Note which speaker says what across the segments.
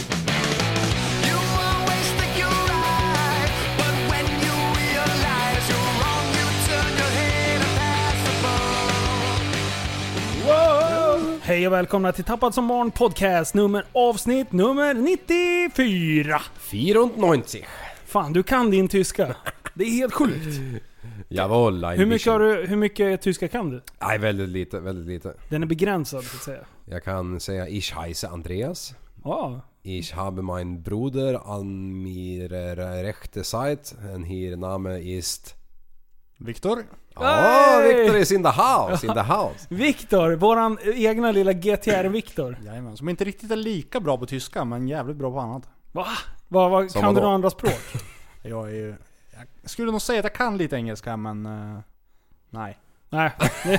Speaker 1: You always think you're right, but when you realize you're wrong, you turn your head and pass the ball.
Speaker 2: Hej och välkomna till Tappad som barn podcast nummer avsnitt nummer 94!
Speaker 3: 94.
Speaker 2: Fan, du kan din tyska. Det är helt sjukt.
Speaker 3: Jawohl, ein
Speaker 2: Hur mycket, har
Speaker 3: bisschen.
Speaker 2: du, hur mycket tyska kan du?
Speaker 3: Nej, väldigt lite, väldigt lite.
Speaker 2: Den är begränsad så att säga.
Speaker 3: Jag kan säga Ich heiße Andreas.
Speaker 2: Ja,
Speaker 3: Ich habe meinen Bruder an mir rechte Seite. Und hier Name ist...
Speaker 4: Viktor?
Speaker 3: Ah,
Speaker 2: Hey!
Speaker 3: Victor is in the house! In the house!
Speaker 2: Viktor, våran egna lilla GTR-Viktor.
Speaker 4: Jajamän, som inte riktigt är lika bra på tyska men jävligt bra på annat.
Speaker 2: Va? Va, va
Speaker 3: Som
Speaker 2: kan du
Speaker 3: vadå?
Speaker 2: några andra språk?
Speaker 4: Jag är ju... Jag skulle nog säga att jag kan lite engelska men... eh, nej.
Speaker 2: Nej.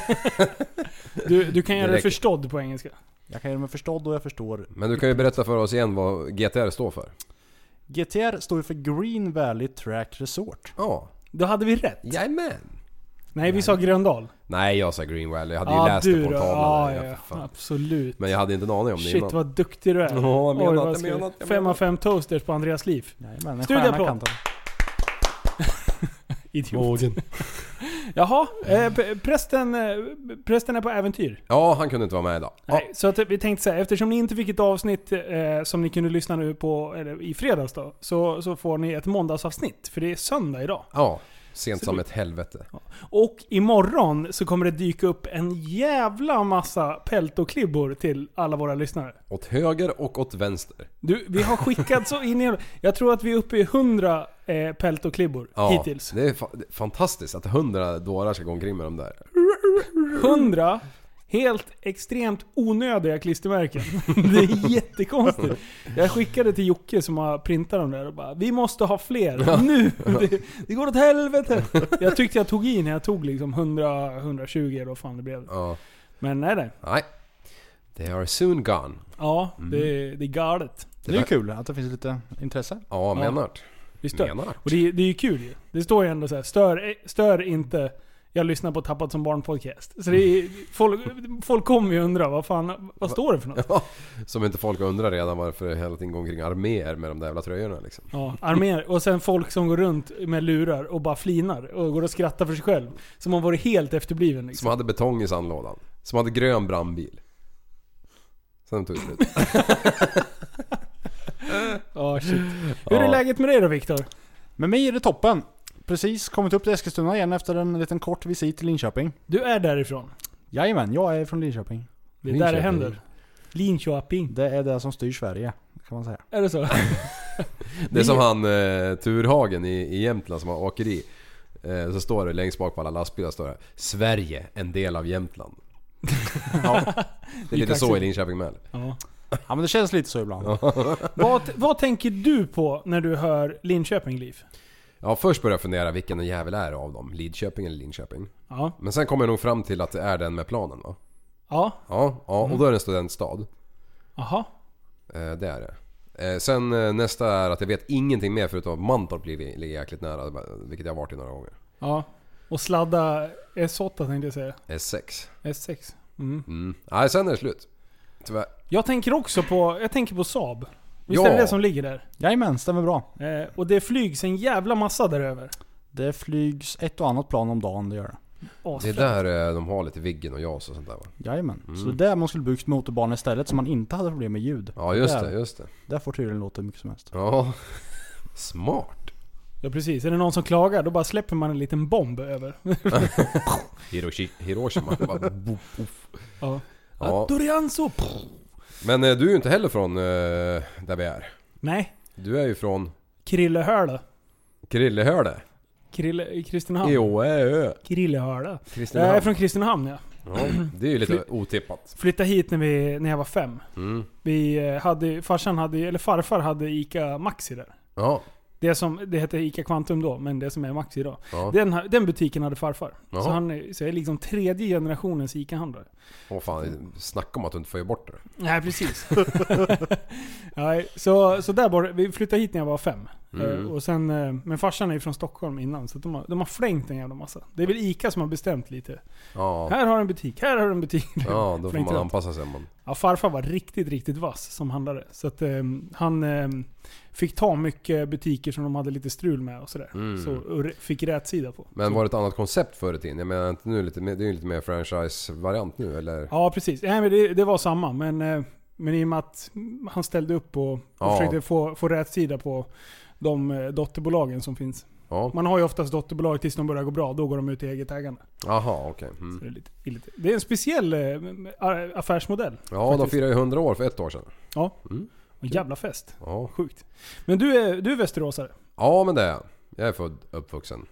Speaker 2: Du, du kan göra
Speaker 3: Det
Speaker 2: dig
Speaker 3: räcker.
Speaker 2: förstådd på engelska.
Speaker 4: Jag kan göra mig förstådd och jag förstår.
Speaker 3: Men du kan ju berätta för oss igen vad GTR står för.
Speaker 4: GTR står ju för Green Valley Track Resort.
Speaker 3: Ja,
Speaker 2: Då hade vi rätt.
Speaker 3: jajamän!
Speaker 2: Nej, vi sa Gröndal.
Speaker 3: Nej, jag sa Green Valley. Jag hade ju läst det på tavlan.
Speaker 2: Ja,
Speaker 3: där.
Speaker 2: ja,
Speaker 3: Ja,
Speaker 2: ja.
Speaker 3: för fan.
Speaker 2: Absolut.
Speaker 3: Men jag hade inte en aning om det
Speaker 2: Shit vad duktig du är.
Speaker 3: Ja, jag menar
Speaker 2: Oj,
Speaker 3: att
Speaker 2: vad
Speaker 3: jag
Speaker 2: ska-
Speaker 3: menar att jag
Speaker 2: fem
Speaker 3: menar.
Speaker 2: av fem toasters på Andreas liv.
Speaker 4: Jajamän, en
Speaker 2: Studier
Speaker 4: stjärna
Speaker 2: på.
Speaker 4: kan ta.
Speaker 2: Idiot.
Speaker 3: Vågen.
Speaker 2: Jaha, eh, p- prästen, eh, prästen är på äventyr.
Speaker 3: Ja, han kunde inte vara med idag. Ja,
Speaker 2: Nej, så att eh, vi tänkte säga, eftersom ni inte fick ett avsnitt eh, som ni kunde lyssna nu på eller, i fredags då, så, så får ni ett måndagsavsnitt. För det är söndag idag.
Speaker 3: ja sent som ett helvete.
Speaker 2: Och imorgon så kommer det dyka upp en jävla massa peltoklibbor till alla våra lyssnare.
Speaker 3: Åt höger och åt vänster.
Speaker 2: Du, vi har skickat så in i... Jag tror att vi är uppe i 100 eh, peltoklibbor hittills.
Speaker 3: Det är fa- det är fantastiskt att hundra dårar ska gå omkring med dem där.
Speaker 2: 100 helt extremt onödiga klistermärken. Det är jättekonstigt. Jag skickade till Jocke som har printat dem där och bara Vi måste ha fler nu! Det, det går åt helvete! Jag tyckte jag tog i när jag tog liksom 100, 120 eller vad fan det blev.
Speaker 3: Ja.
Speaker 2: Men nej nej.
Speaker 3: Nej. They are soon gone.
Speaker 2: Ja, det, det är galet.
Speaker 4: Det är ju kul att det finns lite intresse.
Speaker 3: Ja, menart.
Speaker 2: Vi stör.
Speaker 3: Menar.
Speaker 2: Och det, är- det är ju kul ju. Det står ju ändå så här, stör, stör inte jag lyssnar på Tappat som barn podcast. Så det är, folk, folk kommer ju undra vad fan, vad står det för något?
Speaker 3: Som inte folk undrar redan varför det hela tiden går omkring arméer med de där jävla tröjorna liksom.
Speaker 2: Ja, arméer. Och sen folk som går runt med lurar och bara flinar och går och skrattar för sig själv. Som har varit helt efterbliven
Speaker 3: Som
Speaker 2: liksom.
Speaker 3: hade betong i sandlådan. Som hade grön brandbil. Sen tog det slut.
Speaker 2: Ja, shit. Hur är
Speaker 3: Ja.
Speaker 2: läget med dig då Viktor?
Speaker 4: Med mig är det toppen. Precis kommit upp till Eskilstuna igen efter en liten kort visit till Linköping.
Speaker 2: Du är därifrån.
Speaker 4: Jajamän, jag är från Linköping.
Speaker 2: Det är där det
Speaker 3: Linköping.
Speaker 2: händer. Linköping.
Speaker 4: Det är det som styr Sverige, kan man säga.
Speaker 2: Är det så?
Speaker 3: Det är som han eh, Turhagen i, i Jämtland som har åkeri. Eh, så står det längst bak på alla lastbilar står det Sverige, en del av Jämtland. Det är lite så i Linköping med.
Speaker 2: Ja.
Speaker 4: Ja men det känns lite så ibland.
Speaker 2: Vad, vad tänker du på när du hör Linköping Liv?
Speaker 3: Ja, först började jag fundera vilken jävel är det av dem? Lidköping eller Linköping?
Speaker 2: Ja.
Speaker 3: Men sen kom jag nog fram till att det är den med planen va?
Speaker 2: Ja.
Speaker 3: Ja, ja och då är det en studentstad.
Speaker 2: Aha.
Speaker 3: Eh, det är det. Eh, sen eh, nästa är att jag vet ingenting mer förutom att Mantorp ligger ligger jäkligt nära. Vilket jag har varit i några gånger.
Speaker 2: Ja. Och sladda S8 tänkte jag säga.
Speaker 3: S6.
Speaker 2: S6.
Speaker 3: Mm. Nej, sen är det slut. Tyvärr.
Speaker 2: Jag tänker också på, jag tänker på Saab. Visst
Speaker 3: Ja.
Speaker 2: är det det som ligger där?
Speaker 4: Jajamän, stämmer bra.
Speaker 2: Eh, och det flygs en jävla massa där över.
Speaker 4: Det flygs ett och annat plan om dagen, det gör det.
Speaker 3: Det är där eh, de har lite Viggen och JAS och sånt där va?
Speaker 4: Jajamän. Så det är där man skulle byggt motorbanor istället så man inte hade problem med ljud.
Speaker 3: Mm. Ja, just
Speaker 4: där,
Speaker 3: det. Just det.
Speaker 4: Där får tydligen låta hur mycket som helst.
Speaker 3: Ja. Smart.
Speaker 2: Ja precis. Är det någon som klagar, då bara släpper man en liten bomb över.
Speaker 3: Hiroshi, Hiroshima. Bara, boop, boop.
Speaker 2: ja.
Speaker 3: Ja.
Speaker 2: Dorianzo!
Speaker 3: Men eh, du är ju inte heller från eh, där vi är.
Speaker 2: Nej.
Speaker 3: Du är ju från
Speaker 2: Krillehöle.
Speaker 3: Krillehöle.
Speaker 2: Krille... Kristinehamn.
Speaker 3: Eåö.
Speaker 2: Krillehöle. Jag är
Speaker 3: Kristinehamn.
Speaker 2: från Kristinehamn ja.
Speaker 3: Ja, det är ju lite otippat.
Speaker 2: Flyttade hit när, vi, när jag var fem.
Speaker 3: Mm.
Speaker 2: Vi eh, hade, farsan hade, eller farfar hade ICA Maxi där.
Speaker 3: Ja.
Speaker 2: Det, som, det hette ICA Quantum då, men det som är Maxi idag.
Speaker 3: ja.
Speaker 2: Den, här- den butiken hade farfar.
Speaker 3: Ja.
Speaker 2: Så, han, är- så jag är liksom tredje generationens ICA-handlare.
Speaker 3: Åh fan, snacka om att du inte får ge bort det.
Speaker 2: Nej, precis. Nej, så, så där bor, vi flyttade hit när jag var fem.
Speaker 3: Mm.
Speaker 2: Eh, Och sen, eh, men farsan är ju från Stockholm innan, så de har, de har flängt en jävla massa. Det är väl ICA som har bestämt lite.
Speaker 3: Ja.
Speaker 2: Här har du en butik, här har du en butik.
Speaker 3: Ja, då får
Speaker 2: Flängt
Speaker 3: man
Speaker 2: runt.
Speaker 3: anpassa sig. Man.
Speaker 2: Ja, farfar var riktigt, riktigt vass som handlare. Så att, eh, han eh, fick ta mycket butiker som de hade lite strul med och sådär.
Speaker 3: Mm.
Speaker 2: Så, och re- fick rätsida på.
Speaker 3: Men var det ett annat koncept förr i tiden? Jag menar, inte nu lite, mer- det är ju lite mer franchise-variant nu eller?
Speaker 2: Ja, precis. Nej, men det, det var samma. Men, eh, men i och med att han ställde upp och, och
Speaker 3: Ja.
Speaker 2: försökte få, få rätsida på de eh, dotterbolagen som finns.
Speaker 3: Ja.
Speaker 2: Man har ju oftast dotterbolag tills de börjar gå bra. Då går de ut i eget ägande.
Speaker 3: Aha, okej.
Speaker 2: Det
Speaker 3: Mm.
Speaker 2: är, lite, det är lite, det är en speciell eh, a- affärsmodell.
Speaker 3: Ja, de firade ju 100 år för ett år sedan.
Speaker 2: Ja.
Speaker 3: Mm.
Speaker 2: En jävla fest.
Speaker 3: Ja,
Speaker 2: Sjukt. Men du är, du är västeråsare.
Speaker 3: ja men det är jag. Jag är född, uppvuxen.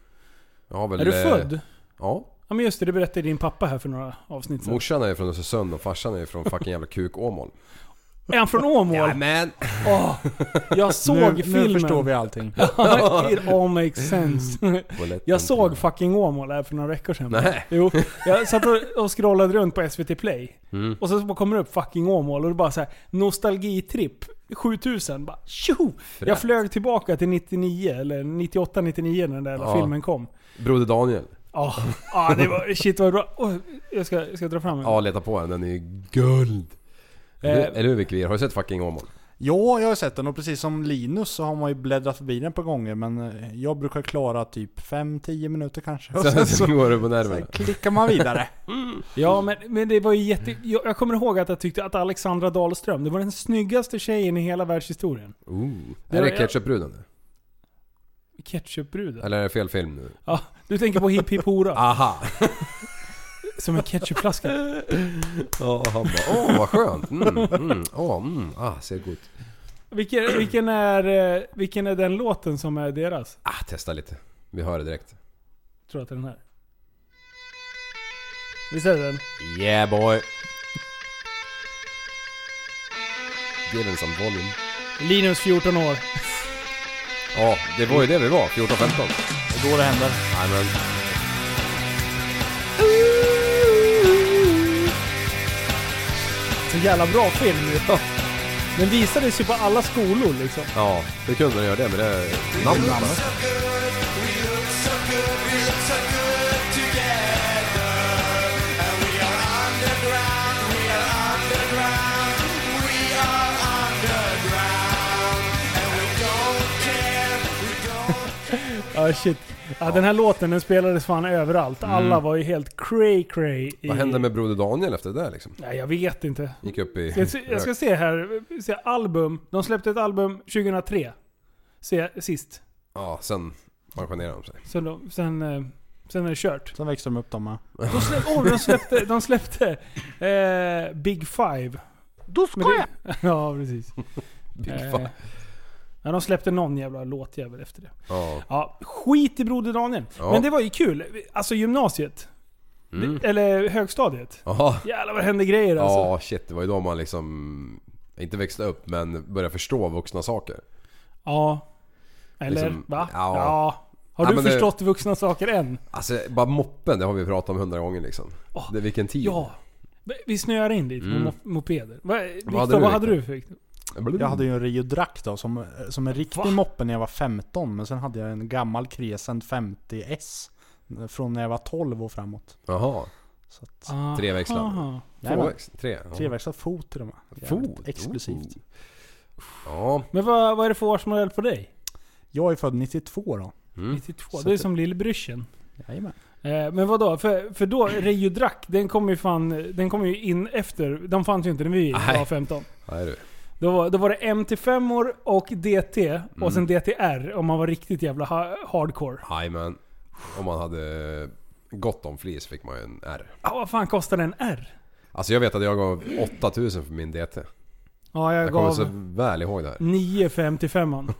Speaker 3: Jag har väl,
Speaker 2: Är du
Speaker 3: eh,
Speaker 2: född?
Speaker 3: Ja.
Speaker 2: Ja men just det, det berättade din pappa här för några avsnitt sedan.
Speaker 3: Morsan är ju från Östersund och farsan är ju från fucking jävla kuk Åmål.
Speaker 2: Är han från Åmål?
Speaker 3: men.
Speaker 2: Åh, jag såg
Speaker 4: nu,
Speaker 2: filmen.
Speaker 4: nu förstår vi allting.
Speaker 2: It all makes sense. Jag såg fucking Åmål här för några veckor sedan.
Speaker 3: Nej.
Speaker 2: Jo, jag satt och- och scrollade runt på SVT Play.
Speaker 3: Mm.
Speaker 2: Och så bara kommer det upp fucking Åmål och det bara så här nostalgitripp. 7000. Bara, tjo! Jag flög tillbaka till 99 eller 98, 99 när den där jävla
Speaker 3: Ja.
Speaker 2: filmen kom.
Speaker 3: Broder Daniel.
Speaker 2: Ja, ja, det var, shit vad bra. Åh, jag, ska, jag ska dra fram den.
Speaker 3: Ja, leta på den. Den är ju guld. Eller-
Speaker 2: Eh.
Speaker 3: Eller hur Vickvier? Har du sett fucking Åmål?
Speaker 4: Ja, jag har sett den och precis som Linus så har man ju bläddrat förbi den på gånger men eh, jag brukar klara typ 5-10 minuter kanske. Och
Speaker 3: Sen
Speaker 4: sen
Speaker 3: så
Speaker 4: så,
Speaker 3: går du på
Speaker 4: sen
Speaker 3: nerverna.
Speaker 4: klickar man vidare.
Speaker 2: Ja, men, men det var ju jätte... Jag, jag kommer ihåg att jag tyckte att Alexandra Dahlström, det var den snyggaste tjejen i hela världshistorien.
Speaker 3: Ooh.
Speaker 2: Det
Speaker 3: Är det
Speaker 2: var-
Speaker 3: ketchupbruden? nu?
Speaker 2: Ketchupbruden.
Speaker 3: Eller är det fel film nu?
Speaker 2: Ja, du tänker på Hipp Hipp Hora.
Speaker 3: Aha!
Speaker 2: Som en ketchupflaska.
Speaker 3: Ja, han bara åh vad skönt. Mm, mm, åh, mm, ah, ser gott.
Speaker 2: Vilken, vilken, är, eh, vilken är den låten som är deras?
Speaker 3: Ah, testa lite. Vi hör det direkt.
Speaker 2: Jag tror att det är den här. Visst är det den?
Speaker 3: Yeah boy! Give him some volume.
Speaker 2: Linus 14 år.
Speaker 3: Ja, det var ju det vi var, 14-15.
Speaker 4: Och då det händer.
Speaker 3: Jajamän.
Speaker 2: Så jävla bra film ju. Den visades ju på alla skolor liksom.
Speaker 3: Ja, det kunde den göra det med det namnet. va?
Speaker 2: Ja shit. Mm. Ja, den här låten den spelades fan överallt. Alla var ju helt cray cray. I...
Speaker 3: Vad hände med Broder Daniel efter det där liksom?
Speaker 2: Nej, jag vet inte.
Speaker 3: Gick upp i...
Speaker 2: Jag, jag ska se här. Se, album. De släppte ett album 2003. Se, sist.
Speaker 3: Ja, sen pensionerade de sig.
Speaker 2: Sen, de, sen, eh, sen är det kört.
Speaker 4: Sen växer de upp de med.
Speaker 2: De släppte, oh, de släppte, de släppte eh, Big Five. Då ska jag! Ja, precis.
Speaker 3: Big
Speaker 2: Eh,
Speaker 3: fuck.
Speaker 2: Ja, de släppte någon jävla låtjävel efter det.
Speaker 3: Ja.
Speaker 2: Ja, skit i Broder Daniel.
Speaker 3: Ja.
Speaker 2: Men det var ju kul. Alltså gymnasiet.
Speaker 3: Mm.
Speaker 2: Eller högstadiet.
Speaker 3: Jaha.
Speaker 2: Jävlar vad det hände grejer alltså.
Speaker 3: Ja, shit. Det var ju då man liksom... Inte växte upp, men började förstå vuxna saker.
Speaker 2: Ja. Eller?
Speaker 3: Liksom,
Speaker 2: va?
Speaker 3: ja.
Speaker 2: Har
Speaker 3: Ja,
Speaker 2: du
Speaker 3: men det-
Speaker 2: förstått vuxna saker än?
Speaker 3: Alltså, bara moppen, det har vi pratat om hundra gånger liksom.
Speaker 2: Åh,
Speaker 3: Det, vilken tid.
Speaker 2: Ja. Vi snöar in dit
Speaker 3: Mm.
Speaker 2: med mo- mopeder. Va, Viktor,
Speaker 3: hade du,
Speaker 2: vad hade du
Speaker 3: Viktor?
Speaker 2: för
Speaker 4: Jag hade ju en Rio Drac då som, eh, som en riktig
Speaker 2: Va?
Speaker 4: moppe när jag var 15 men sen hade jag en gammal Crescent 50S. Från när jag var 12 och framåt.
Speaker 3: Jaha.
Speaker 4: Så att,
Speaker 2: Aha.
Speaker 3: Treväxlad.
Speaker 4: Jajamän.
Speaker 3: Tvåväxt? Tre? Ja.
Speaker 4: Treväxlad fot till och med. Jävligt
Speaker 3: Fot?
Speaker 4: Exklusivt.
Speaker 3: Ja.
Speaker 2: Men vad, vad är det för årsmodell på dig?
Speaker 4: Jag är född 92 då.
Speaker 3: Mm.
Speaker 2: 92?
Speaker 4: Så
Speaker 2: Det är
Speaker 4: att-
Speaker 2: som lillbrorsan.
Speaker 4: Jajamän.
Speaker 2: Eh, men vadå? För, för då, Rejudrack, den kom ju fan... Den kom ju in efter... Den fanns ju inte när vi
Speaker 3: Nej.
Speaker 2: var 15.
Speaker 3: Nej du.
Speaker 2: Då var, då var det MT5 och DT och
Speaker 3: Mm.
Speaker 2: sen DTR om man var riktigt jävla ha, hardcore.
Speaker 3: Jajamän. Om man hade gott om flis fick man ju en R.
Speaker 2: Ah, vad fan kostade en R?
Speaker 3: Alltså jag vet att jag gav 8000 för min DT.
Speaker 2: Ja, jag,
Speaker 3: Jag kommer
Speaker 2: gav
Speaker 3: så väl ihåg det här.
Speaker 2: 9 för MT5.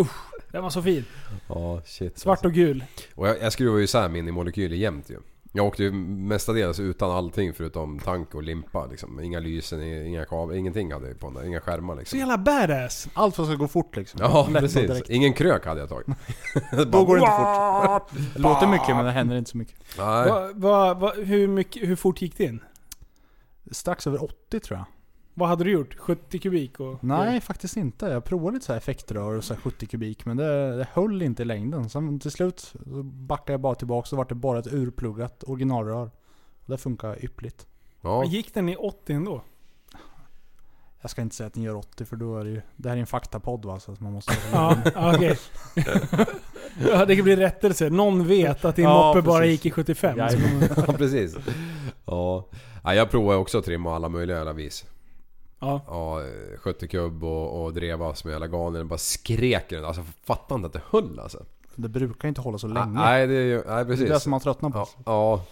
Speaker 2: Usch, den var så fin.
Speaker 3: Ja, shit. alltså.
Speaker 2: Svart och gul.
Speaker 3: Och jag, jag skruvar ju isär minimolekyler jämt ju. Jag åkte ju mestadels utan allting förutom tank och limpa liksom. Inga lysen, inga kablar, ingenting hade jag på den där. Inga skärmar
Speaker 2: Så
Speaker 3: liksom.
Speaker 2: jävla badass.
Speaker 4: Allt vad ska gå fort liksom.
Speaker 3: Ja
Speaker 4: Lätt och
Speaker 3: precis.
Speaker 4: direkt.
Speaker 3: Ingen krök hade jag tagit.
Speaker 4: Då går det inte fort. Det låter mycket men det händer inte så mycket.
Speaker 3: Nej.
Speaker 2: Va, va, va, hur, mycket, hur fort gick det in?
Speaker 4: Strax över 80 tror jag.
Speaker 2: Vad hade du gjort? 70 kubik? Och,
Speaker 4: Nej, faktiskt inte. Jag provade lite så här effektrör och så här 70 kubik, men det, det höll inte i längden. Sen till slut så backade jag bara tillbaka så vart det bara ett urpluggat originalrör. Och det funkar yppligt.
Speaker 3: Ja.
Speaker 2: Gick den i 80 ändå?
Speaker 4: Jag ska inte säga att den gör 80 för då är det ju... Det här är en faktapodd va, så att man måste...
Speaker 2: Ja, ja, okej. ja, det blir rättelse. Någon vet att din
Speaker 4: Ja,
Speaker 2: moppe bara
Speaker 4: precis.
Speaker 2: gick i 75.
Speaker 4: Ja,
Speaker 2: Så-
Speaker 3: ja, precis. Ja. ja, jag provar också att trimma alla möjliga jävla vis.
Speaker 2: Ja.
Speaker 3: Ja, eh, 70 kubb och, och dreva som hela galningen. Bara skrek i den. Alltså fattar inte att det höll alltså.
Speaker 4: Det brukar inte hålla så
Speaker 3: Nej,
Speaker 4: länge.
Speaker 3: Nej, det är ju... Nej,
Speaker 4: det
Speaker 3: precis.
Speaker 4: är det som man tröttnar på.
Speaker 3: Ja, ja.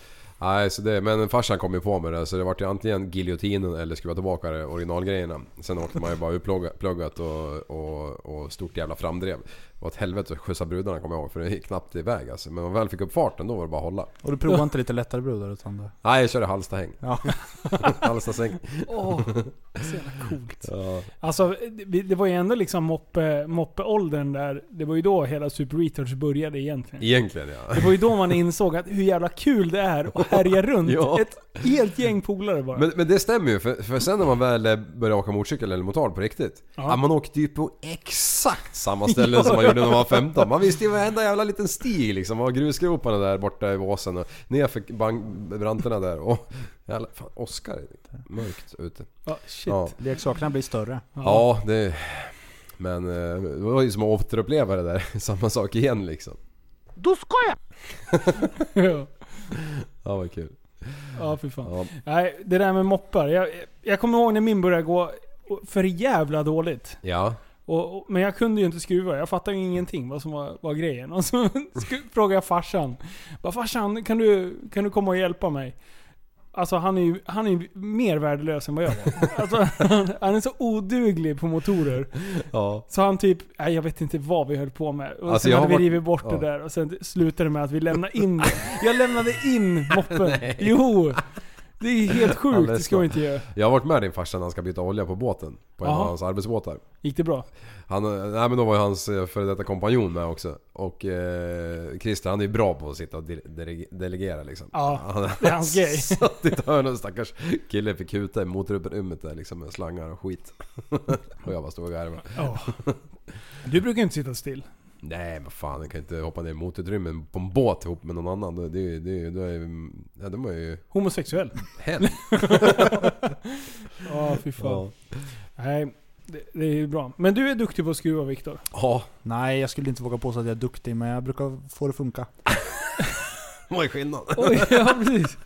Speaker 3: Nej, så det, men farsan kom ju på med det så det vart ju antingen giljotinen eller skruva tillbaka det, originalgrejerna. Sen åkte man ju bara utpluggat och, och, och stort jävla framdrev. Det var ett helvete att skjutsa brudarna kommer jag ihåg för det gick knappt iväg alltså. Men man väl fick upp farten då var det bara att hålla.
Speaker 4: Och du provar inte lite lättare brudar utan det...
Speaker 3: Nej, jag körde Halstahäng.
Speaker 4: Ja.
Speaker 3: Halstahäng.
Speaker 2: Åh, så jävla coolt.
Speaker 3: Ja.
Speaker 2: Alltså, det, det var ju ändå liksom moppe, moppeåldern där. Det var ju då hela Super Retards började egentligen.
Speaker 3: Egentligen ja.
Speaker 2: Det var ju då man insåg att hur jävla kul det är att härja runt.
Speaker 3: Ja.
Speaker 2: Ett helt gäng polare bara.
Speaker 3: Men, men det stämmer ju för, för sen när man väl eh, började åka motorcykel eller motard på riktigt.
Speaker 2: Ja.
Speaker 3: Ja. Man åkte ju på exakt samma ställe som man gjorde när man var 15. Man visste ju varenda jävla liten stig liksom. Man har grusgroparna där borta i Åsen och nerför bank- branterna där. Och, jävla, fan, Oskar är mörkt ute.
Speaker 2: Ja, shit.
Speaker 3: Ja,
Speaker 4: Leksakerna blir större.
Speaker 3: ja det... Men eh, det var ju som att återuppleva det där. Samma sak igen liksom.
Speaker 2: Ja.
Speaker 3: Ja, vad kul.
Speaker 2: Ja, för fan.
Speaker 3: Ja.
Speaker 2: Nej, det där med moppar. Jag, jag kommer ihåg när min började gå för jävla dåligt.
Speaker 3: Ja.
Speaker 2: Och, och, men jag kunde ju inte skruva. Jag fattade ju ingenting vad som var, var grejen. Och så sku- frågade jag farsan. Bara, farsan, kan du, kan du komma och hjälpa mig? Alltså han är ju, han är ju mer värdelös än vad jag var. Alltså, han, han är så oduglig på motorer.
Speaker 3: ja.
Speaker 2: Så han typ, nej jag vet inte vad vi höll på med. Och
Speaker 3: Alltså,
Speaker 2: sen
Speaker 3: jag
Speaker 2: hade vi
Speaker 3: har varit-
Speaker 2: rivit bort det
Speaker 3: ja.
Speaker 2: där och sen slutade det med att vi lämnade in det. Jag lämnade in moppen. Jo! Det är helt
Speaker 3: Ja,
Speaker 2: sjukt,
Speaker 3: det
Speaker 2: det ska
Speaker 3: ska-
Speaker 2: man inte göra.
Speaker 3: Jag har varit med din farsa när han ska byta olja på båten. På en
Speaker 2: Jaha.
Speaker 3: av hans arbetsbåtar.
Speaker 2: Gick det bra?
Speaker 3: Han, nej men då var ju hans eh, före detta kompanjon med också. Och eh, Christer han är ju bra på att sitta och de- dele- delegera liksom.
Speaker 2: Ja,
Speaker 3: han,
Speaker 2: det är hans grej.
Speaker 3: satt i ett hörn och stackars kille fick kuta i motorrummet där liksom med slangar och skit. och jag bara stod och garvade.
Speaker 2: Ja. Du brukar ju inte sitta still.
Speaker 3: Nej men fan jag kan inte hoppa ner i motorutrymmen på en båt ihop med någon annan. Det, det, det, det, är ju- ja, de är ju
Speaker 2: Homosexuell.
Speaker 3: hänt.
Speaker 2: Ja, fy fan.
Speaker 3: Ja.
Speaker 2: Nej, det, det är ju bra. Men du är duktig på att skruva Viktor.
Speaker 3: ja,
Speaker 4: Nej, jag skulle inte våga påstå att jag är duktig, men jag brukar få det funka.
Speaker 3: vad är skillnaden?
Speaker 2: Oj, ja precis.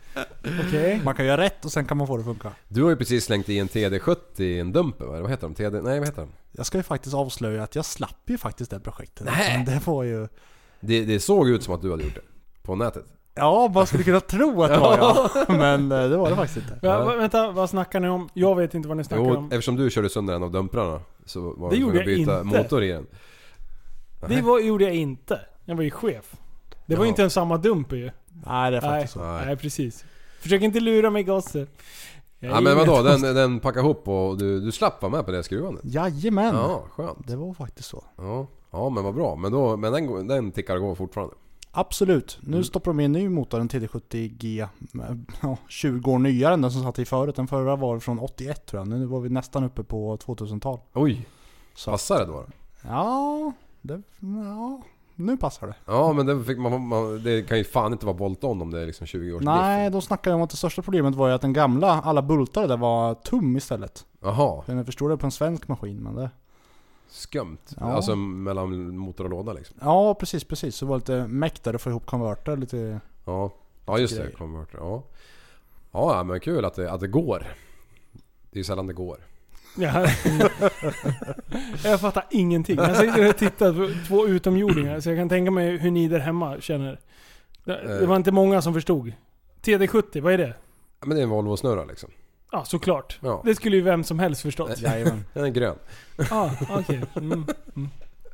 Speaker 2: Okej.
Speaker 4: Man kan göra rätt och sen kan man få det att funka.
Speaker 3: Du har ju precis slängt i en TD70 i en dumper va? Vad heter de? TD? Nej vad heter de?
Speaker 4: Jag ska ju faktiskt avslöja att jag slapp ju faktiskt det projektet.
Speaker 3: Nej.
Speaker 4: Men Det var ju...
Speaker 3: Det, det såg ut som att du hade gjort det. På nätet.
Speaker 4: Ja, man skulle kunna tro att det var jag. Men eh, det var det faktiskt inte.
Speaker 2: Va, va, vänta, vad snackar ni om? Jag vet inte vad ni snackar
Speaker 3: Jo,
Speaker 2: om.
Speaker 3: eftersom du körde sönder en av dumprarna så var
Speaker 2: Det
Speaker 3: du
Speaker 2: gjorde
Speaker 3: tvungen att
Speaker 2: jag
Speaker 3: byta
Speaker 2: inte.
Speaker 3: motor i den.
Speaker 2: Det var, gjorde jag inte. Jag var ju chef. Det var ju
Speaker 3: Ja.
Speaker 2: inte ens samma dumper ju.
Speaker 4: Nej, det är
Speaker 2: Nej,
Speaker 4: faktiskt så.
Speaker 3: Nej.
Speaker 2: nej, precis. Försök inte lura mig gosse. Jag
Speaker 3: Ja
Speaker 2: är
Speaker 3: men
Speaker 2: ingen-
Speaker 3: vadå, den, den packade ihop och du, du slapp vara med på det skruvandet?
Speaker 2: Mm.
Speaker 4: Jajamän.
Speaker 3: Ja, skönt.
Speaker 4: Det var faktiskt så.
Speaker 3: Ja, ja men vad bra. Men, då, men den, går- den tickar och går fortfarande.
Speaker 4: Absolut. Nu stoppar de in en ny motor, en TD70G. med, eh, ja, 20 år nyare än den som satt i förut. Den förra var från 81 tror jag. Nu var vi nästan uppe på 2000-tal.
Speaker 3: Oj!
Speaker 4: Så-
Speaker 3: Passar det då? då?
Speaker 4: Ja, det, ja, nu passar det.
Speaker 3: Ja men det, fick man, man, det kan ju fan inte vara bolt-on om det är liksom 20 års
Speaker 4: Nej, då snackade jag om att det största problemet var ju att den gamla, alla bultar där var tum istället.
Speaker 3: drift. Jaha,
Speaker 4: Jag förstår det på en svensk maskin men det...
Speaker 3: skumt.
Speaker 4: Ja.
Speaker 3: Alltså mellan motor och låda liksom.
Speaker 4: Ja, precis, precis. Så det var lite mäkt där att få ihop konverter lite...
Speaker 3: Ja, ja just det.
Speaker 4: Grejer.
Speaker 3: Converter. Ja. ja men kul att det, att det går. Det är ju sällan det går.
Speaker 2: Ja. jag fattar ingenting. Jag sitter och tittar på två utomjordingar, så jag kan tänka mig hur ni där hemma känner. Det,
Speaker 3: Eh.
Speaker 2: det var inte många som förstod. TD70, vad är det?
Speaker 3: Ja, Men det är en Volvo-snurra liksom.
Speaker 2: Ja, såklart.
Speaker 3: Ja.
Speaker 2: Det skulle ju vem som helst förstått.
Speaker 4: Jajamän.
Speaker 3: Den är grön.
Speaker 2: Ah, okej. Mm.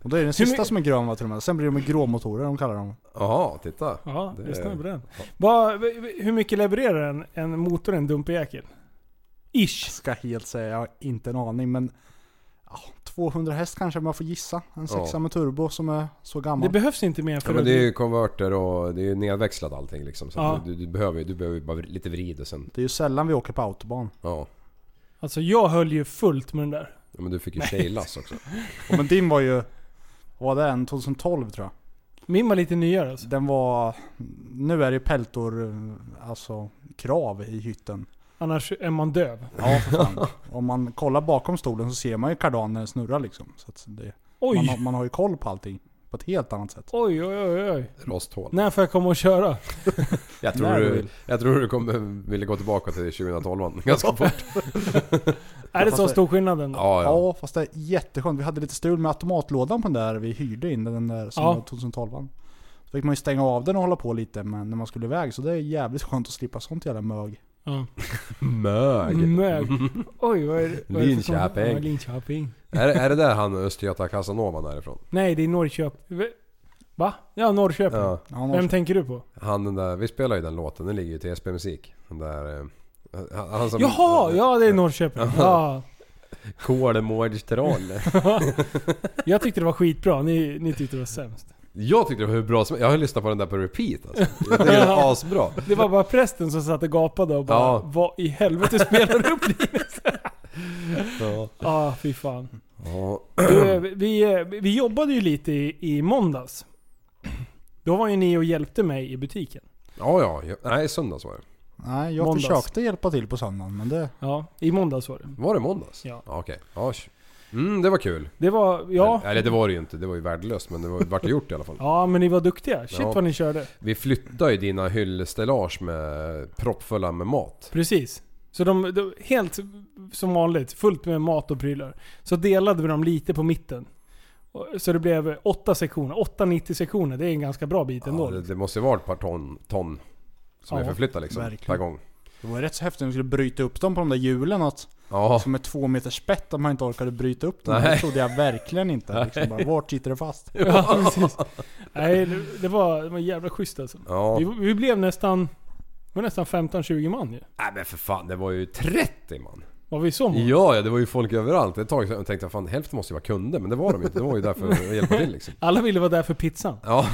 Speaker 4: Och då är det den
Speaker 2: Hur
Speaker 4: sista
Speaker 2: mycket-
Speaker 4: som är grön va till och med. Sen blir de med gråmotorer de kallar dem.
Speaker 3: Jaha, titta.
Speaker 2: Ja,
Speaker 3: Det-
Speaker 2: lyssna på den. Vad- hur mycket levererar en, en motor, en dumperjäkel? Ish.
Speaker 4: Ska helt säga, jag har inte en aning men... Ja, 200 häst kanske om jag får gissa. En sexa
Speaker 3: Ja.
Speaker 4: med turbo som är så
Speaker 2: Det
Speaker 4: gammal.
Speaker 2: behövs inte mer för
Speaker 3: Ja, men
Speaker 2: att...
Speaker 3: det är ju konverter och det är ju nedväxlat allting liksom. Så
Speaker 2: Ja.
Speaker 3: att du, du, behöver, ju- du behöver ju bara lite vrid och sen...
Speaker 4: Det är ju sällan vi åker på autobahn.
Speaker 3: Ja.
Speaker 2: Alltså jag höll ju fullt med den där.
Speaker 3: ja men du fick ju tjejlass också.
Speaker 4: Och men din var ju... Vad var det? En 2012 tror jag.
Speaker 2: Min var lite nyare alltså.
Speaker 4: Den var... Nu är det ju peltor, alltså krav i hytten.
Speaker 2: Annars är man döv.
Speaker 4: Ja för fan. Om man kollar bakom stolen så ser man ju kardanen snurra liksom. Så att det, man, har-
Speaker 2: Oj!
Speaker 4: man har ju koll på allting. På ett helt annat sätt.
Speaker 2: Oj, oj, oj, oj.
Speaker 3: Rosthål.
Speaker 2: När får jag komma och köra?
Speaker 3: Jag tror
Speaker 4: När du
Speaker 3: du,
Speaker 4: vill.
Speaker 3: jag tror du kommer vilja gå tillbaka till 2012 ganska fort.
Speaker 2: Är det så
Speaker 4: fast-
Speaker 2: stor skillnad ändå?
Speaker 3: Ja, ja.
Speaker 4: Ja, fast det är jätteskönt. Vi hade lite strul med automatlådan på den där vi hyrde in, den där som
Speaker 2: Ja.
Speaker 4: var 2012 Då fick man ju stänga av den och hålla på lite men när man skulle iväg, så det är jävligt skönt att slippa sånt jävla mög.
Speaker 2: Ja.
Speaker 3: Mög.
Speaker 2: Mög. Oj, vad är det? vad är det för-
Speaker 3: Linköping.
Speaker 2: Ja, Linköping.
Speaker 3: Är, det- är det där han Östgöta Casanovan är ifrån?
Speaker 2: Nej, det är Norrköping. Va? Ja, Norrköping.
Speaker 3: Ja.
Speaker 4: Ja,
Speaker 2: Vem
Speaker 4: någon-
Speaker 2: tänker du på?
Speaker 3: Han den där, vi spelar ju den låten, den ligger ju till SP-musik. Den där... eh, Han, han som...
Speaker 2: Jaha! Ja, det är Norrköping. Ja.
Speaker 3: Kolmårdstroll.
Speaker 2: Jag tyckte det var skitbra. Ni, ni tyckte det var sämst.
Speaker 3: Jag tyckte det var hur bra som Jag har lyssnat på den där på repeat alltså. Jag tycker den är asbra.
Speaker 2: Det var bara prästen som satt och gapade och bara
Speaker 3: Ja.
Speaker 2: Vad i helvete spelar du upp Linus?
Speaker 3: Ja.
Speaker 2: Ja, ah, fy fan.
Speaker 3: Ja.
Speaker 2: Du, vi, eh, vi jobbade ju lite i, i måndags. Då var ju ni och hjälpte mig i butiken.
Speaker 3: Ja, ja, ja. Nej, söndags var det.
Speaker 4: Nej, jag
Speaker 2: Måndags.
Speaker 4: försökte hjälpa till på söndagen men det...
Speaker 2: Ja, i måndags var det.
Speaker 3: Var det måndags?
Speaker 2: Ja.
Speaker 3: Okej. Ja, sh- Mm, det var kul.
Speaker 2: Det var, ja.
Speaker 3: Eller det var det ju inte, det var ju värdelöst men det var, vart det gjort i alla fall.
Speaker 2: Ja men ni var duktiga. Shit
Speaker 3: Ja.
Speaker 2: vad ni körde.
Speaker 3: Vi flyttade ju dina hyllstellage med proppfulla med mat.
Speaker 2: Precis. Så de, de, helt som vanligt, fullt med mat och prylar. Så delade vi dem lite på mitten. Och- Så det blev åtta sektioner. Åtta 90 sektioner, det är en ganska bra bit ändå.
Speaker 3: Ja, det, det måste ju vara ett par ton, ton som
Speaker 2: Ja,
Speaker 3: är förflyttade liksom.
Speaker 4: verkligen.
Speaker 3: Per gång.
Speaker 4: Det var ju rätt så häftigt när vi skulle bryta upp dem på de där hjulen att...
Speaker 3: Ja,
Speaker 4: Som ett två meters spett om man inte orkade bryta upp dem.
Speaker 3: Nej.
Speaker 4: Det trodde jag verkligen inte. Liksom bara, vart sitter det fast?
Speaker 2: Ja, precis. Nej, det- det var, det var jävla schysst alltså.
Speaker 3: ja.
Speaker 2: Vi, vi blev nästan, vi var nästan 15-20 man ju.
Speaker 3: Nej men för fan, det var ju 30 man.
Speaker 2: Var vi så många?
Speaker 3: Ja, ja, det var ju folk överallt. Ett tag sedan tänkte jag fan hälften måste ju vara kunder, men det var de inte. De var ju där för att hjälpa till liksom.
Speaker 2: Alla ville vara där för pizzan.
Speaker 3: Ja,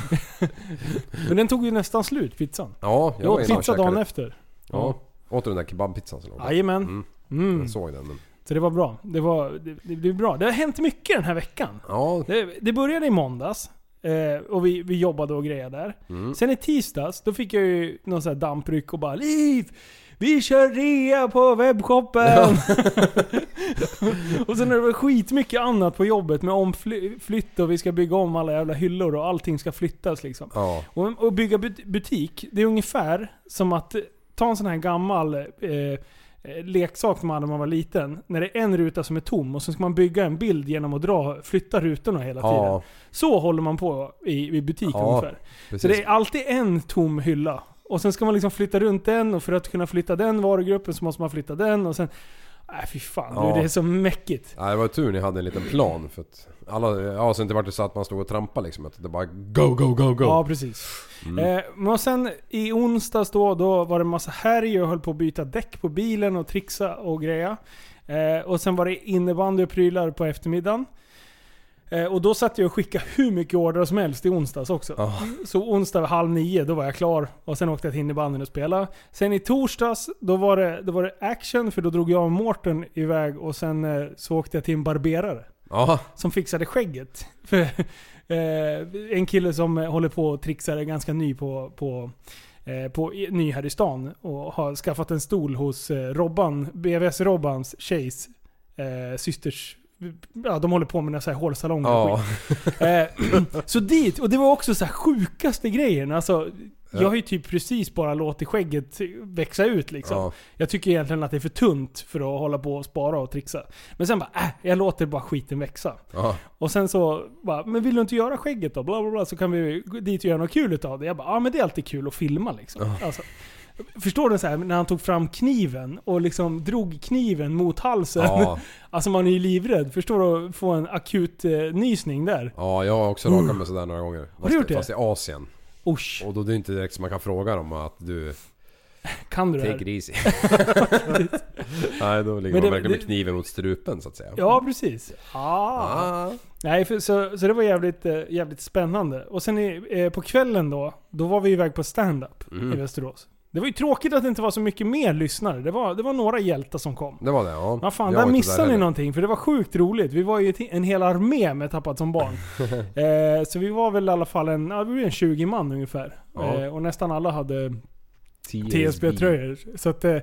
Speaker 2: Men den tog ju nästan slut, pizzan.
Speaker 3: ja
Speaker 2: Jag
Speaker 3: var
Speaker 2: åt
Speaker 3: inne och
Speaker 2: pizza
Speaker 3: käkade.
Speaker 2: dagen efter.
Speaker 3: Ja. Åt du den där kebabpizzan som låg där?
Speaker 2: Jajamän.
Speaker 3: Mm.
Speaker 2: Mm.
Speaker 3: Jag såg den men...
Speaker 2: Så det var bra. Det var det, det, blev bra. Det har hänt mycket den här veckan.
Speaker 3: Ja,
Speaker 2: Det, det började i måndags. Eh, och vi, vi jobbade och grejade där. Sen i tisdags, då fick jag ju någon sån här dampryck och bara Liv! Vi kör rea på webbshoppen! och sen har det varit skitmycket annat på jobbet med omflytt och vi ska bygga om alla jävla hyllor och allting ska flyttas liksom.
Speaker 3: ja.
Speaker 2: Och, och bygga but- butik, det är ungefär som att ta en sån här gammal eh, eh, leksak man hade när man var liten. När det är en ruta som är tom och sen ska man bygga en bild genom att dra, flytta rutorna hela tiden.
Speaker 3: Ja,
Speaker 2: Så håller man på i, i butik
Speaker 3: Ja,
Speaker 2: ungefär. Så
Speaker 3: precis.
Speaker 2: det är alltid en tom hylla. Och sen ska man liksom flytta runt den och för att kunna flytta den varugruppen så måste man flytta den och sen... Nej fy fan
Speaker 3: Ja.
Speaker 2: du, det är så mäckigt.
Speaker 3: Ja, det var tur ni hade en liten plan för att alla, ja så inte vart det så att man stod och trampade liksom. Att det bara go, go, go, Mm. go.
Speaker 2: Ja, precis. Eh, men och sen i onsdags då, då var det en massa härj och höll på att byta däck på bilen och trixa och greja. Eh, och sen var det innebandy och prylar på eftermiddagen. Eh, och då satt jag och skickade hur mycket ordrar som helst i onsdags också.
Speaker 3: Ja.
Speaker 2: Så onsdag vid halv nio, då var jag klar. Och sen åkte jag till innebandyn och spelade. Sen i torsdags, då var det, då var det action för då drog jag och Mårten iväg och sen eh, så åkte jag till en barberare
Speaker 3: ja.
Speaker 2: som fixade skägget. För, eh, en kille som eh, håller på och trixar är ganska ny på, på, eh, på i- ny här i stan och har skaffat en stol hos eh, Robban, BVS Robbans tjejs eh, systers Ja, de håller på med några så här hårsalonger och
Speaker 3: Ja.
Speaker 2: skit. Eh, så dit, och det var också så här sjukaste grejen. Alltså, Jag har ju typ precis bara låtit skägget växa ut liksom.
Speaker 3: Ja.
Speaker 2: Jag tycker egentligen att det är för tunt för att hålla på och spara och trixa. Men sen bara, äh, jag låter bara skiten växa.
Speaker 3: Ja.
Speaker 2: Och sen så bara, men vill du inte göra skägget då? Bla bla bla, så kan vi gå dit och göra något kul utav det. Jag bara, ja men det är alltid kul att filma liksom. Alltså, förstår du så här, när han tog fram kniven och liksom drog kniven mot halsen.
Speaker 3: Ja.
Speaker 2: Alltså man är ju livrädd. Förstår du att få en akut eh, nysning där?
Speaker 3: ja, jag har också rakat mig sådär några gånger. Fast,
Speaker 2: du gjort det?
Speaker 3: Fast i Asien.
Speaker 2: Usch,
Speaker 3: Och då är det inte direkt som man kan fråga dem att du...
Speaker 2: kan du det
Speaker 3: Take it
Speaker 2: här?
Speaker 3: easy. Nej, då ligger
Speaker 2: Men det-
Speaker 3: man verkligen med
Speaker 2: det-
Speaker 3: kniven mot strupen så att säga.
Speaker 2: Ja, precis. Ah.
Speaker 3: Ah.
Speaker 2: Nej, för, så, så det var jävligt, eh, jävligt spännande. Och sen i, eh, på kvällen då, då var vi iväg på stand-up
Speaker 3: Mm.
Speaker 2: i Västerås. Det var ju tråkigt att det inte var så mycket mer lyssnare. Det var, det var några hjältar som kom.
Speaker 3: Det var det, ja.
Speaker 2: Ja fan,
Speaker 3: Jag var
Speaker 2: där
Speaker 3: inte
Speaker 2: missade ni
Speaker 3: heller.
Speaker 2: någonting. För det var sjukt roligt. Vi var ju ett- en hel armé med Tappat som barn. eh, så vi var väl i alla fall en, ja, vi var en 20 man ungefär.
Speaker 3: Ja.
Speaker 2: Eh, och nästan alla hade
Speaker 3: TSB.
Speaker 2: TSB-tröjor. Så att eh,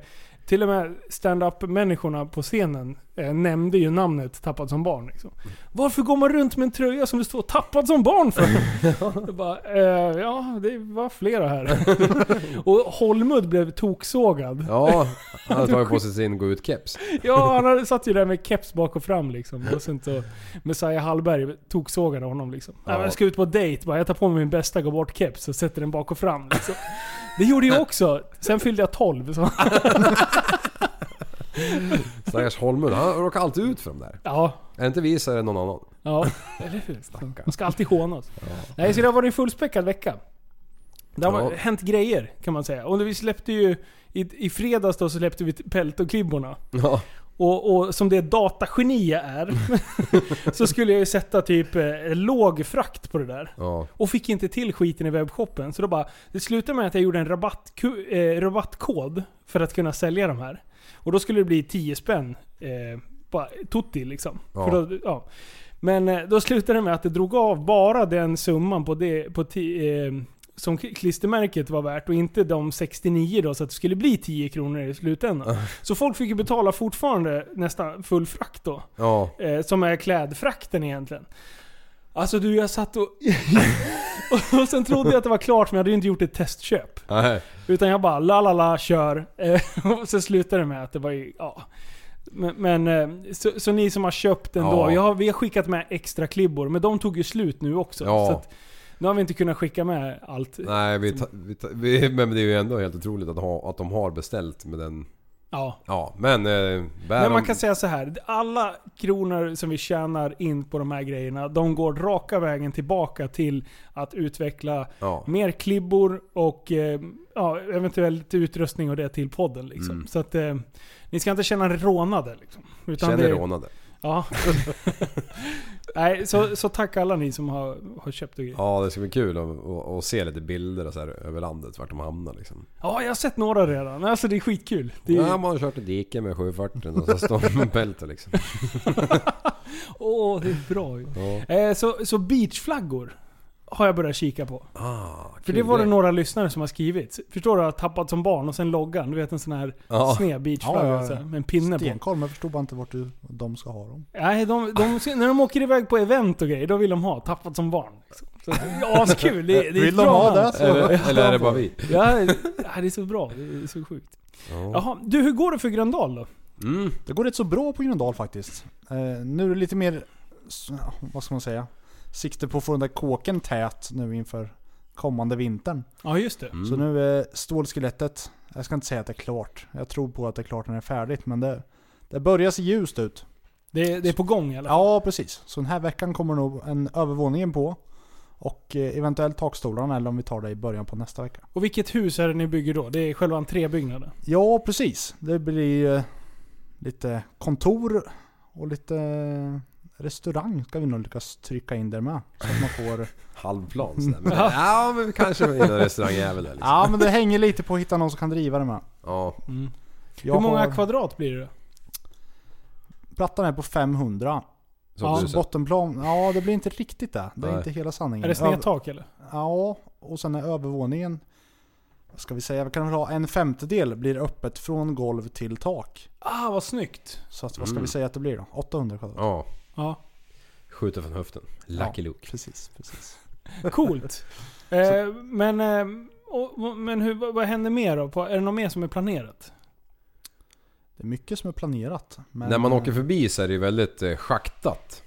Speaker 2: till och med stand-up-människorna på scenen eh, nämnde ju namnet Tappad som barn. Liksom. Varför går man runt med en tröja som det står Tappad som barn för? Jag bara, eh, ja, det var flera här. och Holmud blev toksågad.
Speaker 3: Ja, han hade tagit på sig sin gå ut-keps.
Speaker 2: Ja, han hade satt ju där med keps bak och fram liksom. Och sen så Messiah Hallberg toksågade honom liksom.
Speaker 3: Ja.
Speaker 2: Nej, men Jag ska ut på dejt bara. Jag tar på mig min bästa gå bort-keps och sätter den bak och fram liksom. Det gjorde jag också. Sen fyllde jag 12. Så.
Speaker 3: Stackars Holmud, han råkar alltid ut för dem där.
Speaker 2: Ja,
Speaker 3: Är det inte vi så är det någon annan.
Speaker 2: ja. Eller hur? Man ska alltid håna oss. Nej, så det har varit en fullspäckad vecka. Det har
Speaker 3: Ja.
Speaker 2: hänt grejer kan man säga. Och vi släppte ju... I, i fredags då så släppte vi Pelt och klibborna.
Speaker 3: Ja.
Speaker 2: Och, och som det datageni jag är, så skulle jag ju sätta typ eh, låg frakt på det där.
Speaker 3: ja.
Speaker 2: Och fick inte till skiten i webbshoppen. Så då bara, det slutade med att jag gjorde en rabattku- eh, rabattkod för att kunna sälja de här. Och då skulle det bli 10 spänn. Eh, bara tutti liksom.
Speaker 3: Ja.
Speaker 2: För då, ja. Men eh, då slutade det med att det drog av bara den summan på det, på ti, eh, som k- klistermärket var värt och inte de 69 då så att det skulle bli 10 kronor i slutändan. Så folk fick ju betala fortfarande nästan full frakt då.
Speaker 3: Ja.
Speaker 2: Eh, som är klädfrakten egentligen. Alltså du, jag satt och... och sen trodde jag att det var klart, men jag hade ju inte gjort ett testköp.
Speaker 3: Nej.
Speaker 2: Utan jag bara la la la, kör. Eh, och så slutade det med att det var ju, ja. Men, men eh, så, så ni som har köpt ändå.
Speaker 3: Ja.
Speaker 2: Jag har, vi har skickat med extra klibbor, men de tog ju slut nu också.
Speaker 3: Ja.
Speaker 2: Så att, nu har vi inte kunnat skicka med allt.
Speaker 3: Nej, vi, ta, vi, ta, vi Men det är ju ändå helt otroligt att, ha, att de har beställt med den...
Speaker 2: Ja.
Speaker 3: Ja, men... Eh, bär
Speaker 2: Men man
Speaker 3: de-
Speaker 2: kan säga så här. Alla kronor som vi tjänar in på de här grejerna, de går raka vägen tillbaka till att utveckla
Speaker 3: Ja.
Speaker 2: mer klibbor och eh, ja, eventuellt utrustning och det till podden. Liksom.
Speaker 3: Mm.
Speaker 2: Så att eh, ni ska inte känna er rånade. Liksom, utan
Speaker 3: Känner
Speaker 2: det-
Speaker 3: rånade.
Speaker 2: Ja. Nej, så, så tack alla ni som har, har köpt och grejer. Ja.
Speaker 3: Ja, det ska bli kul att, att, att se lite bilder och så här, över landet, vart de hamnar liksom.
Speaker 2: jag har sett några redan. Alltså det är skitkul. Det är,
Speaker 3: Ja, man har kört i diket med 740 och så står man med bälte liksom.
Speaker 2: Åh, det är bra ju.
Speaker 3: Ja.
Speaker 2: Eh, så, så beachflaggor har jag börjat kika på.
Speaker 3: Ah,
Speaker 2: För
Speaker 3: kul
Speaker 2: det var det
Speaker 3: grej.
Speaker 2: några lyssnare som har skrivit. Förstår du? Att tappat som barn och sen loggan. Du vet en sån här
Speaker 3: Ja.
Speaker 2: sned beachflagga
Speaker 4: Ja, ja, ja.
Speaker 2: så här, med en pinne på.
Speaker 4: Stenkoll, men jag förstod bara inte vart du, de ska ha dem.
Speaker 2: Nej, de, de, när de åker iväg på event och grejer, då vill de ha tappat som barn. liksom. Så det är askul. Det, det är
Speaker 4: Vill
Speaker 2: ett
Speaker 4: de
Speaker 2: bra
Speaker 4: ha
Speaker 2: namn.
Speaker 4: det så?
Speaker 3: Eller, eller är det bara vi?
Speaker 2: Ja, ja, det är så bra. Det är så sjukt. Jaha, du hur går det för Gröndal då?
Speaker 3: Mm.
Speaker 4: Det går rätt så bra på Gröndal faktiskt. Eh, nu är det lite mer, s- vad ska man säga, sikte på att få den där kåken tät nu inför kommande vintern.
Speaker 2: Ja, just det.
Speaker 3: mm.
Speaker 4: Så nu är stålskelettet, jag ska inte säga att det är klart. Jag tror på att det är klart när det är färdigt men det, det börjar se ljust ut.
Speaker 2: Det, det är på gång eller?
Speaker 4: Ja precis, så den här veckan kommer nog en övervåningen på. Och eh, eventuellt takstolarna eller om vi tar det i början på nästa vecka.
Speaker 2: Och vilket hus är det ni bygger då? Det är själva entrébyggnaden?
Speaker 4: Ja, precis. Det blir eh, lite kontor och lite eh, restaurang ska vi nog lyckas trycka in där med. Så att man får...
Speaker 3: Halvplan stämmer det? Ja, men kanske med en restaurangjävel där liksom.
Speaker 4: Ja, men det hänger lite på att hitta någon som kan driva det med.
Speaker 3: Ja.
Speaker 4: Jag
Speaker 2: Mm. hur många
Speaker 4: har-
Speaker 2: kvadrat blir det?
Speaker 4: Plattan är på 500.
Speaker 3: Som
Speaker 2: Ja,
Speaker 3: du
Speaker 4: Så
Speaker 3: sa.
Speaker 4: bottenplan, ja det blir inte riktigt det. Det är
Speaker 3: Nej.
Speaker 4: inte hela sanningen.
Speaker 2: Är det
Speaker 4: Över-
Speaker 2: snedtak eller?
Speaker 4: Ja, och sen är övervåningen, vad ska vi säga, vi kan väl ha en femtedel blir öppet från golv till tak.
Speaker 2: Ah, vad snyggt!
Speaker 4: Så att, vad ska vi säga att det blir då? 800 kvadrat.
Speaker 3: Mm. Ja.
Speaker 2: Ja,
Speaker 3: Skjuter från höften. Lucky Luke.
Speaker 4: Precis, precis.
Speaker 2: coolt. eh, men eh, okej, och, och, men hur, vad vad händer mer då? På, är det något mer som är planerat?
Speaker 4: Det är mycket som är planerat. Men eh,
Speaker 3: När man åker förbi så är det ju väldigt eh, schaktat.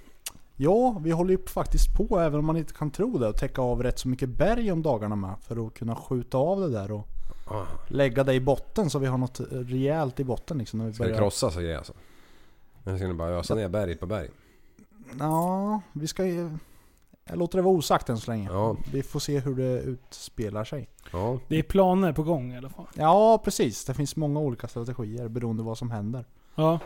Speaker 4: Ja, vi håller ju faktiskt på även om man inte kan tro det och täcka av rätt så mycket berg om dagarna med. För att kunna skjuta av det där och
Speaker 3: Ah.
Speaker 4: lägga det i botten så vi har något eh, rejält i botten liksom. När vi
Speaker 3: Ska det
Speaker 4: börjar...
Speaker 3: krossas och grejer alltså? Men ska ni bara ösa ner berg på berg?
Speaker 4: Ja, vi ska ju... Jag låter det vara osagt än så länge.
Speaker 3: Ja.
Speaker 4: Vi får se hur det utspelar sig.
Speaker 3: Ja.
Speaker 2: Det är planer på gång i alla fall.
Speaker 4: Ja, precis. Det finns många olika strategier beroende på vad som händer.
Speaker 2: Ja.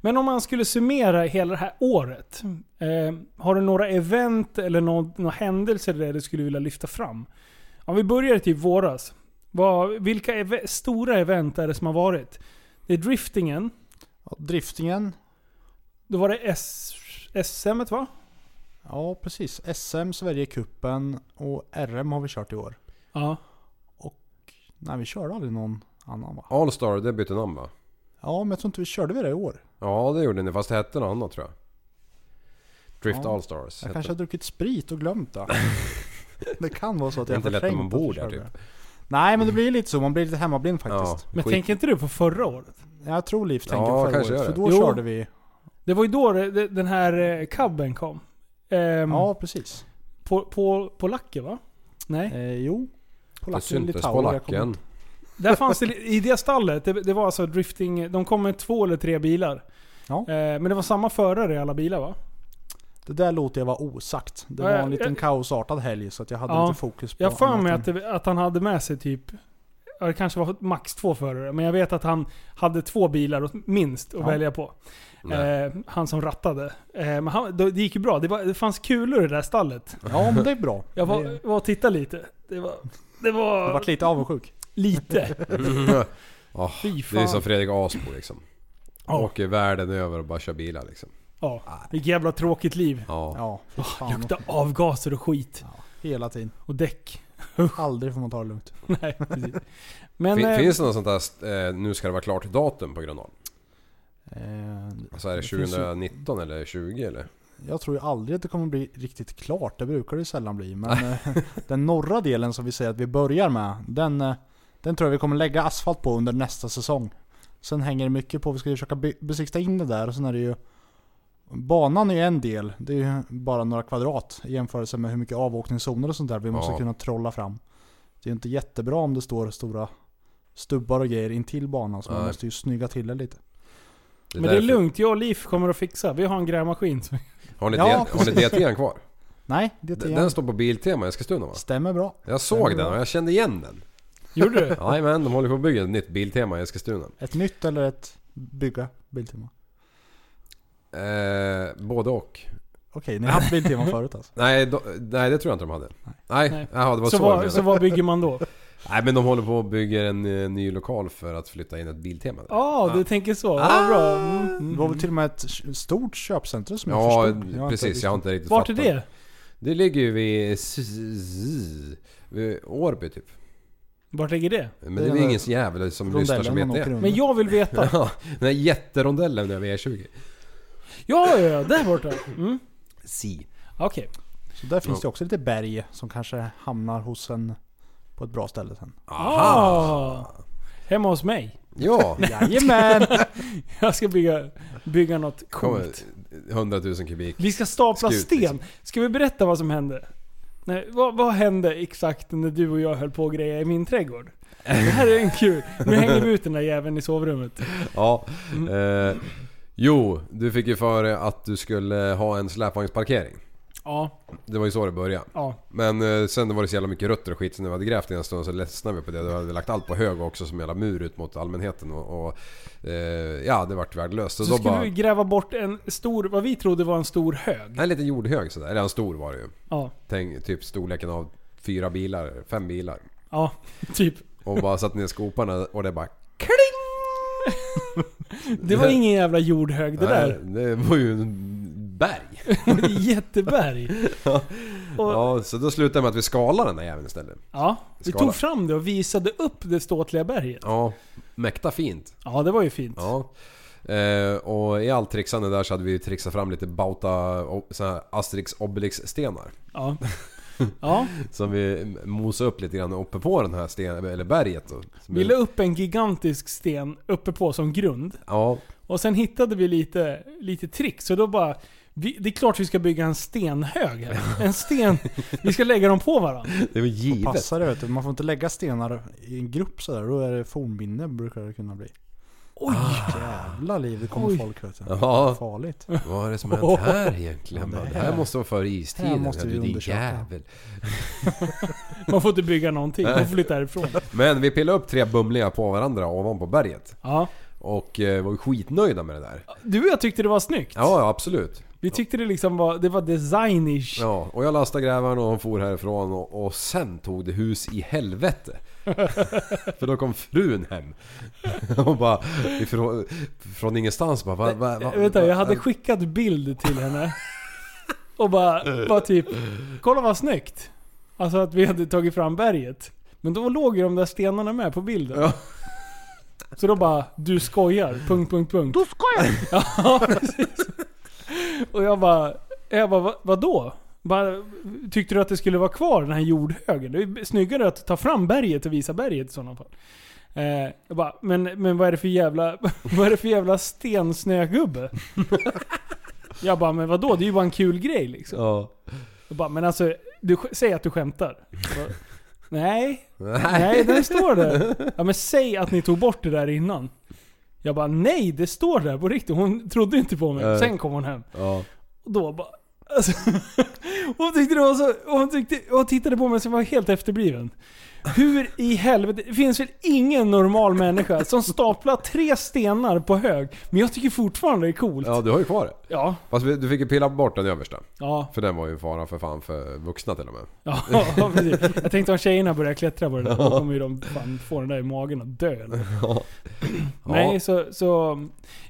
Speaker 2: Men om man skulle summera hela det här året. Eh, har du några event eller nå- några händelser där du skulle vilja lyfta fram? Om vi börjar typ våras. Vad, vilka ev- stora event är det som har varit? Det är driftingen.
Speaker 4: Ja, driftingen.
Speaker 2: Då var det S- SM et, va?
Speaker 4: Ja, precis. SM, Sverigecupen och RM har vi kört i år.
Speaker 2: Ja.
Speaker 4: Nej, vi körde aldrig någon annan va?
Speaker 3: Allstar, det bytte namn va?
Speaker 4: Ja, men jag tror inte vi körde vi det i år.
Speaker 3: Ja det gjorde ni, fast det hette något annat tror jag. Drift
Speaker 4: Ja.
Speaker 3: Allstars
Speaker 4: Jag
Speaker 3: hette
Speaker 4: kanske har
Speaker 3: det.
Speaker 4: druckit sprit och glömt det. Det kan vara så att
Speaker 3: Det är
Speaker 4: jag
Speaker 3: inte lätt
Speaker 4: förträngt
Speaker 3: när man
Speaker 4: att vi
Speaker 3: bor där,
Speaker 4: körde
Speaker 3: typ.
Speaker 4: det. Nej, men det blir lite så. Man blir lite hemmablind
Speaker 3: Ja,
Speaker 4: faktiskt.
Speaker 2: Men
Speaker 3: skit.
Speaker 2: tänker inte du på förra året?
Speaker 4: Jag tror Liv tänker
Speaker 3: Ja,
Speaker 4: på förra
Speaker 3: kanske
Speaker 4: året.
Speaker 3: gör
Speaker 4: För
Speaker 3: det.
Speaker 4: då
Speaker 2: Jo.
Speaker 4: körde vi...
Speaker 2: Det var ju då det, det, den här eh, cabben kom. Ehm,
Speaker 4: Ja, precis.
Speaker 2: På, på, på lacken va? Nej.
Speaker 4: Eh, jo.
Speaker 3: Det
Speaker 4: Polacken,
Speaker 3: syntes
Speaker 4: Litauen. jag kommer
Speaker 3: polacken.
Speaker 4: inte-
Speaker 2: Där fanns det, i det stallet, det, det var alltså drifting, de kom med två eller tre bilar.
Speaker 4: Ja.
Speaker 2: Eh, men det var samma förare i alla bilar va?
Speaker 4: Det där låter jag vara osagt. Det
Speaker 2: Ja,
Speaker 4: var
Speaker 2: jag-
Speaker 4: en liten
Speaker 2: jag-
Speaker 4: kaosartad helg så att jag hade
Speaker 2: Ja.
Speaker 4: lite fokus på
Speaker 2: Jag har för
Speaker 4: annat
Speaker 2: mig
Speaker 4: än-
Speaker 2: att, det, att han hade med sig typ, ja, det kanske var max två förare, men jag vet att han hade två bilar åt- minst att
Speaker 4: Ja.
Speaker 2: välja på.
Speaker 3: Nej.
Speaker 2: Eh, han som rattade. Eh, men han, det, det gick ju bra, det, var, det fanns kulor i det där stallet.
Speaker 4: Ja, men det är bra.
Speaker 2: Jag
Speaker 4: Det- jag
Speaker 2: var, var och tittade lite. Det var, det var
Speaker 4: har varit lite avundsjuk.
Speaker 2: lite.
Speaker 4: Eh,
Speaker 3: Ah,
Speaker 2: Fy
Speaker 3: det är
Speaker 2: fan.
Speaker 3: som Fredrik Aspo liksom.
Speaker 2: Ja.
Speaker 3: Åker världen över och bara kör bilar liksom.
Speaker 2: Ja, vilket jävla tråkigt liv.
Speaker 3: Ja.
Speaker 4: Ja, fy fan.
Speaker 2: Lukta avgaser och skit.
Speaker 4: Hela tiden.
Speaker 2: Och däck.
Speaker 4: Aldrig får man ta det lugnt.
Speaker 2: Nej, precis. Men,
Speaker 3: fin,
Speaker 2: eh,
Speaker 3: finns det något sånt där eh, nu ska det vara klart datum på Grönan?
Speaker 4: Eh,
Speaker 3: Alltså är det
Speaker 4: Det finns ju-
Speaker 3: 2019 eller 20 eller?
Speaker 4: Jag tror ju aldrig att det kommer bli riktigt klart, det brukar det ju sällan bli. Men eh, den norra delen som vi säger att vi börjar med, den, eh, den tror jag vi kommer lägga asfalt på under nästa säsong. Sen hänger det mycket på, vi ska ju försöka be- besikta in det där och sen är det ju Banan är ju en del, det är ju bara några kvadrat i jämförelse med hur mycket avåkningszoner och sånt där vi måste
Speaker 3: Ja.
Speaker 4: kunna trolla fram. Det är ju inte jättebra om det står stora stubbar och grejer intill banan så man
Speaker 3: Nej.
Speaker 4: måste ju snygga till det lite.
Speaker 3: är
Speaker 2: men det är
Speaker 3: därför-
Speaker 2: lugnt, jag och Liv kommer att fixa. Vi har en grävmaskin. som-
Speaker 3: Har ni,
Speaker 4: Ja,
Speaker 3: ja, har ni
Speaker 4: precis.
Speaker 3: DT'n kvar?
Speaker 4: Nej, det
Speaker 3: Den,
Speaker 4: är
Speaker 3: den står på Biltema i Eskilstuna va?
Speaker 4: Stämmer bra.
Speaker 3: Jag såg den och jag kände igen den.
Speaker 2: Gjorde du?
Speaker 3: Nej men de håller på att bygga ett nytt Biltema i Eskilstuna.
Speaker 4: Ett nytt eller ett bygga Biltema?
Speaker 3: Eh, både och.
Speaker 4: Okej, ni har haft Biltema förut alltså?
Speaker 3: Nej, do, nej det tror jag inte de hade. Nej,
Speaker 2: Nej.
Speaker 3: Jaha, det var så,
Speaker 2: Så,
Speaker 3: jag
Speaker 2: vad,
Speaker 3: menade.
Speaker 2: så vad bygger man då?
Speaker 3: Nej men de håller på att bygga en eh, ny lokal för att flytta in ett Biltema där.
Speaker 2: Ja, du tänker så.
Speaker 3: Ah,
Speaker 2: Ja, bra. Mm.
Speaker 4: Det var väl till och med ett k- stort köpcentrum som jag
Speaker 3: Ja,
Speaker 4: förstod? Jag har
Speaker 3: precis.
Speaker 4: inte
Speaker 3: Jag har inte riktigt
Speaker 2: Vart är
Speaker 3: fattat.
Speaker 2: det?
Speaker 3: Det ligger ju vid... s- s- vid Årby typ.
Speaker 2: Vart ligger det?
Speaker 3: Men
Speaker 4: Det är
Speaker 3: det är
Speaker 4: den
Speaker 3: väl
Speaker 4: där
Speaker 3: ingen jävel som lyssnar
Speaker 4: Rondellen
Speaker 3: som
Speaker 4: man
Speaker 3: vet
Speaker 4: åker
Speaker 3: det.
Speaker 4: runt.
Speaker 2: Men jag vill veta.
Speaker 3: Ja, den där jätterondellen över E E20.
Speaker 2: Ja, ja, ja. Där borta. Mm.
Speaker 3: Si.
Speaker 2: Okej.
Speaker 4: Så där finns det också lite berg som kanske hamnar hos en på ett bra ställe sen.
Speaker 2: Ah. Hemma hos mig.
Speaker 3: Ja!
Speaker 2: Jajamän! jag ska bygga, bygga något
Speaker 3: Kommer
Speaker 2: coolt.
Speaker 3: 100 000 kubik.
Speaker 2: Vi ska stapla
Speaker 3: Skut,
Speaker 2: sten.
Speaker 3: liksom.
Speaker 2: Ska vi berätta vad som hände? Nej, vad, vad hände exakt när du och jag höll på och grejade i min trädgård? Det här är en kul. Nu hänger vi ut den där jäveln i sovrummet.
Speaker 3: Ja.
Speaker 2: Mm.
Speaker 3: Eh, jo, du fick ju för dig att du skulle ha en släpvagnsparkering.
Speaker 2: Ja,
Speaker 3: Det var ju så det började.
Speaker 2: ja.
Speaker 3: Men eh, sen var det så jävla mycket rötter och skit så när vi hade grävt i en stund så ledsnade vi på det. Då hade vi lagt allt på hög också som jävla mur ut mot allmänheten och... och eh, ja, det vart värdelöst.
Speaker 2: Så,
Speaker 3: Och då
Speaker 2: skulle
Speaker 3: bara...
Speaker 2: vi gräva bort en stor, vad vi trodde var en stor hög.
Speaker 3: En liten jordhög sådär. Eller en stor var det ju.
Speaker 2: Ja,
Speaker 3: Tänk, typ storleken av fyra bilar, fem bilar.
Speaker 2: ja, typ.
Speaker 3: Och bara satt ner skoparna och det bara...
Speaker 2: Det var ingen jävla jordhög det där.
Speaker 3: Nej, Det var ju en berg.
Speaker 2: Jätteberg. Och, ja,
Speaker 3: Ja, så då slutade det med att vi skalade den där jäveln istället.
Speaker 2: vi
Speaker 3: Skala.
Speaker 2: tog fram det och visade upp det ståtliga berget.
Speaker 3: Ja, mäkta fint.
Speaker 2: Ja, det var ju fint.
Speaker 3: Ja. Eh, och i allt trixande där så hade vi ju trixat fram lite Bauta, o- såna här Asterix Obelix stenar.
Speaker 2: Ja. Ja,
Speaker 3: Som vi mosade upp lite grann uppe på den här stenen, eller berget då. Som
Speaker 2: vi la upp en gigantisk sten uppe på som grund.
Speaker 3: Ja,
Speaker 2: Och sen hittade vi lite, lite trick, så då bara... Vi, det är klart vi ska bygga en stenhög här. En sten... Vi ska lägga dem på varandra.
Speaker 3: det var givet.
Speaker 4: Passar det vet du. Man får inte lägga stenar i en grupp sådär. Då är det fornminne brukar det kunna bli. Ah.
Speaker 2: Oj!
Speaker 4: Jävla liv det kommer
Speaker 2: Oj.
Speaker 4: folk vet du.
Speaker 3: Ja.
Speaker 4: Farligt.
Speaker 3: Vad är det som har hänt här egentligen? Bara, Det här måste vara före istiden.
Speaker 4: Här måste
Speaker 3: ja,
Speaker 4: vi
Speaker 3: du, din
Speaker 4: undersöka.
Speaker 3: jävel.
Speaker 2: Man får inte bygga någonting, man får flytta härifrån.
Speaker 3: Men vi pillade upp tre bumlingar på varandra ovanpå berget.
Speaker 2: Ja.
Speaker 3: Och eh, var ju skitnöjda med det där.
Speaker 2: Du och jag tyckte det var snyggt.
Speaker 3: Ja, ja, absolut.
Speaker 2: Vi tyckte det liksom var, det var designish.
Speaker 3: Ja, och jag lastade grävaren och de for härifrån och, och sen tog det hus i helvete. För då kom frun hem. Och bara ifrån, från ingenstans bara... Va, va, va,
Speaker 2: Vänta, jag hade
Speaker 3: va-
Speaker 2: skickat bild till henne. Och bara, bara typ, kolla vad snyggt. Alltså att vi hade tagit fram berget. Men då låg ju de där stenarna med på bilden.
Speaker 3: Ja.
Speaker 2: Så då bara, du skojar, punkt, punkt, punkt. Du skojar! Ja, precis. Och jag bara, jag bara, "Va- vadå? Bara, tyckte du att det skulle vara kvar den här jordhögen? Det är ju snyggare att ta fram berget och visa berget i sådana fall. Eh, jag bara, men, men vad är det för jävla, vad är det för jävla stensnögubbe? jag bara, men vadå? Det är ju bara en kul grej liksom.
Speaker 3: Ja.
Speaker 2: Jag bara, men alltså, du, sk- säg att du skämtar. Jag bara, Nej,
Speaker 3: Nej.
Speaker 2: nej den står där. Ja men säg att ni tog bort det där innan. Jag bara, nej det står där på riktigt. Hon trodde inte på mig.
Speaker 3: Nej.
Speaker 2: Sen kom hon hem.
Speaker 3: Ja.
Speaker 2: Och då bara... Alltså, hon tyckte det var så... Hon, tyckte, hon tittade på mig som var helt efterbliven. Hur i helvete... Det finns väl ingen normal människa som staplar tre stenar på hög. Men jag tycker fortfarande det är coolt.
Speaker 3: ja, du har ju kvar det.
Speaker 2: Ja.
Speaker 3: Fast vi- du fick ju pilla bort den översta.
Speaker 2: Ja.
Speaker 3: För den var ju en fara för fan för vuxna till och med.
Speaker 2: Ja, precis. Jag tänkte om tjejerna börjar klättra på den där, då kommer ju de fan få den där i magen och dö. eller? Nej, så, så...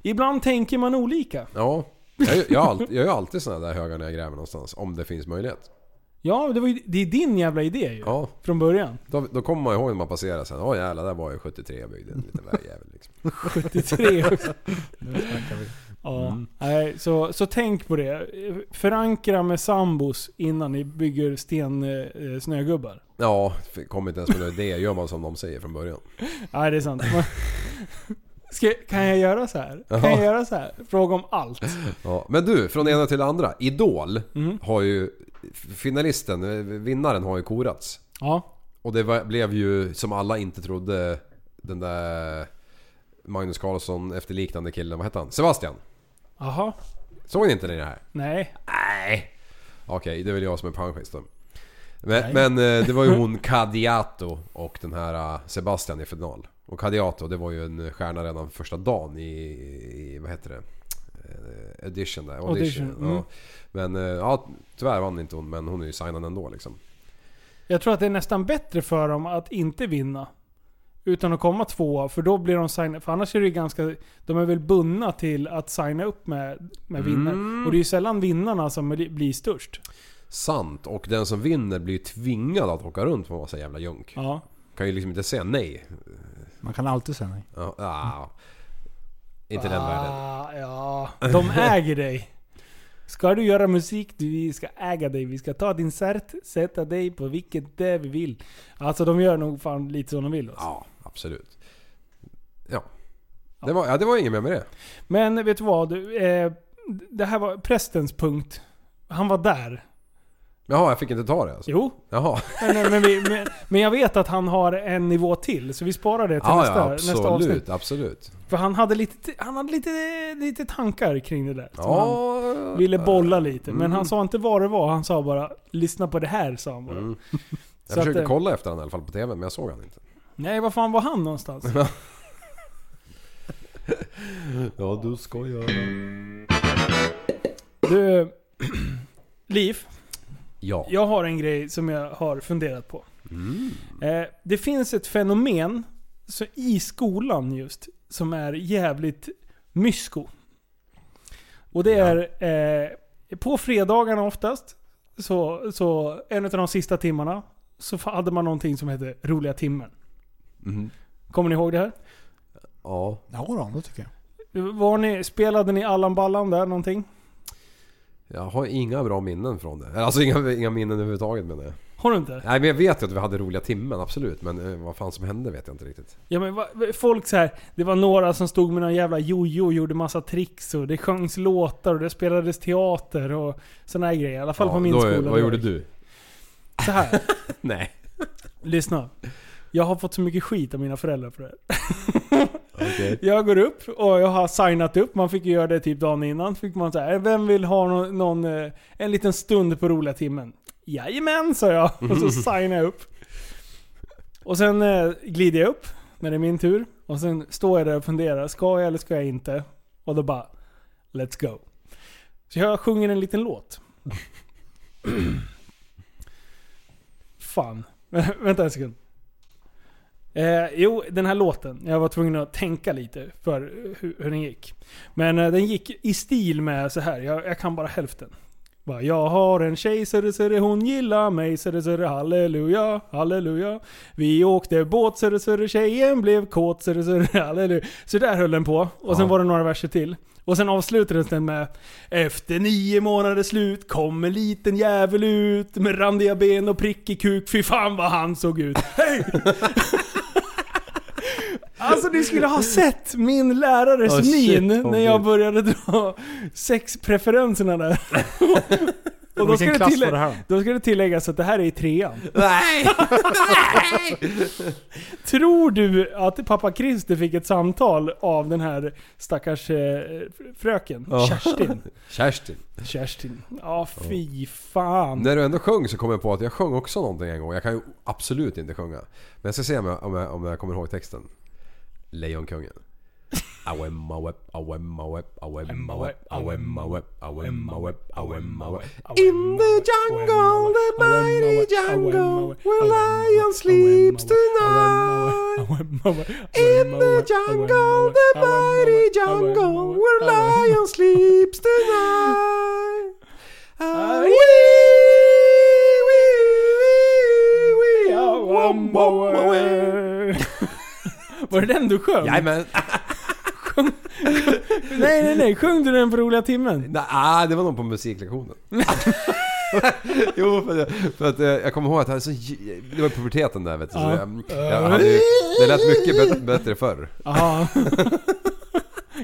Speaker 2: Ibland tänker man olika.
Speaker 3: Ja. Jag, jag, har alltid, jag gör alltid såna där högar när jag gräver någonstans. Om det finns möjlighet.
Speaker 2: Ja, det, var ju, det är din jävla idé ju.
Speaker 3: Ja.
Speaker 2: Från början.
Speaker 3: Då, då kommer man ihåg när man passerar sen. Åh jävlar, där var ju 73 jag byggde en liten vägjävel liksom.
Speaker 2: 73 också. Ja, nej, så, så tänk på det. Förankra med sambos innan ni bygger sten, eh, snögubbar.
Speaker 3: Ja, kom inte ens med några idéer. Gör man som de säger från början.
Speaker 2: Nej, det är sant. Man- Ska, kan jag göra så här? Kan jag
Speaker 3: Ja.
Speaker 2: göra så här? Fråga om allt.
Speaker 3: Ja, men du, från det ena till det andra. Idol har ju... Finalisten, eh, vinnaren har ju korats.
Speaker 2: Ja.
Speaker 3: Och det var, blev ju, som alla inte trodde, den där Magnus Carlsson efterliknande killen. Vad hette han? Sebastian.
Speaker 2: Jaha.
Speaker 3: Såg ni inte det här?
Speaker 2: Nej.
Speaker 3: Nej. Okej, det är väl jag som är pensionist då. Men, men eh, det var ju hon Kadiato och den här eh, Sebastian i final. Och Kadiato det var ju en stjärna redan första dagen i, i vad heter det? Eh, Edition där. Audition.
Speaker 2: Audition, mm.
Speaker 3: Ja. Men eh, ja, tyvärr vann inte hon men hon är ju signad ändå liksom.
Speaker 2: Jag tror att det är nästan bättre för dem att inte vinna. Utan att komma tvåa, för då blir de signade. För annars är det ju ganska... De är väl bundna till att signa upp med, med vinnare. Och det är ju sällan vinnarna som blir- blir störst.
Speaker 3: Sant. Och den som vinner blir ju tvingad att åka runt på en massa jävla junk.
Speaker 2: Ja.
Speaker 3: Kan ju liksom inte säga nej.
Speaker 4: Man kan alltid säga nej.
Speaker 3: Ja, ah. Inte den världen.
Speaker 2: Ah, ja. De äger dig. Ska du göra musik, du, vi ska äga dig. Vi ska ta din cert, sätta dig på vilket det vi vill. Alltså de gör nog fan lite som de vill. Alltså.
Speaker 3: Ja, absolut. Ja. Det var, ja, det var inget mer med det.
Speaker 2: Men vet du vad? Du, Eh, det här var prästens punkt. Han var där.
Speaker 3: Jaha, jag fick inte ta det alltså?
Speaker 2: Jo.
Speaker 3: Jaha.
Speaker 2: Men, men, vi, men, men jag vet att han har en nivå till, så vi sparar det till
Speaker 3: Ja,
Speaker 2: nästa,
Speaker 3: ja,
Speaker 2: nästa avsnitt.
Speaker 3: absolut, absolut.
Speaker 2: För han hade lite, han hade lite, lite tankar kring det där. som han-
Speaker 3: Ja,
Speaker 2: ville bolla lite. Men han sa inte vad det var, han sa bara 'Lyssna på det här' sa han bara.
Speaker 3: Mm.
Speaker 2: Så att,
Speaker 3: jag försökte
Speaker 2: eh,
Speaker 3: kolla efter honom i alla fall på TV, men jag såg honom inte.
Speaker 2: Nej, var fan var han någonstans?
Speaker 3: Ja, du skojar.
Speaker 2: Du, Liv.
Speaker 3: Ja. Mm.
Speaker 2: Jag har en grej som jag har funderat på. Eh, det finns ett fenomen så i skolan just som är jävligt mysko. Och det är eh, på fredagarna oftast, så, så en av de sista timmarna, så fa- hade man någonting som hette roliga timmen.
Speaker 3: Mm.
Speaker 2: Kommer ni ihåg det här?
Speaker 3: Ja.
Speaker 4: Ja då, det tycker jag.
Speaker 2: Var ni, spelade ni Allan Ballan där någonting?
Speaker 3: Jag har inga bra minnen från det. Alltså inga, inga minnen överhuvudtaget menar jag.
Speaker 2: Har du inte?
Speaker 3: Nej men jag vet ju att vi hade roliga timmen, absolut. Men eh, vad fan som hände vet jag inte riktigt.
Speaker 2: Ja men va, folk så här, det var några som stod med någon jävla jojo och gjorde massa tricks och det sjöngs låtar och det spelades teater och såna här grejer. I alla fall på min
Speaker 3: då,
Speaker 2: skola.
Speaker 3: Vad gjorde du?
Speaker 2: Så här,
Speaker 3: Nej.
Speaker 2: lyssna. Jag har fått så mycket skit av mina föräldrar för det här.
Speaker 3: Okej.
Speaker 2: Jag går upp och jag har signat upp. Man fick ju göra det typ dagen innan. Fick man så här, "Eh, vem vill ha någon, någon eh, en liten stund på roliga timmen? Jajamän, sa jag. Och så signade jag upp. Och sen eh, glider jag upp när det är min tur. Och sen står jag där och funderar, ska jag eller ska jag inte? Och då bara, let's go. Så jag sjunger en liten låt. Fan. Vänta en sekund. Eh, jo, den här låten. Jag var tvungen att tänka lite för hur, hur den gick. Men eh, den gick i stil med så här. Jag, jag kan bara hälften. Bara, jag har en tjej, så det, så det, hon gillar mig, så det, så det, halleluja, halleluja. Vi åkte båt, så det, så det, tjejen blev kåt, så det, så det, halleluja. Så där höll den på. Och sen
Speaker 3: Ja.
Speaker 2: var det några verser till. Och sen avslutades den med Efter nio månader slut kom en liten jävel ut med randiga ben och prickig kuk, fy fan vad han såg ut. Hej! Alltså ni skulle ha sett min lärares
Speaker 3: Oh, shit,
Speaker 2: min
Speaker 3: Tommy.
Speaker 2: när jag började dra sexpreferenserna där. Och då ska,
Speaker 4: Vilken
Speaker 2: det
Speaker 4: klass var det
Speaker 2: tillägg-
Speaker 4: här då?
Speaker 2: då ska det tilläggas att det här är i trean.
Speaker 3: Nej!
Speaker 2: Tror du att pappa Christer fick ett samtal av den här stackars eh, fröken?
Speaker 3: Ja.
Speaker 2: Kerstin.
Speaker 3: Kerstin.
Speaker 2: Kerstin. Ja, fy fan.
Speaker 3: När du ändå sjöng så kom jag på att jag sjöng också någonting en gång. Jag kan ju absolut inte sjunga. Men jag ska se om jag, om jag, om jag kommer ihåg texten. Lejonkungen. Awemma wep, awemma wep, awemma wep, awemma wep, awemma wep, awemma wep. In the jungle, the mighty jungle, where lion sleeps tonight. In the jungle, the mighty jungle, where lion sleeps tonight. Ah, wee, wee, wee, wee, ah, wom, wom, wom, wee.
Speaker 2: Var det den du sjöng?
Speaker 3: Jajamän.
Speaker 2: Nej, nej, nej. Sjöng du den på roliga timmen?
Speaker 3: Nej, ah, det var nog på musiklektionen. jo, för, att- för att eh, jag kommer ihåg att jag hade så, j- det var i puberteten där vet du. Så
Speaker 2: Ja.
Speaker 3: jag, jag hade ju, det lät mycket bättre, bättre förr.
Speaker 2: Jaha.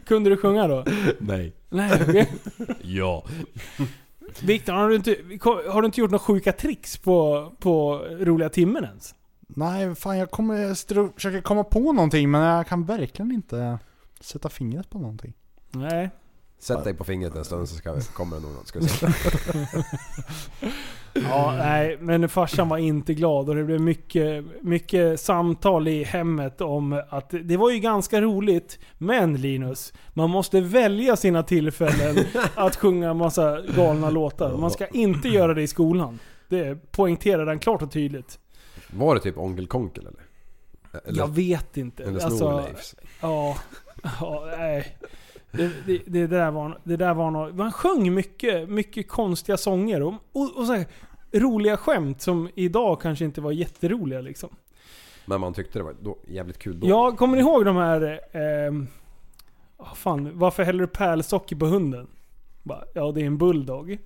Speaker 2: Kunde du sjunga då?
Speaker 3: Nej.
Speaker 2: Nej. okej.
Speaker 3: Ja.
Speaker 2: Viktor, har du inte, har du inte gjort några sjuka tricks på, på roliga timmen ens?
Speaker 4: Nej, fan jag kommer, jag sitter och försöker komma på någonting men jag kan verkligen inte sätta fingret på någonting.
Speaker 2: Nej.
Speaker 3: Sätt dig på fingret en stund så ska, kommer det nog något. Ska vi se.
Speaker 2: Ja, nej, men farsan var inte glad och det blev mycket, mycket samtal i hemmet om att det var ju ganska roligt, men Linus, man måste välja sina tillfällen att sjunga en massa galna låtar. Man ska inte göra det i skolan. Det poängterade han klart och tydligt.
Speaker 3: Var det typ Onkel Konkel eller? Eller,
Speaker 2: Jag vet inte.
Speaker 3: eller
Speaker 2: Alltså,
Speaker 3: Snorleifs?
Speaker 2: Ja, ja nej. Det, det, det där var, det där var något, man sjöng mycket, mycket konstiga sånger och, och, och så här, roliga skämt som idag kanske inte var jätteroliga liksom.
Speaker 3: Men man tyckte det var då, jävligt kul då.
Speaker 2: Jag kommer ni ihåg de här... ehm, ah, fan, varför häller du pärlsocker på hunden? Bara, ja, det är en bulldog.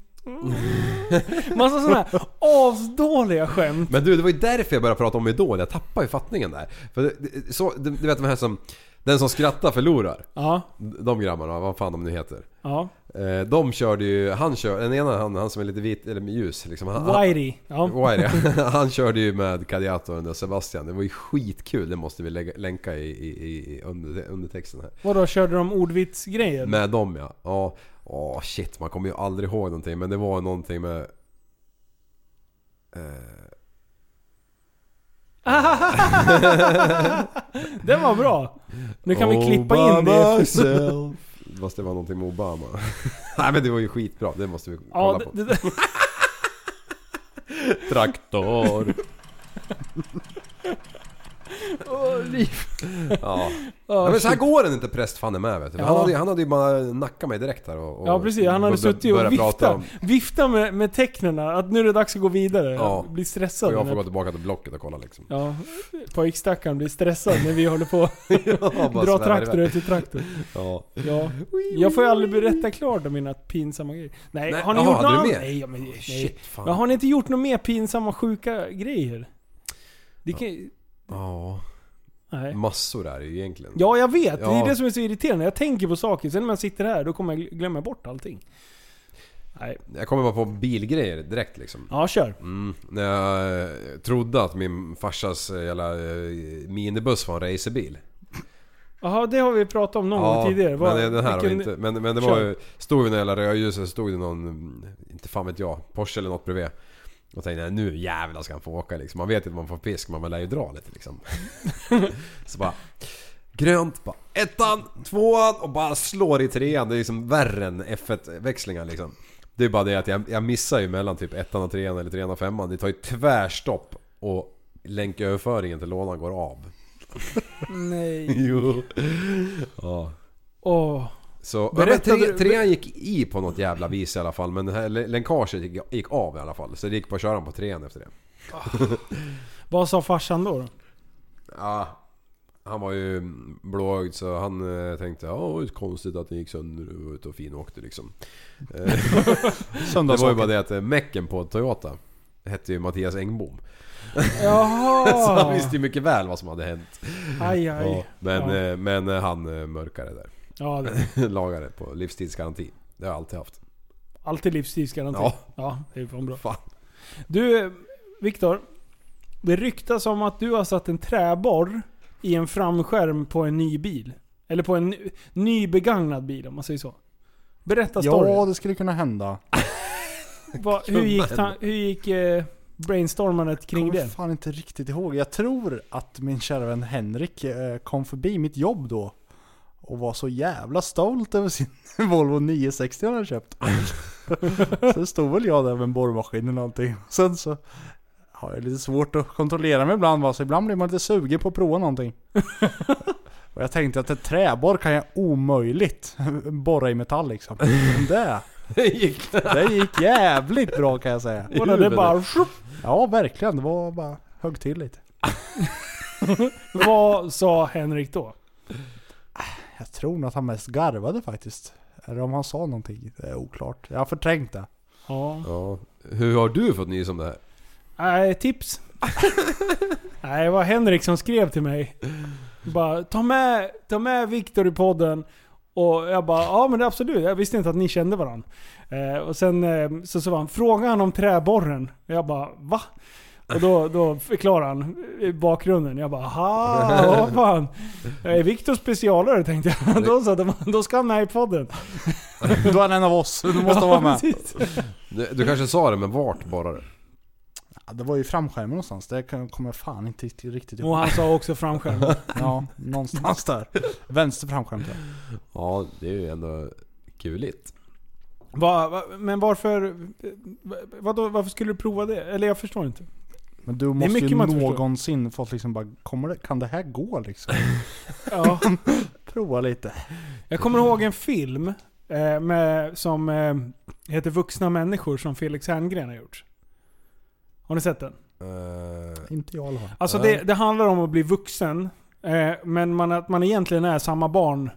Speaker 2: Massa sådana här asdåliga skämt.
Speaker 3: Men du, det var ju därför jag började prata om Idol. Jag tappade ju fattningen där. För det, det, så, du, du vet de här som... Den som skrattar förlorar.
Speaker 2: Ja,
Speaker 3: De grabbarna, vad fan de nu heter.
Speaker 2: ja.
Speaker 3: Eh, De körde ju, han kör, den ena han, han som är lite vit, eller ljus liksom. Han, han-
Speaker 2: Whitey. Ja.
Speaker 3: Wire, ja. han körde ju med Kadiato och den där Sebastian. Det var ju skitkul, det måste vi lägga, länka i, i, i- i under, undertexten här.
Speaker 2: Vadå, körde de ordvitsgrejer?
Speaker 3: Med dem ja. Ja, åh shit man kommer ju aldrig ihåg någonting men det var någonting med... eh,
Speaker 2: Den var bra. Nu kan vi klippa in
Speaker 3: Obama
Speaker 2: det.
Speaker 3: self. Fast det var någonting med Obama. Nej men det var ju skitbra, det måste vi kolla
Speaker 2: Ja,
Speaker 3: på.
Speaker 2: det, det,
Speaker 3: Traktor. Ja.
Speaker 2: Ja,
Speaker 3: Ja, men så här går den inte präst fan är med vet du. Han,
Speaker 2: Ja.
Speaker 3: hade, han hade ju bara nackat mig direkt här och, och
Speaker 2: Ja precis, han hade
Speaker 3: bör-
Speaker 2: suttit
Speaker 3: börjat
Speaker 2: och
Speaker 3: prata
Speaker 2: viftat
Speaker 3: om-
Speaker 2: vifta med, med tecknen att nu är det dags att gå vidare.
Speaker 3: Ja.
Speaker 2: Blir stressad.
Speaker 3: Och jag
Speaker 2: när-
Speaker 3: får gå tillbaka till blocket och kolla liksom.
Speaker 2: Ja, pojkstackaren blir stressad när vi håller på att
Speaker 3: Ja, bara
Speaker 2: dra
Speaker 3: svävar
Speaker 2: traktor
Speaker 3: iväg.
Speaker 2: efter traktor.
Speaker 3: Ja.
Speaker 2: Ja. Jag får ju aldrig berätta klart om mina pinsamma grejer. Nej,
Speaker 3: Nej,
Speaker 2: har ni
Speaker 3: jaha,
Speaker 2: gjort något
Speaker 3: hade du
Speaker 2: annat?
Speaker 3: mer?
Speaker 2: Nej, ja, men, nej.
Speaker 3: Shit fan.
Speaker 2: Men har ni inte gjort något mer pinsamma, sjuka grejer? Det kan,
Speaker 3: Ja.
Speaker 2: nej.
Speaker 3: Massor är det ju egentligen.
Speaker 2: Ja, jag vet. Det är
Speaker 3: Ja.
Speaker 2: det som är så irriterande. Jag tänker på saker, sen när man sitter här, då kommer jag glömma bort allting. Nej.
Speaker 3: Jag kommer bara på bilgrejer direkt liksom.
Speaker 2: Ja, kör.
Speaker 3: Mm. När jag eh, trodde att min farsas eh, jävla eh, minibuss var en racerbil.
Speaker 2: Jaha, det har vi pratat om någon gång tidigare. Vad-
Speaker 3: men den här har vi
Speaker 2: vilken-
Speaker 3: inte. Men, men det var ju, stod ju när hela rödljuset så stod det någon, mm, inte fan vet jag, Porsche eller något bredvid. Och tänkte jag, nu jävlar ska han få åka liksom. Man vet ju att man får pisk men man lär ju dra lite liksom. så bara, grönt, bara ettan, tvåan och bara slår i trean. Det är liksom värre än F1-växlingar liksom. Det är bara det att jag, jag missar ju mellan typ ettan och trean eller trean och femman. Det tar ju tvärstopp och länköverföringen till lådan går av.
Speaker 2: Nej.
Speaker 3: jo. Ja.
Speaker 2: Åh.
Speaker 3: Så, ja, men
Speaker 2: Berättade
Speaker 3: tre,
Speaker 2: du-
Speaker 3: trean gick i på något jävla vis i alla fall men det här lä- länkaget gick, gick av i alla fall. Så det gick på att köra på trean efter det.
Speaker 2: Vad sa farsan då? då?
Speaker 3: Ja. Han var ju mm, blåögd så han eh, tänkte ja det är konstigt att den gick sönder och var ute och finåkte liksom. Det var ju bara
Speaker 4: Söndagsåket.
Speaker 3: det att eh, mecken på Toyota hette ju Mattias Engbom. Så han
Speaker 2: Jaha!
Speaker 3: visste ju mycket väl vad som hade hänt.
Speaker 2: Ah. Aj,
Speaker 3: Ja,
Speaker 2: aj.
Speaker 3: men,
Speaker 2: Ja.
Speaker 3: eh, men eh, han eh, mörkade där.
Speaker 2: Ja, det.
Speaker 3: Lagade på livstidsgaranti. Det har jag alltid haft.
Speaker 2: Alltid livstidsgaranti. Ja.
Speaker 3: Ja.
Speaker 2: ja, det är fan bra.
Speaker 3: Fan.
Speaker 2: Du, eh, Viktor. Det ryktas om att du har satt en träborr i en framskärm på en ny bil. Eller på en ny- ny begagnad bil om man säger så. Berätta
Speaker 4: Ja,
Speaker 2: storyn.
Speaker 4: det skulle kunna hända.
Speaker 2: Vad- hur gick, ta, hur gick eh, brainstormandet kring
Speaker 4: Jag kommer
Speaker 2: det?
Speaker 4: fan inte riktigt ihåg. Jag tror att min kära vän Henrik eh, kom förbi mitt jobb då. Och var så jävla stolt över sin Volvo 960 han hade köpt. Sen stod väl jag där med en borrmaskin eller någonting. Sen så har jag lite svårt att kontrollera mig ibland va? Så ibland blir man lite sugen på att prova någonting. Och jag tänkte att ett träborr kan jag omöjligt borra i metall liksom. Men det,
Speaker 3: Det gick
Speaker 4: det gick jävligt bra kan jag säga.
Speaker 2: Och den är bara...
Speaker 4: Ja, verkligen. Det var bara högg till lite.
Speaker 2: Vad sa Henrik då?
Speaker 4: Jag tror nog att han mest garvade faktiskt. Eller om han sa någonting. Det är oklart. Jag har förträngt det.
Speaker 2: Ja.
Speaker 3: Ja. Hur har du fått nys om det här?
Speaker 2: Nej, tips. Nej, det var Henrik som skrev till mig. Bara, ta med, ta med Viktor i podden. Och jag bara, ja men det är absolut. Jag visste inte att ni kände varandra. Eh, och sen eh, så sa han, fråga han om träborren. Och jag bara, va? Och då, då förklarar han eh, bakgrunden. Jag bara, ha, vad fan. Jag är Viktor specialare tänkte jag. Då, så, då, då ska han med i podden.
Speaker 4: Då är han en av oss. Du måste vara med.
Speaker 2: Precis.
Speaker 3: Du, du kanske sa det, men vart bara det?
Speaker 4: Ja, det var ju framskärmen någonstans. Det kan- kommer jag fan inte riktigt- riktigt
Speaker 2: Och
Speaker 4: ihåg.
Speaker 2: han sa också framskärm.
Speaker 4: Ja, någonstans där. Vänster framskärm tror jag.
Speaker 3: Ja, det är ju ändå kuligt.
Speaker 2: Va, va, men varför... va- Vadå, varför skulle du prova det? Eller jag förstår inte.
Speaker 4: Men du måste
Speaker 2: mycket
Speaker 4: ju
Speaker 2: man inte förstår.
Speaker 4: någonsin fått liksom bara, kommer det, kan det här gå liksom?
Speaker 2: Ja.
Speaker 4: Prova lite.
Speaker 2: Jag kommer ihåg en film eh, med, som eh, heter Vuxna människor som Felix Herngren har gjort. Har ni sett den?
Speaker 3: Eh,
Speaker 4: Inte jag i alla fall.
Speaker 2: Alltså det, det handlar om att bli vuxen, eh, men man, att man egentligen är samma barn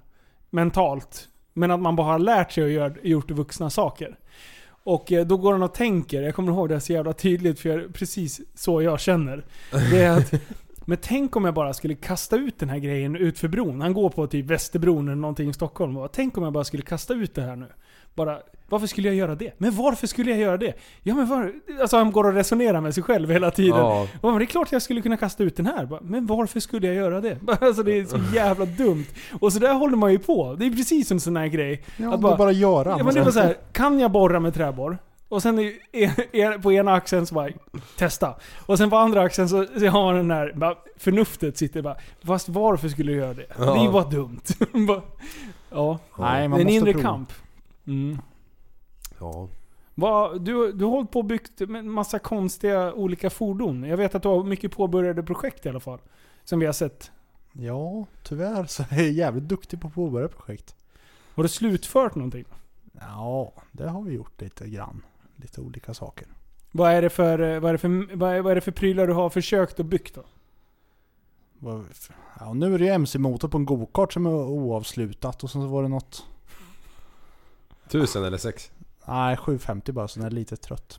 Speaker 2: mentalt. Men att man bara har lärt sig och gör, gjort vuxna saker. Och eh, då går den och tänker, jag kommer ihåg det här så jävla tydligt för jag, precis så jag känner. Det är att, men tänk om jag bara skulle kasta ut den här grejen ut för bron. Han går på typ Västerbron eller någonting i Stockholm. Och bara, tänk om jag bara skulle kasta ut det här nu. Bara, varför skulle jag göra det? Men varför skulle jag göra det? Ja men var, alltså han går och resonerar med sig själv hela tiden.
Speaker 3: Ja,
Speaker 2: Ja, men det är klart jag skulle kunna kasta ut den här. Bara, Men varför skulle jag göra det? Bara, Alltså det är så jävla dumt. Och så där håller man ju på. Det är precis en sån här grej.
Speaker 4: Ja,
Speaker 2: Att
Speaker 4: att
Speaker 2: bara-
Speaker 4: bara, bara göra.
Speaker 2: Ja, men det var så här, kan jag borra med träborr? Och sen är- är- är- på ena axeln så bara, testa. Och sen på andra axeln så, så har man den där, bara, förnuftet sitter bara, fast varför skulle jag göra det?
Speaker 3: Ja.
Speaker 2: Det är ju bara dumt. bara, ja,
Speaker 4: Nej,
Speaker 2: det
Speaker 4: man
Speaker 2: är en
Speaker 4: måste
Speaker 2: inre
Speaker 4: prova.
Speaker 2: kamp. Mm.
Speaker 3: ja.
Speaker 2: Vad- du, du har hållit på och byggt en massa konstiga olika fordon. Jag vet att du har mycket påbörjade projekt i alla fall. Som vi har sett.
Speaker 4: Ja, tyvärr så är jag jävligt duktig på att påbörja projekt.
Speaker 2: Har du slutfört någonting?
Speaker 4: Ja, det har vi gjort lite grann. Lite olika saker.
Speaker 2: Vad är det för, eh, vad är det för, vad är, vad är det för prylar du har försökt och byggt då?
Speaker 4: Vad- Ja, nu är det ju MC-motor på en gokart som är oavslutat och sen så var det något...
Speaker 3: Tusen eller sex?
Speaker 4: Nej, 750 bara så den är lite trött.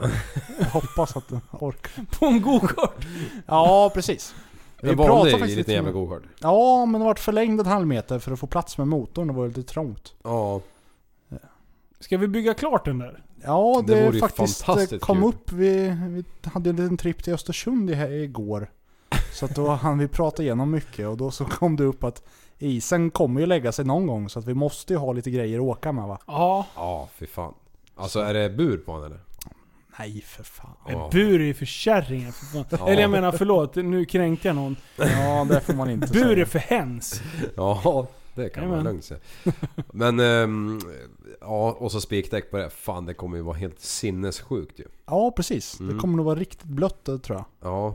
Speaker 4: Jag hoppas att den orkar.
Speaker 2: På en gokart?
Speaker 4: Ja, precis.
Speaker 3: Den vanliga är ju
Speaker 4: faktiskt
Speaker 3: en liten jävla
Speaker 4: om-
Speaker 3: gokart.
Speaker 4: Ja, men den vart förlängd en halv meter för att få plats med motorn. Det var lite trångt.
Speaker 3: Ja.
Speaker 2: Ska vi bygga klart den där?
Speaker 4: Ja,
Speaker 3: Det
Speaker 4: det,
Speaker 3: vore ju
Speaker 4: faktiskt
Speaker 3: fantastiskt
Speaker 4: eh, kom
Speaker 3: kul.
Speaker 4: upp. Vi, vi hade en liten tripp till Östersund i- här igår. Så att då hann vi prata igenom mycket och då så kom det upp att isen kommer ju lägga sig någon gång så att vi måste ju ha lite grejer att åka med va?
Speaker 2: Ja.
Speaker 3: Ja, fy fan. Alltså är det bur på den eller?
Speaker 4: Nej för fan.
Speaker 3: Ja.
Speaker 2: En bur är ju för kärringar för fan.
Speaker 3: Ja.
Speaker 2: Eller jag menar förlåt, nu kränkte jag någon.
Speaker 4: Ja, det får man inte
Speaker 2: Bur är
Speaker 4: säga.
Speaker 2: för hens.
Speaker 3: Ja, det kan man
Speaker 2: Jajamän.
Speaker 3: lugnt säga. Men, ehm, ja och så spikdäck på det. Fan det kommer ju vara helt sinnessjukt ju.
Speaker 4: Ja, precis.
Speaker 3: Mm.
Speaker 4: Det kommer nog vara riktigt blött det tror jag.
Speaker 3: Ja.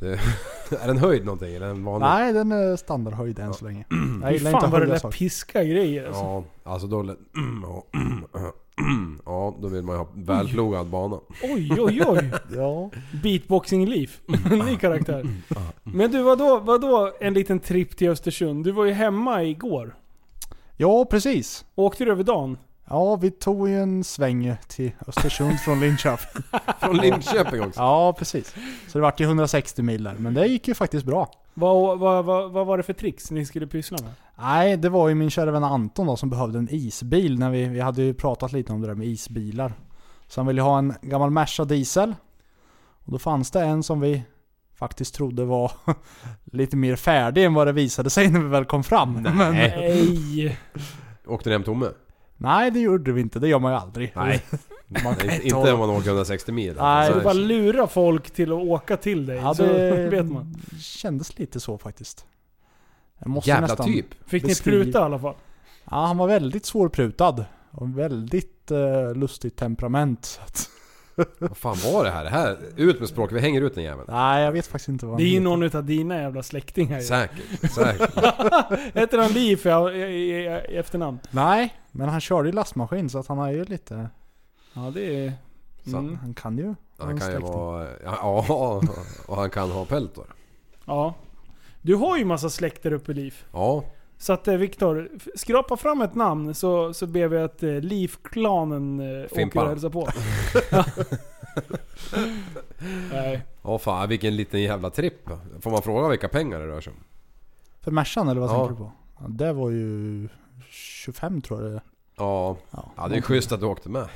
Speaker 3: Det, är den höjd någonting eller är den vanlig?
Speaker 4: Nej, den är standardhöjd än så länge. Jag
Speaker 2: Fy
Speaker 4: gillar inte
Speaker 2: fan vad det
Speaker 4: höga
Speaker 2: där
Speaker 4: saker.
Speaker 2: piska grejer alltså.
Speaker 3: Ja, alltså då... lät- ja, Ja, då vill man ju ha välplogad bana.
Speaker 2: Oj, oj, oj.
Speaker 4: Ja.
Speaker 2: Beatboxing Leaf.
Speaker 4: Mm.
Speaker 2: Ny karaktär. Men du, vadå, vadå en liten tripp till Östersund? Du var ju hemma igår.
Speaker 4: ja, precis.
Speaker 2: Åkte du över dagen?
Speaker 4: Ja, vi tog ju en sväng till Östersund från Linköping.
Speaker 3: Från Linköping också.
Speaker 4: Ja, precis. Så det vart ju 160 mil där. Men det gick ju faktiskt bra.
Speaker 2: Vad, vad, vad, vad var det för tricks ni skulle pyssla med?
Speaker 4: Nej, det var ju min kära vän Anton då som behövde en isbil. När vi, vi hade ju pratat lite om det där med isbilar. Så han ville ha en gammal Merca diesel. Och då fanns det en som vi faktiskt trodde var lite mer färdig än vad det visade sig när vi väl kom fram. Nej, Men,
Speaker 2: Nej.
Speaker 3: Åkte ni hem tomme?
Speaker 4: nej det gjorde vi inte. Det gör man ju aldrig.
Speaker 3: Nej.
Speaker 4: Man kan
Speaker 3: Inte,
Speaker 4: inte
Speaker 3: inte om man åker 160 mil.
Speaker 4: Nej,
Speaker 2: Du
Speaker 3: Alltså,
Speaker 2: bara lura folk till att åka till dig,
Speaker 4: Ja,
Speaker 2: så
Speaker 4: det
Speaker 2: vet man.
Speaker 4: kändes lite så faktiskt. Jag måste
Speaker 3: Jävla
Speaker 4: nästan-
Speaker 3: typ.
Speaker 2: Fick ni
Speaker 4: beskriv-
Speaker 2: pruta i alla fall?
Speaker 4: Ja, han var väldigt svårprutad. Och väldigt eh, lustigt temperament. Så att,
Speaker 3: Vad fan var det här? Det här? Ut med språket, vi hänger ut den jäveln.
Speaker 4: nej, jag vet faktiskt inte vad
Speaker 2: Det är ju
Speaker 4: heter.
Speaker 2: någon utav dina jävla släktingar ju.
Speaker 3: Säkert, säkert.
Speaker 2: Heter han Leaf i, i, i, i efternamn?
Speaker 4: Nej, men han körde ju lastmaskin så att han har ju lite...
Speaker 2: Ja, det är...
Speaker 3: Så.
Speaker 2: Mm.
Speaker 4: Han kan ju.
Speaker 3: Han kan ju
Speaker 4: släkting.
Speaker 3: vara... Ja, ja, och han kan ha peltor.
Speaker 2: Ja. Du har ju massa släkt där uppe, Leaf.
Speaker 3: Ja,
Speaker 2: Så att eh, Viktor, f- skrapa fram ett namn så, så ber vi att eh, Leaf-klanen eh, åker
Speaker 3: Fimpa.
Speaker 2: och hälsar på. Nej.
Speaker 3: ja fan vilken liten jävla tripp. Får man fråga vilka pengar det rör sig om?
Speaker 4: För Mercan eller vad
Speaker 3: Ja.
Speaker 4: tänker du på? Ja, det var ju 25 tror jag det är.
Speaker 3: Ja, ja det är schysst att du åkte med.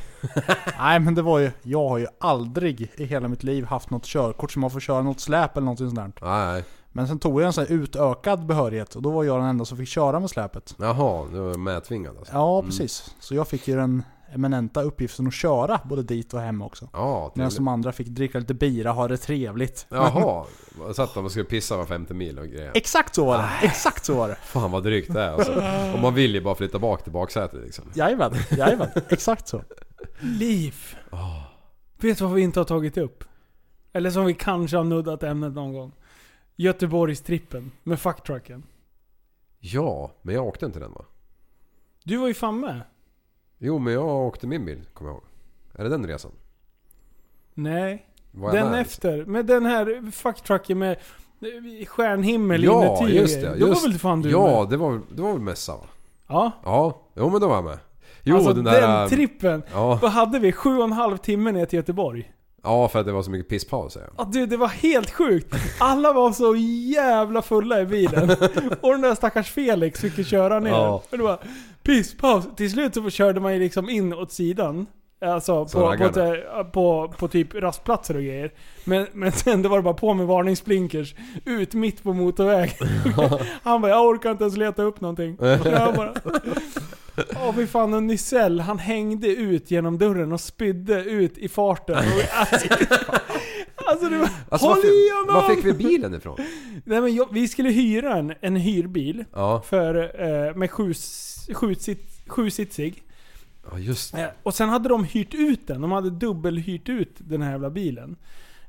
Speaker 4: Nej men det var ju, jag har ju aldrig i hela mitt liv haft något körkort som man får köra något släp eller någonting sånt där.
Speaker 3: Nej,
Speaker 4: Men sen tog jag en sån här utökad behörighet och då var jag den enda som fick köra med släpet.
Speaker 3: jaha, du var medtvingad alltså.
Speaker 4: Ja precis. Så jag fick ju den eminenta uppgiften att köra både dit och hem också.
Speaker 3: Ja,
Speaker 4: Medan
Speaker 3: trevligt.
Speaker 4: de andra fick dricka lite bira och ha det trevligt.
Speaker 3: Jaha, satt de och skulle pissa var femte mil och grejer.
Speaker 4: Exakt så var det! Exakt så var det!
Speaker 3: Fan vad drygt det är alltså. Och man vill ju bara flytta bak till baksätet liksom.
Speaker 4: Jajamän, jajamän. Alltså, Exakt så.
Speaker 2: Leaf.
Speaker 3: Ah.
Speaker 2: Vet du vad vi inte har tagit upp? Eller som vi kanske har nuddat ämnet någon gång. Göteborgstrippen med fucktrucken.
Speaker 3: Ja, men jag åkte inte den va?
Speaker 2: Du var ju fan med.
Speaker 3: Jo, men jag åkte min bil, kommer jag ihåg. Är det den resan?
Speaker 2: Nej.
Speaker 3: Var jag
Speaker 2: den
Speaker 3: med?
Speaker 2: efter. Med den här fucktrucken med eh, stjärnhimmel
Speaker 3: Ja,
Speaker 2: inuti och
Speaker 3: just
Speaker 2: grejer.
Speaker 3: det.
Speaker 2: Då
Speaker 3: Just,
Speaker 2: var väl fan du
Speaker 3: ja,
Speaker 2: med?
Speaker 3: det var, det var väl mässa va?
Speaker 2: Ja.
Speaker 3: Ja, jo men då var jag med. Jo,
Speaker 2: alltså
Speaker 3: den
Speaker 2: den,
Speaker 3: där... äh,
Speaker 2: trippen.
Speaker 3: ja,
Speaker 2: Vad hade vi? Sju och en halv timme ner till Göteborg.
Speaker 3: ja, för att det var så mycket pisspauser. Ja.
Speaker 2: Ja, du, det var helt sjukt. Alla var så jävla fulla i bilen. Och den där stackars Felix fick ju köra ner.
Speaker 3: Ja.
Speaker 2: Och det var piss, paus. Till slut så körde man ju liksom in åt sidan. Alltså
Speaker 3: Så
Speaker 2: på, på,
Speaker 3: raggarna.
Speaker 2: ett, eh, på, på typ rastplatser och grejer. Men, men sen då var det bara på med varningsblinkers. Ut mitt på motorvägen. Han bara, jag orkar inte ens leta upp någonting. Så jag bara, Åh fy fan, och Nysell han hängde ut genom dörren och spydde ut i farten. Och, alltså, alltså det var...
Speaker 3: Alltså,
Speaker 2: håll
Speaker 3: var,
Speaker 2: i
Speaker 3: fick, var
Speaker 2: honom!
Speaker 3: fick vi bilen ifrån?
Speaker 2: Nej, men jag, vi skulle hyra en, en hyrbil
Speaker 3: Ja,
Speaker 2: för, eh, med sju, sju, sit, sju sitsig.
Speaker 3: ja just det.
Speaker 2: Eh, och sen hade de hyrt ut den. De hade dubbelhyrt ut den här jävla bilen.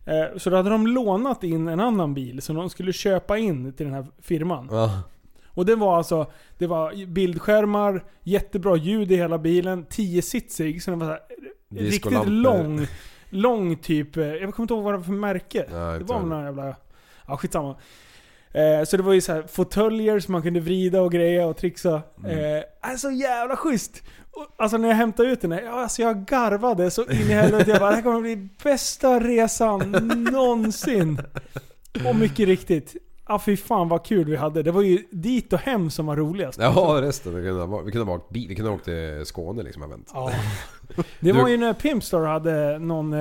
Speaker 2: Eh, Så då hade de lånat in en annan bil som de skulle köpa in till den här firman.
Speaker 3: Ja.
Speaker 2: Och det var alltså, det var bildskärmar, jättebra ljud i hela bilen, 10-sitsig, så den var så här, eh, riktigt
Speaker 3: Discolampor.
Speaker 2: lång, lång typ, eh, jag kommer inte ihåg vad det var för märke.
Speaker 3: Nej, jag
Speaker 2: det
Speaker 3: inte
Speaker 2: var väl
Speaker 3: heller.
Speaker 2: någon jävla, ja skitsamma. Eh, så det var ju så här fåtöljer som man kunde vrida och greja och trixa.
Speaker 3: Mm.
Speaker 2: Eh, alltså jävla schysst! Och, alltså när jag hämtade ut den här, ja, alltså jag garvade så in i helvete. Jag bara, det här kommer bli bästa resan någonsin. Och mycket riktigt. Ja fy fan vad kul vi hade. Det var ju dit och hem som var roligast.
Speaker 3: Ja, resten. Vi kunde ha, vi kunde ha, åkt, bil- vi kunde ha åkt till Skåne liksom och vänt.
Speaker 2: Ja. Det
Speaker 3: Du-
Speaker 2: var ju när Pimpstar hade någon eh,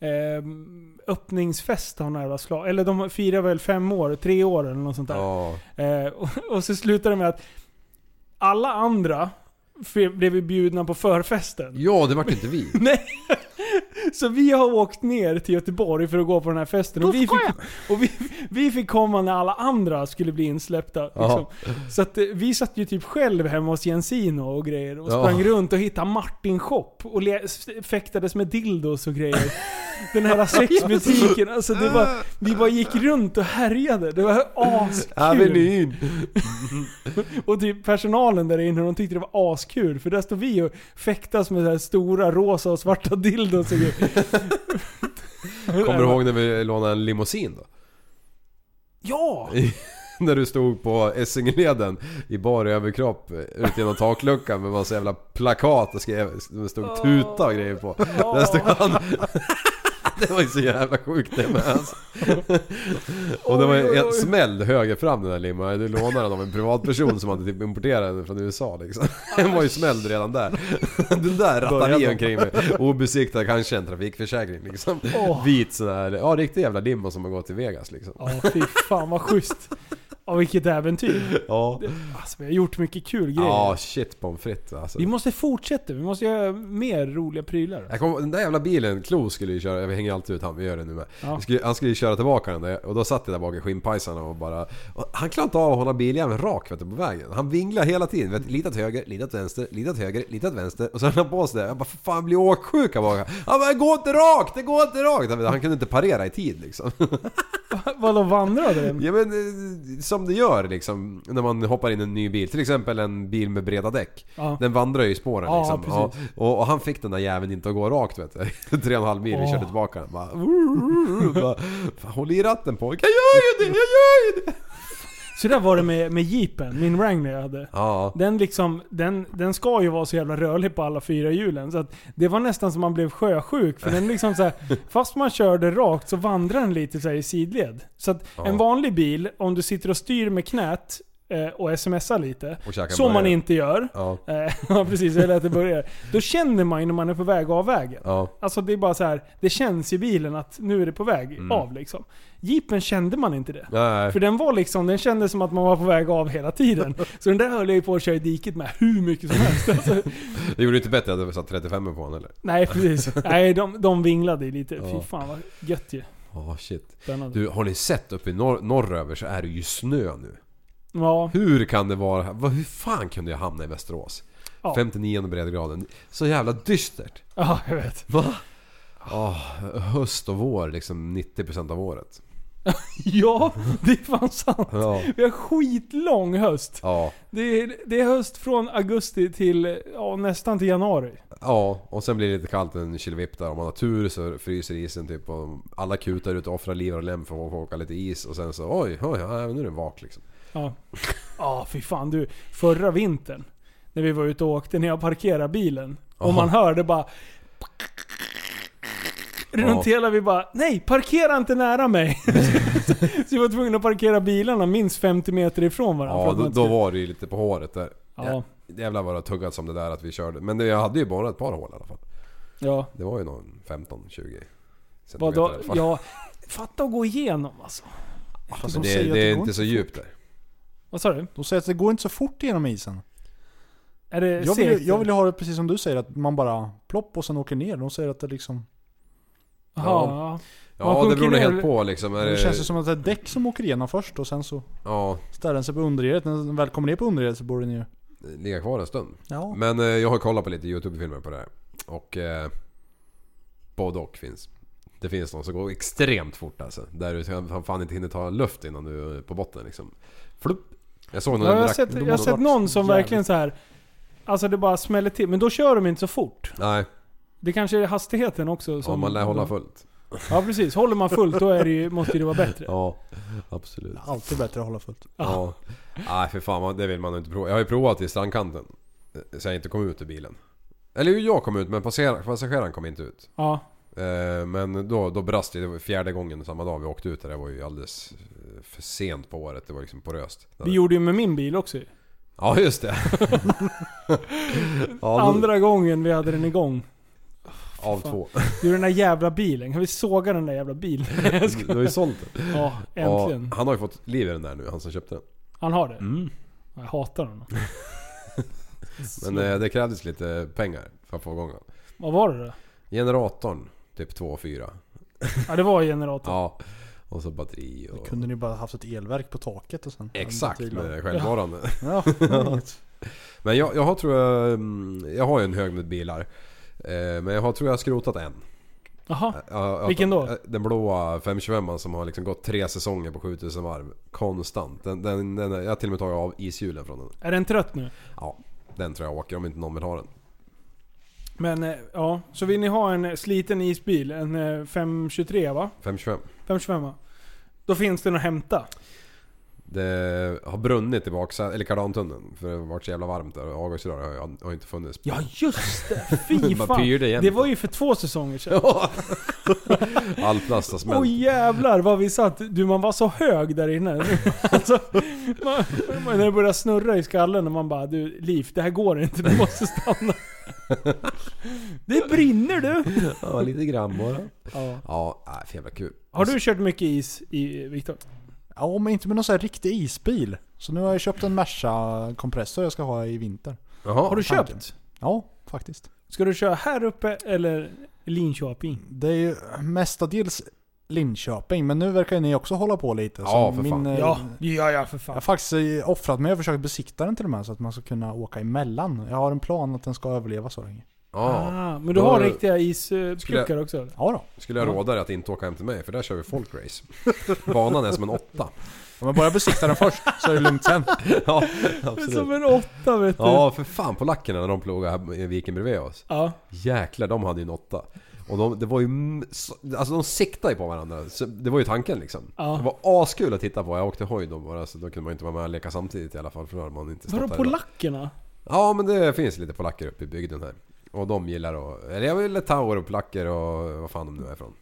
Speaker 2: eh, öppningsfest av några jävla slag. Eller de firar väl fem år, tre år eller något sånt där.
Speaker 3: Ja.
Speaker 2: Eh, och, och så slutade det med att alla andra f- blev ju bjudna på förfesten.
Speaker 3: ja, det vart inte vi.
Speaker 2: Nej! Så vi har åkt ner till Göteborg för att gå på den här festen. Och, vi fick, och vi, vi fick komma när alla andra skulle bli insläppta. Liksom.
Speaker 3: Ja.
Speaker 2: Så att, eh, vi satt ju typ själv hemma hos Jensino och grejer. Och
Speaker 3: Ja.
Speaker 2: sprang runt och hittade Martin Shop. Och le- s- fäktades med dildos och grejer. Den här sexbutiken. Alltså det var, vi bara gick runt och härjade. Det var askul.
Speaker 3: Avenyn!
Speaker 2: Och typ personalen där inne, de tyckte det var askul. För där stod vi och fäktas med så här stora rosa och svarta dildos och grejer.
Speaker 3: Kommer du ihåg när vi lånade en limousin då?
Speaker 2: Ja!
Speaker 3: När du stod på Essingeleden i bar överkropp eh, ut genom takluckan med massa jävla plakat och skrev, det stod tuta och grejer på. Där stod han. Det var ju så jävla sjukt det med alltså. Och det var ju en smäll höger fram den där limman. Du lånade den av en privatperson som hade typ importerat den från USA liksom. Den var ju smälld redan där. Den där rattade vi omkring med. Obesiktad, kanske en trafikförsäkring liksom.
Speaker 2: Åh.
Speaker 3: Vit sån här, ja riktig jävla limma som har gått till Vegas liksom.
Speaker 2: Ja, fy fan vad schysst. Ja, vilket äventyr.
Speaker 3: Ja.
Speaker 2: Alltså, vi har gjort mycket kul grejer.
Speaker 3: Ja, shit pommes frites alltså.
Speaker 2: Vi måste fortsätta, vi måste göra mer roliga prylar.
Speaker 3: Jag kom, den där jävla bilen, Klo skulle ju köra, jag hänger alltid ut han, vi gör det nu med.
Speaker 2: Ja.
Speaker 3: Han skulle- Han skulle ju köra tillbaka den där och då satt jag där bak i skinnpajsarna och bara... Och han klarade inte av att hålla biljäveln rak vet du, på vägen. Han vinglar hela tiden. Vet, du, lite åt höger, lite åt vänster, lite åt höger, lite åt vänster. Och så höll han på sådär. Jag bara för fan blir åksjuk här bak. Han bara, det går inte rakt, det går inte rakt. Han, han kunde inte parera i tid liksom.
Speaker 2: Vadå vandrade den?
Speaker 3: Ja men eh, som det gör liksom när man hoppar in i en ny bil. Till exempel en bil med breda däck.
Speaker 2: Ja.
Speaker 3: Den vandrar ju i spåren
Speaker 2: Ja,
Speaker 3: liksom.
Speaker 2: precis.
Speaker 3: och, och han fick den där jäveln inte att gå rakt vet du. Tre och en halv mil, vi
Speaker 2: Åh.
Speaker 3: körde tillbaka den. Bara, bara, "Fan, håll i ratten pojk. Jag gör ju det, jag gör ju det!
Speaker 2: Så där var det med, med jeepen, min Wrangler jag hade.
Speaker 3: Ja.
Speaker 2: Den, liksom, den, den ska ju vara så jävla rörlig på alla fyra hjulen. Så att det var nästan som man blev sjösjuk. För den liksom så här, fast man körde rakt så vandrar den lite så här i sidled. Så att
Speaker 3: Ja.
Speaker 2: en vanlig bil, om du sitter och styr med knät eh, och smsar lite,
Speaker 3: Och käkar
Speaker 2: som man
Speaker 3: burgare.
Speaker 2: inte gör.
Speaker 3: Ja.
Speaker 2: Eh, Ja precis, jag lät det börja. Då känner man ju när man är på väg av vägen.
Speaker 3: Ja.
Speaker 2: Alltså det är bara så här, det känns i bilen att nu är det på väg
Speaker 3: Mm.
Speaker 2: av liksom. Jeepen kände man inte det.
Speaker 3: Nej.
Speaker 2: För den var liksom, den kändes som att man var på väg av hela tiden. Så den där höll jag ju på att köra i diket med hur mycket som helst. Alltså,
Speaker 3: Det gjorde inte bättre att du satt 35 på honom eller?
Speaker 2: nej precis. Nej de, de vinglade ju lite. Fy
Speaker 3: Ja.
Speaker 2: fan vad gött ju.
Speaker 3: Ja shit.
Speaker 2: Spännande.
Speaker 3: Du har ni sett uppe i norr, norröver så är det ju snö nu.
Speaker 2: Ja,
Speaker 3: Hur kan det vara? vad- Hur fan kunde jag hamna i Västerås?
Speaker 2: Ja.
Speaker 3: 59 breddgraden. Så jävla dystert.
Speaker 2: ja jag vet.
Speaker 3: Va? höst och vår liksom 90% av året.
Speaker 2: Ja, det är fan sant.
Speaker 3: Ja.
Speaker 2: Vi har skitlång höst.
Speaker 3: Ja.
Speaker 2: Det är, det är höst från augusti till ja, nästan till januari.
Speaker 3: Ja, och sen blir det lite kallt en killevipp där. Om man har tur så fryser isen typ och alla kutar ut och offrar liv och lem för att få åka lite is och sen så oj, oj, ja, nu är det vak liksom.
Speaker 2: Ja. Ja, fy fan du. Förra vintern. När vi var ute och åkte, när jag parkerade bilen. Och
Speaker 3: Aha.
Speaker 2: man hörde bara... Runt
Speaker 3: Ja.
Speaker 2: hela vi bara, nej parkera inte nära mig. så vi var tvungna att parkera bilarna minst 50 meter ifrån varandra. för
Speaker 3: Ja,
Speaker 2: att
Speaker 3: då,
Speaker 2: man
Speaker 3: då
Speaker 2: inte-
Speaker 3: var det ju lite på håret där.
Speaker 2: Ja.
Speaker 3: Jävlar vad det har tuggat som det där att vi körde. Men det, jag hade ju bara ett par hål i alla fall.
Speaker 2: ja.
Speaker 3: Det var ju någon 15-20 centimeter i
Speaker 2: Vadå?
Speaker 3: alla fall.
Speaker 2: Ja, fatta att gå igenom alltså.
Speaker 3: Men det, det, är inte så djupt där.
Speaker 2: Vad sa du?
Speaker 4: De säger att det går inte så fort genom isen.
Speaker 2: Är det
Speaker 4: Jag vill, ju-
Speaker 2: segt?
Speaker 4: jag vill ju ha det precis som du säger, att man bara plopp och sen åker ner. De säger att det liksom...
Speaker 2: Jaha, Man
Speaker 3: Ja, det
Speaker 2: sjunker
Speaker 3: beror nog
Speaker 2: ner-
Speaker 3: helt på liksom. Är
Speaker 4: Det
Speaker 3: det,
Speaker 4: känns ju som att det är däck som åker igenom först och sen så
Speaker 3: ja,
Speaker 4: ställer den sig på underredet. När den väl kommer ner på underredet så borde den ju...
Speaker 3: ligga kvar en stund.
Speaker 4: Ja.
Speaker 3: Men eh, jag har kollat på lite YouTube-filmer på det här. Och... Eh, både och finns. Det finns de som går extremt fort alltså. Där du fan- fan inte hinner ta luft innan du är på botten liksom. Flupp. Jag såg någon...
Speaker 2: Ja, jag har
Speaker 3: drack-
Speaker 2: sett, jag har sett någon som verkligen så här. Alltså det bara smäller till. Men då kör de inte så fort.
Speaker 3: Nej,
Speaker 2: Det kanske är hastigheten också som...
Speaker 3: ja, man lär hålla fullt.
Speaker 2: Ja precis. Håller man fullt då är det ju, måste det vara bättre.
Speaker 3: Ja, absolut.
Speaker 4: Alltid bättre att hålla fullt.
Speaker 3: Ja. Nej för fan, man- det vill man nog inte prova. Jag har ju provat i strandkanten. eh, Så jag inte kom ut ur bilen. Eller jo, jag kom ut men passager- passageraren kom inte ut.
Speaker 2: Ja.
Speaker 3: Eh, Men då, då brast det. Det var fjärde gången samma dag vi åkte ut. där. Det var ju alldeles eh, för sent på året. Det var liksom poröst.
Speaker 2: Det gjorde ju med min bil också
Speaker 3: Ja just det. ja, då-
Speaker 2: Andra gången vi hade den igång.
Speaker 3: Av två.
Speaker 2: Det är den där jävla bilen. Kan vi såga den där jävla bilen? Jag ska-
Speaker 3: Du har ju sålt den.
Speaker 2: ja, äntligen.
Speaker 3: Ja, han har ju fått liv i den där nu, han som köpte den.
Speaker 2: Han har det?
Speaker 3: Mm.
Speaker 2: Jag hatar honom.
Speaker 3: Men eh, det krävdes lite pengar för att få igång den.
Speaker 2: Vad var det då?
Speaker 3: Generatorn, typ 2 4.
Speaker 2: Ja det var generatorn.
Speaker 3: Ja. Och så batteri och...
Speaker 4: Kunde ni bara haft ett elverk på taket och sen...
Speaker 3: Exakt,
Speaker 4: Ja,
Speaker 3: med självvarande.
Speaker 4: Ja, inget.
Speaker 3: Men jag, jag har tror jag... mm, Jag har ju en hög med bilar. Eh, Men jag har, tror jag har skrotat en.
Speaker 2: Jaha.
Speaker 3: Ja, ja,
Speaker 2: Vilken då?
Speaker 3: Den blåa 525 som har liksom gått tre säsonger på 7000 varv. Konstant. Den, den, den, jag har till och med tagit av ishjulen från den.
Speaker 2: Är den trött nu?
Speaker 3: Ja, den tror jag åker om inte någon vill ha den.
Speaker 2: Men eh, ja, så vill ni ha en eh, sliten isbil, en eh, 523 va?
Speaker 3: 525.
Speaker 2: 525 Då finns den att hämta.
Speaker 3: Det har brunnit i baksätet, eller kardantunneln. För det har varit så jävla varmt där och avgasrör har, ju- har inte funnits.
Speaker 2: Ja just det! Fy
Speaker 3: Bara
Speaker 2: fan.
Speaker 3: pyrde igen.
Speaker 2: Det var ju för två säsonger sedan.
Speaker 3: All plast har
Speaker 2: Oj
Speaker 3: smält.
Speaker 2: jävlar vad vi satt. Du man var så hög där inne. Alltså, man, man, när det började snurra i skallen och man bara du Liv, det här går inte. Du måste stanna. Det brinner du!
Speaker 3: Ja, lite grann bara.
Speaker 2: Ja.
Speaker 3: Ja, nej, för jävla kul.
Speaker 2: Har du kört mycket is i Viktor?
Speaker 4: ja, men inte med någon sån här riktig isbil. Så nu har jag köpt en Merca kompressor jag ska ha i vinter.
Speaker 3: Jaha.
Speaker 2: Har du
Speaker 4: tanken.
Speaker 2: köpt?
Speaker 4: Ja, faktiskt.
Speaker 2: Ska du köra här uppe eller Linköping?
Speaker 4: Det är ju mestadels Linköping, men nu verkar ju ni också hålla på lite. Så
Speaker 3: Ja, för fan.
Speaker 4: eh,
Speaker 2: Ja, ja, ja för
Speaker 4: Jag
Speaker 2: fan.
Speaker 4: har faktiskt eh, offrat mig och försökt besikta den till och med så att man ska kunna åka emellan. Jag har en plan att den ska överleva så länge.
Speaker 3: Ja,
Speaker 2: Ah, men du
Speaker 3: Då-
Speaker 2: har riktiga
Speaker 3: Skulle
Speaker 2: ispluckar
Speaker 3: jag-
Speaker 2: också? eller?
Speaker 4: Ja då.
Speaker 3: skulle jag råda dig att inte åka hem till mig för där kör vi folkrace. Banan är som en åtta.
Speaker 4: Om jag bara besiktar den först så är det lugnt sen.
Speaker 3: Ja,
Speaker 2: Som en åtta vet du.
Speaker 3: Ja, för fan polackerna när de plogade här i viken bredvid oss.
Speaker 2: Ja.
Speaker 3: Jäklar, de hade ju en åtta. Och de, det var ju... m- så- Alltså de siktade ju på varandra. Så det var ju tanken liksom.
Speaker 2: Ja.
Speaker 3: Det var askul att titta på. Jag åkte hoj då bara, så då kunde man ju inte vara med och leka samtidigt i alla fall. För då hade man inte stått
Speaker 2: Vadå
Speaker 3: här
Speaker 2: polackerna?
Speaker 3: idag. Ja, men det finns lite polacker uppe i bygden här. Och de gillar att... Eller jag vill litauer och polacker och vad fan de nu är ifrån.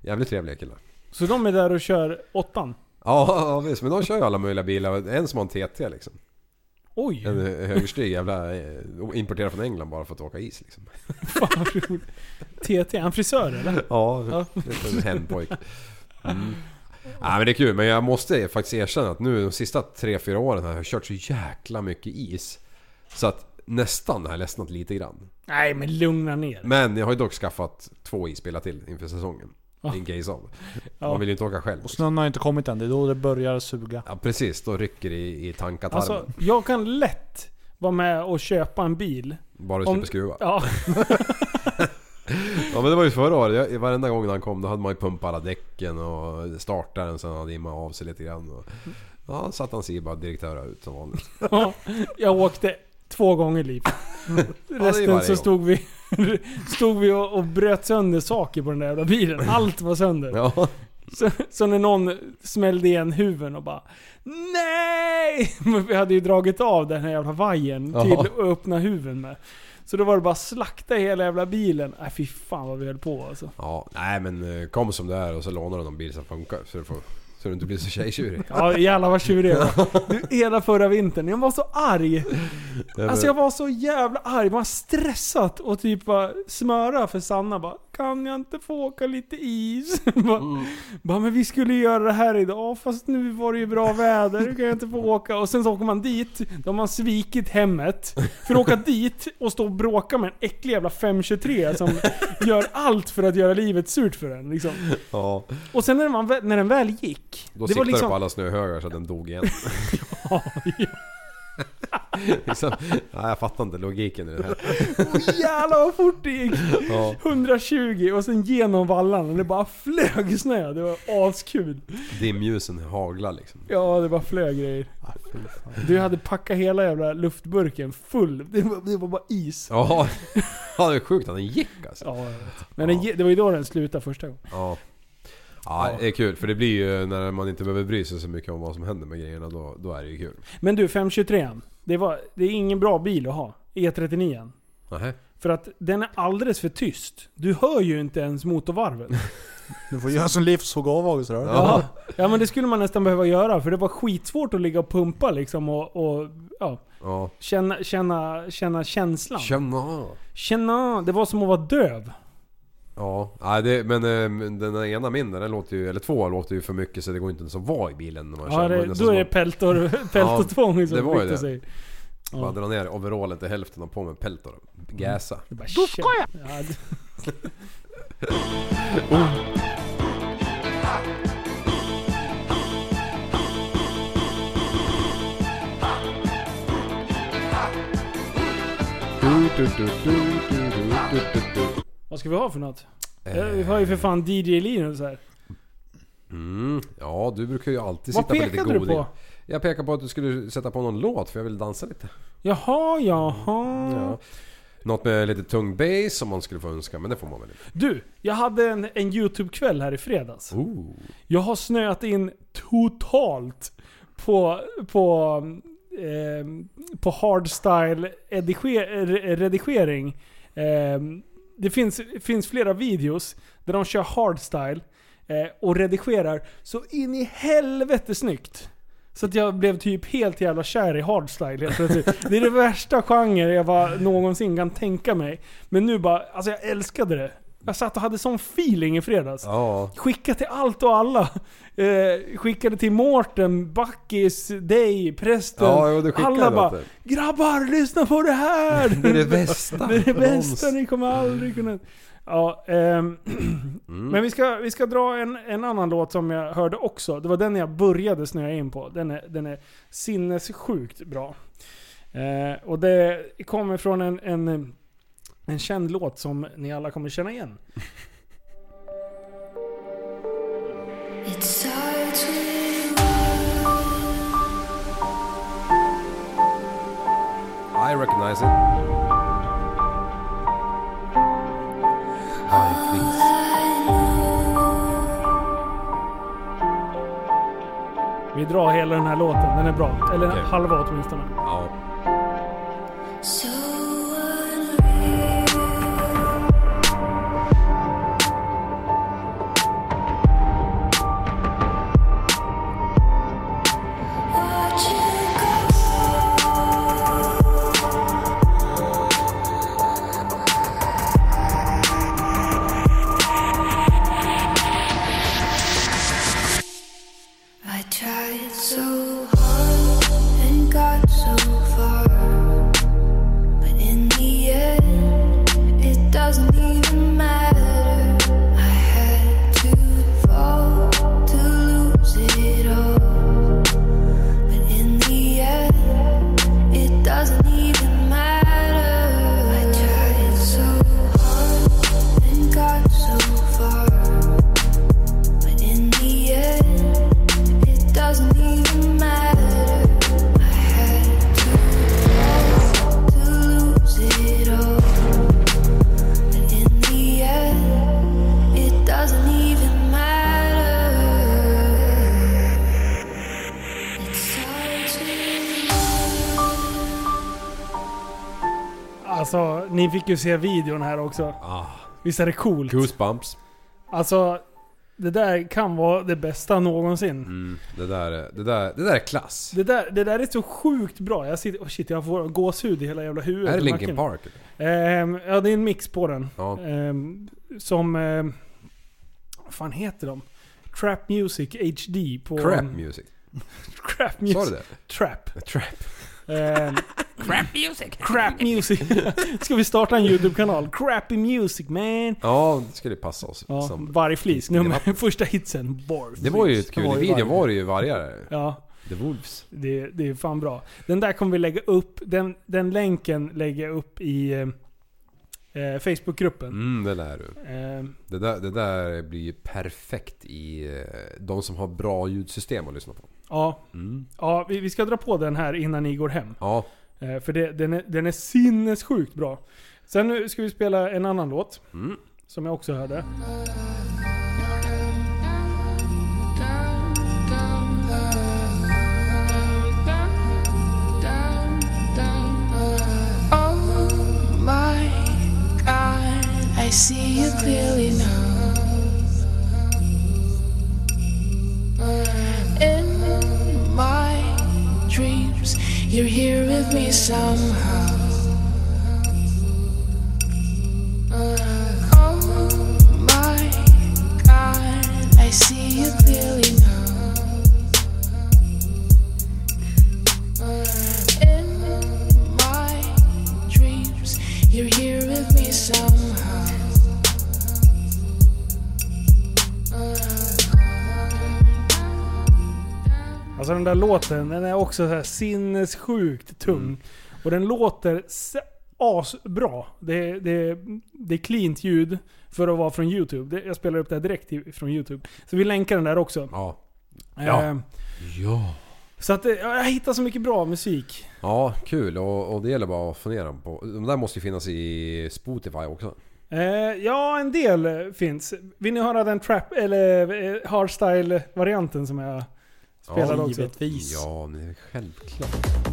Speaker 3: Jävligt trevliga killar.
Speaker 2: Så de är där och kör åttan?
Speaker 3: Ja, ja, visst. Men de kör ju alla möjliga bilar. En som har en TT liksom.
Speaker 2: Oj!
Speaker 3: En eh, högerstyrd jävla... eh, Importerad från England bara för att åka is liksom.
Speaker 2: Fan vad roligt. TT, är han frisör eller?
Speaker 3: Ja, en hänpojk. Mm. Nej men det är kul, men jag måste faktiskt erkänna att nu de sista 3-4 åren har jag kört så jäkla mycket is. Så att nästan har jag ledsnat lite grann.
Speaker 2: Nej men lugna ner
Speaker 3: Men jag har ju dock skaffat två isbilar till inför säsongen. In case of. Man vill ju inte åka själv.
Speaker 4: Och snön har inte kommit än, det är då det börjar suga.
Speaker 3: Ja precis, då rycker det i, i tankatarmen.
Speaker 2: Alltså, jag kan lätt vara med och köpa en bil.
Speaker 3: bara du
Speaker 2: om-
Speaker 3: slipper skruva. Ja.
Speaker 2: Ja,
Speaker 3: men det var ju förra året. Jag, varenda gång han kom då hade man ju pumpat alla däcken och startaren så han hade immat av sig lite grann. Och, ja, satt han sig bara direktöra ut som vanligt.
Speaker 2: ja. jag åkte två gånger liv. Resten
Speaker 3: varje
Speaker 2: så
Speaker 3: gång.
Speaker 2: stod vi, stod vi och, och bröt sönder saker på den där jävla bilen. Allt var sönder.
Speaker 3: Ja.
Speaker 2: Så, så när någon smällde igen huven och bara Nej! Men vi hade ju dragit av den här jävla vajern till
Speaker 3: Ja.
Speaker 2: att öppna huven med. Så då var det bara slakta hela jävla bilen. Nej fy fan vad vi höll på alltså.
Speaker 3: Ja, nej men eh, kom som det är och så lånar du någon bil som funkar så du, får, så du inte blir så tjejtjurig.
Speaker 2: Ja jävlar vad tjurig jag var. Du, Hela förra vintern. Jag var så arg. Alltså jag var så jävla arg. Man har stressat och typ bara smöra för Sanna bara Kan jag inte få åka lite is? bara, bara men vi skulle ju göra det här idag fast nu var det ju bra väder. Nu kan jag inte få åka. Och sen så åker man dit. Då har man svikit hemmet. För att åka dit och stå och bråka med en äcklig jävla 523 som gör allt för att göra livet surt för en. Liksom.
Speaker 3: Ja,
Speaker 2: Och sen när, man, väl- när den väl gick. liksom
Speaker 3: då siktade du på alla snöhögar så att den dog igen.
Speaker 2: Ja, ja.
Speaker 3: liksom, nej, jag fattar inte logiken i det här.
Speaker 2: Oh, jävlar vad fort det gick!
Speaker 3: Ja,
Speaker 2: 120 och sen genom vallarna. och Det bara flög snö. Det var askul.
Speaker 3: dimljusen haglar liksom.
Speaker 2: Ja, det bara flög grejer. Du hade packat hela jävla luftburken full. Det var, det var bara is.
Speaker 3: Ja, ja, det är sjukt att den gick alltså.
Speaker 2: Ja, jag vet. Men den, ge- det var ju då den slutade första gången.
Speaker 3: Ja. Ja, det är kul. För det blir ju när man inte behöver bry sig så mycket om vad som händer med grejerna, då, då är det ju kul.
Speaker 2: Men du, 523 det, var, det är ingen bra bil att ha. E39.
Speaker 3: Nähä.
Speaker 2: För att den är alldeles för tyst. Du hör ju inte ens motorvarvet.
Speaker 4: Du får göra som Liv såg av August-rör.
Speaker 2: Ja. ja men det skulle man nästan behöva göra. För det var skitsvårt att ligga och pumpa liksom och, och ja,
Speaker 3: Ja.
Speaker 2: känna, känna, känna känslan.
Speaker 3: Tjena!
Speaker 2: Känna, det var som att vara döv.
Speaker 3: Ja, nej, det, men eh, den där ena min, den låter ju, eller två låter ju för mycket så det går inte ens att vara i bilen när man
Speaker 2: Ja,
Speaker 3: Det, var
Speaker 2: det,
Speaker 3: nästan
Speaker 2: då är
Speaker 3: som
Speaker 2: det
Speaker 3: att
Speaker 2: peltor, peltortvång som
Speaker 3: det var ju
Speaker 2: Victor
Speaker 3: det.
Speaker 2: säger.
Speaker 3: bara
Speaker 2: Mm.
Speaker 3: dra ner overallen till hälften och på med peltor. Gäsa.
Speaker 2: Det är bara, då ska jag! Ja, det- Oh. vad ska vi ha för något?
Speaker 3: Eh.
Speaker 2: Ja, Vi har ju för fan DJ Linus här.
Speaker 3: Mm, ja, du brukar ju alltid
Speaker 2: Vad
Speaker 3: sitta på lite
Speaker 2: pekade du
Speaker 3: goding.
Speaker 2: på?
Speaker 3: Jag pekade på att du skulle sätta på någon låt för jag vill dansa lite.
Speaker 2: Jaha, jaha.
Speaker 3: Ja. Något med lite tung bass som man skulle få önska, men det får man väl inte.
Speaker 2: Du, jag hade en, en YouTube-kväll här i fredags.
Speaker 3: Ooh.
Speaker 2: Jag har snöat in totalt på, på, ehm, på hardstyle-redigering. Ehm, det finns, finns flera videos där de kör hardstyle eh, och redigerar så in i helvete snyggt. Så att jag blev typ helt jävla kär i hardstyle helt plötsligt. Det är det värsta genre jag bara någonsin kan tänka mig. Men nu bara, alltså jag älskade det. Jag satt och hade sån feeling i fredags.
Speaker 3: Ja.
Speaker 2: Skicka till allt och alla. Eh, skickade till Mårten, Backis, dig, prästen.
Speaker 3: Ja, jo, du skickade
Speaker 2: alla
Speaker 3: det
Speaker 2: bara
Speaker 3: åt dig.
Speaker 2: “Grabbar, lyssna på det här!”
Speaker 3: Det är det bästa.
Speaker 2: Det är det bästa, ni kommer aldrig kunna... Ja, ehm,
Speaker 3: Mm.
Speaker 2: Men vi ska, vi ska dra en, en annan låt som jag hörde också. Det var den jag började snöa in på. Den är, den är sinnessjukt bra. Eh, och det kommer från en, en, en känd låt som ni alla kommer känna igen.
Speaker 5: It starts with
Speaker 3: I recognize it.
Speaker 2: Vi drar hela den här låten, den är bra. Eller
Speaker 3: Okej.
Speaker 2: halva åtminstone.
Speaker 3: Ja.
Speaker 5: so unreal. Watch you go. I tried so hard and got so far. But in the end, it doesn't even matter. I had to fall to lose it all. But in the end, it doesn't even matter. I tried so hard and got so far. But in the end, it doesn't even matter. I had to fall to lose it all. But in the end, it doesn't even matter. It's hard to love.
Speaker 2: Alltså, ni fick ju se videon här också.
Speaker 3: Ah,
Speaker 2: Visst är det coolt?
Speaker 3: goosebumps.
Speaker 2: Alltså, det där kan vara det bästa någonsin.
Speaker 3: Mm, det, där, är- det, där, det där är klass.
Speaker 2: Det, där, det där är så sjukt bra. Jag sitter, oh shit, jag får gåshud i hela jävla huvudet.
Speaker 3: är det
Speaker 2: och
Speaker 3: Linkin
Speaker 2: nacken.
Speaker 3: Park?
Speaker 2: Ehm, ja, det är en mix på den.
Speaker 3: Ja.
Speaker 2: Ehm, som... ehm, vad fan heter de? Trap Music HD på...
Speaker 3: Crap music.
Speaker 2: Crap
Speaker 3: Sa du
Speaker 2: Music.
Speaker 3: det?
Speaker 2: Trap.
Speaker 3: Trap.
Speaker 2: Ehm, crap Music. Ska vi starta en YouTube-kanal? Crappy Music man.
Speaker 3: Ja, det skulle passa oss.
Speaker 2: Ja,
Speaker 3: som,
Speaker 2: vargflis. Nummer, första hitsen. Vargflis.
Speaker 3: det var ju ett kul. I
Speaker 4: var ju
Speaker 3: videon
Speaker 4: varg.
Speaker 3: var det ju vargar.
Speaker 2: Ja.
Speaker 3: The Wolves.
Speaker 2: Det, det är fan bra. Den där kommer vi lägga upp. Den, den länken lägger jag upp i eh, Facebookgruppen.
Speaker 3: Mm, det lär du.
Speaker 2: Eh,
Speaker 3: Det där, det där blir ju perfekt i eh, de som har bra ljudsystem att lyssna på.
Speaker 2: ja,
Speaker 3: Mm.
Speaker 2: ja vi, vi ska dra på den här innan ni går hem.
Speaker 3: Ja,
Speaker 2: Eh, för det, den, är, den är sinnessjukt bra. Sen nu ska vi spela en annan låt.
Speaker 3: Mm.
Speaker 2: Som jag också hörde.
Speaker 5: Oh my god, I see you clearly now. In my dreams, you're here with me somehow. Oh my god, I see you clearly now. oh, In my dreams, you're here with me somehow.
Speaker 2: Alltså den där låten, den är också så här sinnessjukt tung. Och den låter s- asbra. Det, det, det är cleant ljud för att vara från YouTube. Det, jag spelar upp det här direkt i- från YouTube. Så vi länkar den där också.
Speaker 3: ja,
Speaker 2: Ja.
Speaker 3: ja.
Speaker 2: så att eh, jag hittar så mycket bra musik.
Speaker 3: Ja, kul. Och, och det gäller bara att fundera på. De där måste ju finnas i Spotify också.
Speaker 2: Eh, ja, en del eh, finns. Vill ni höra den trap eller eh, hardstyle-varianten som jag spelade
Speaker 3: ja,
Speaker 2: också?
Speaker 4: Givetvis.
Speaker 3: Ja, men självklart.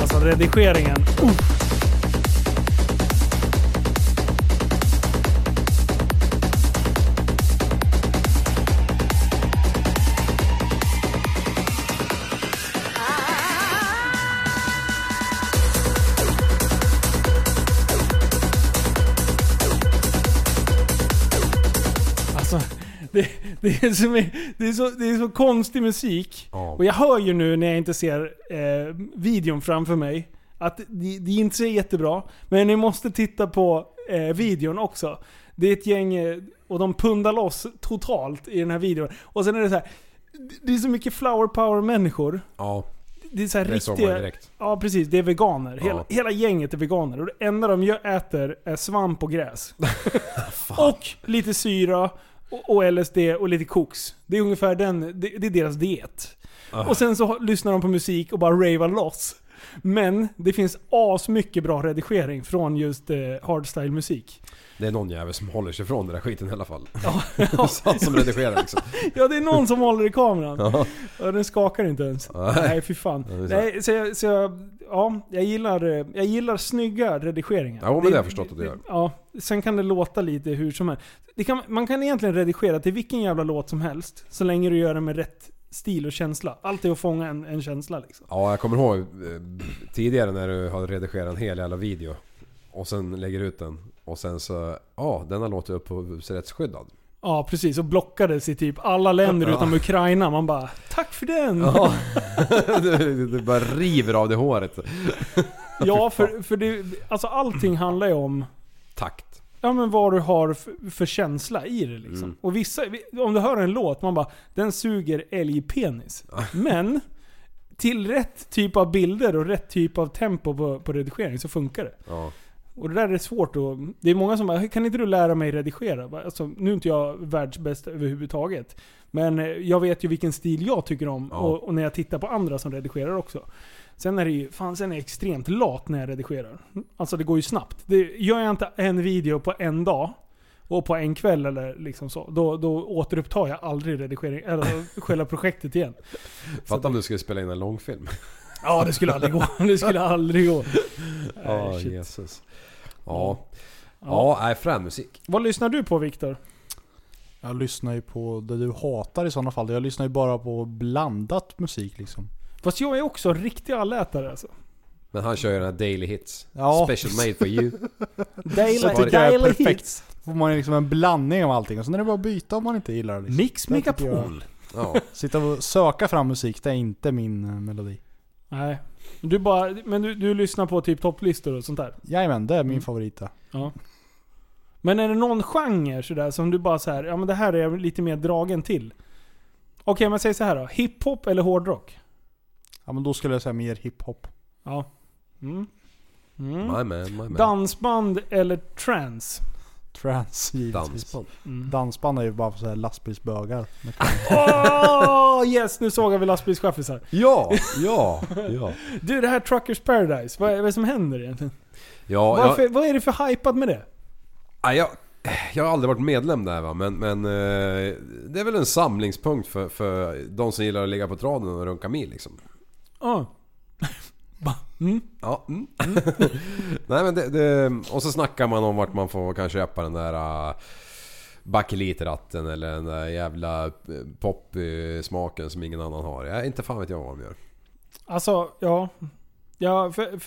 Speaker 2: Alltså redigeringen. Uff. Alltså, det, det, är som, det, är så, det är så konstig musik.
Speaker 3: Ja.
Speaker 2: Och jag hör ju nu när jag inte ser eh, videon framför mig att det, det är inte så jättebra. Men ni måste titta på eh, videon också. Det är ett gäng eh, och de pundar loss totalt i den här videon. Och sen är det så här. Det är så mycket flower power människor.
Speaker 3: Ja,
Speaker 2: Det är så här
Speaker 3: det såg man
Speaker 2: riktiga...
Speaker 3: direkt.
Speaker 2: Ja precis, det är veganer. Hela,
Speaker 3: Ja.
Speaker 2: hela gänget är veganer. Och det enda de gör, äter är svamp och gräs. och lite syra, och, och LSD och lite koks. Det är ungefär den, det, det är deras diet.
Speaker 3: Ah.
Speaker 2: Och sen så har- lyssnar de på musik och bara ravar loss. Men det finns asmycket bra redigering från just eh, hardstyle musik.
Speaker 3: Det är någon jävel som håller sig från den där skiten i alla fall.
Speaker 2: Ja.
Speaker 3: Så- som redigerar liksom.
Speaker 2: Ja, det är någon som håller i kameran.
Speaker 3: Ja.
Speaker 2: Ja, den skakar inte ens.
Speaker 3: Nej.
Speaker 2: Nej, fy fan.
Speaker 3: Ja, det är så.
Speaker 2: Nej, så jag, så jag, ja, jag, gillar, eh, jag gillar snygga redigeringar.
Speaker 3: Ja, men det har jag förstått att du gör.
Speaker 2: Ja, sen kan det låta lite hur som helst. Det kan, man kan egentligen redigera till vilken jävla låt som helst, så länge du gör det med rätt stil och känsla. Allt är att fånga en, en känsla liksom.
Speaker 3: Ja, jag kommer ihåg eh, tidigare när du har redigerat en hel jävla video. Och sen lägger ut den. Och sen så, ja denna låter upphovsrättsskyddad.
Speaker 2: Ja, precis. Och blockades i typ alla länder utom Ukraina. Man bara, tack för den!
Speaker 3: Ja. du, du bara river av det håret.
Speaker 2: Ja, för, för det, alltså allting handlar ju om
Speaker 3: Takt.
Speaker 2: Ja men vad du har för, för känsla i det liksom.
Speaker 3: Mm.
Speaker 2: Och vissa, om du hör en låt, man bara den suger älgpenis. Men till rätt typ av bilder och rätt typ av tempo på, på redigering så funkar det.
Speaker 3: Ja.
Speaker 2: Och det där är svårt att... Det är många som bara kan inte du lära mig redigera? Bara, Alltså, nu är inte jag världsbäst överhuvudtaget. Men eh, jag vet ju vilken stil jag tycker om
Speaker 3: Ja.
Speaker 2: och, och när jag tittar på andra som redigerar också. Sen är det ju, fan sen är jag extremt lat när jag redigerar. Alltså det går ju snabbt. Det, gör jag inte en video på en dag och på en kväll eller liksom så, då, då återupptar jag aldrig redigering, eller själva projektet igen.
Speaker 3: Fatta om du skulle spela in en långfilm.
Speaker 2: Ja, det skulle aldrig gå. Det skulle aldrig gå.
Speaker 3: Ja,
Speaker 2: Nej, shit.
Speaker 3: Jesus.
Speaker 2: Ja.
Speaker 3: Ja. Ja, nej frän musik.
Speaker 2: Vad lyssnar du på Viktor?
Speaker 4: Jag lyssnar ju på det du hatar i sådana fall. Jag lyssnar ju bara på blandat musik liksom.
Speaker 2: Fast jag är också en riktig allätare alltså.
Speaker 3: Men han kör ju den här Daily Hits.
Speaker 4: Ja.
Speaker 3: Special made for you.
Speaker 4: Så
Speaker 2: Daily,
Speaker 4: tycker jag är
Speaker 2: daily
Speaker 4: perfekt.
Speaker 2: hits.
Speaker 4: Får man ju liksom en blandning av allting och sen är det bara att byta om man inte gillar det. Liksom.
Speaker 2: Mix
Speaker 4: Det tycker jag-
Speaker 2: Megapol.
Speaker 3: Ja.
Speaker 4: Sitta och söka fram musik, det är inte min eh, melodi.
Speaker 2: Nej. Du bara, men du, du lyssnar på typ topplistor och sånt där?
Speaker 4: Jajamän, det är
Speaker 2: Mm.
Speaker 4: min favorit det.
Speaker 2: Ja. Men är det någon genre sådär som du bara så här, ja men det här är jag lite mer dragen till? Okej, men säg så här då. Hiphop eller hårdrock?
Speaker 4: Ja men då skulle jag säga mer hiphop.
Speaker 2: Ja. Mm. Mm.
Speaker 3: My man, my man.
Speaker 2: Dansband eller trance?
Speaker 4: Trance givetvis.
Speaker 3: Dansband.
Speaker 4: Dansband är ju bara för så här lastbilsbögar.
Speaker 2: Åh yes, nu sågar vi lastbilschaffisar.
Speaker 3: Ja, ja, ja.
Speaker 2: Du, det här Truckers Paradise, vad är, vad är det som händer egentligen?
Speaker 3: ja jag-
Speaker 2: Varför, Vad är det för hypat med det?
Speaker 3: Nej, jag, jag har aldrig varit medlem där va, men, men eh, det är väl en samlingspunkt för, för de som gillar att ligga på traden och runka mil liksom.
Speaker 2: Ja.
Speaker 3: Ja. Mm. Nej, men det, det, och så snackar man om vart man får kanske köpa den där uh, bakelitratten eller den där jävla popsmaken som ingen annan har. Jag, inte fan vet jag vad de gör.
Speaker 2: Alltså, ja. Ja, för, för,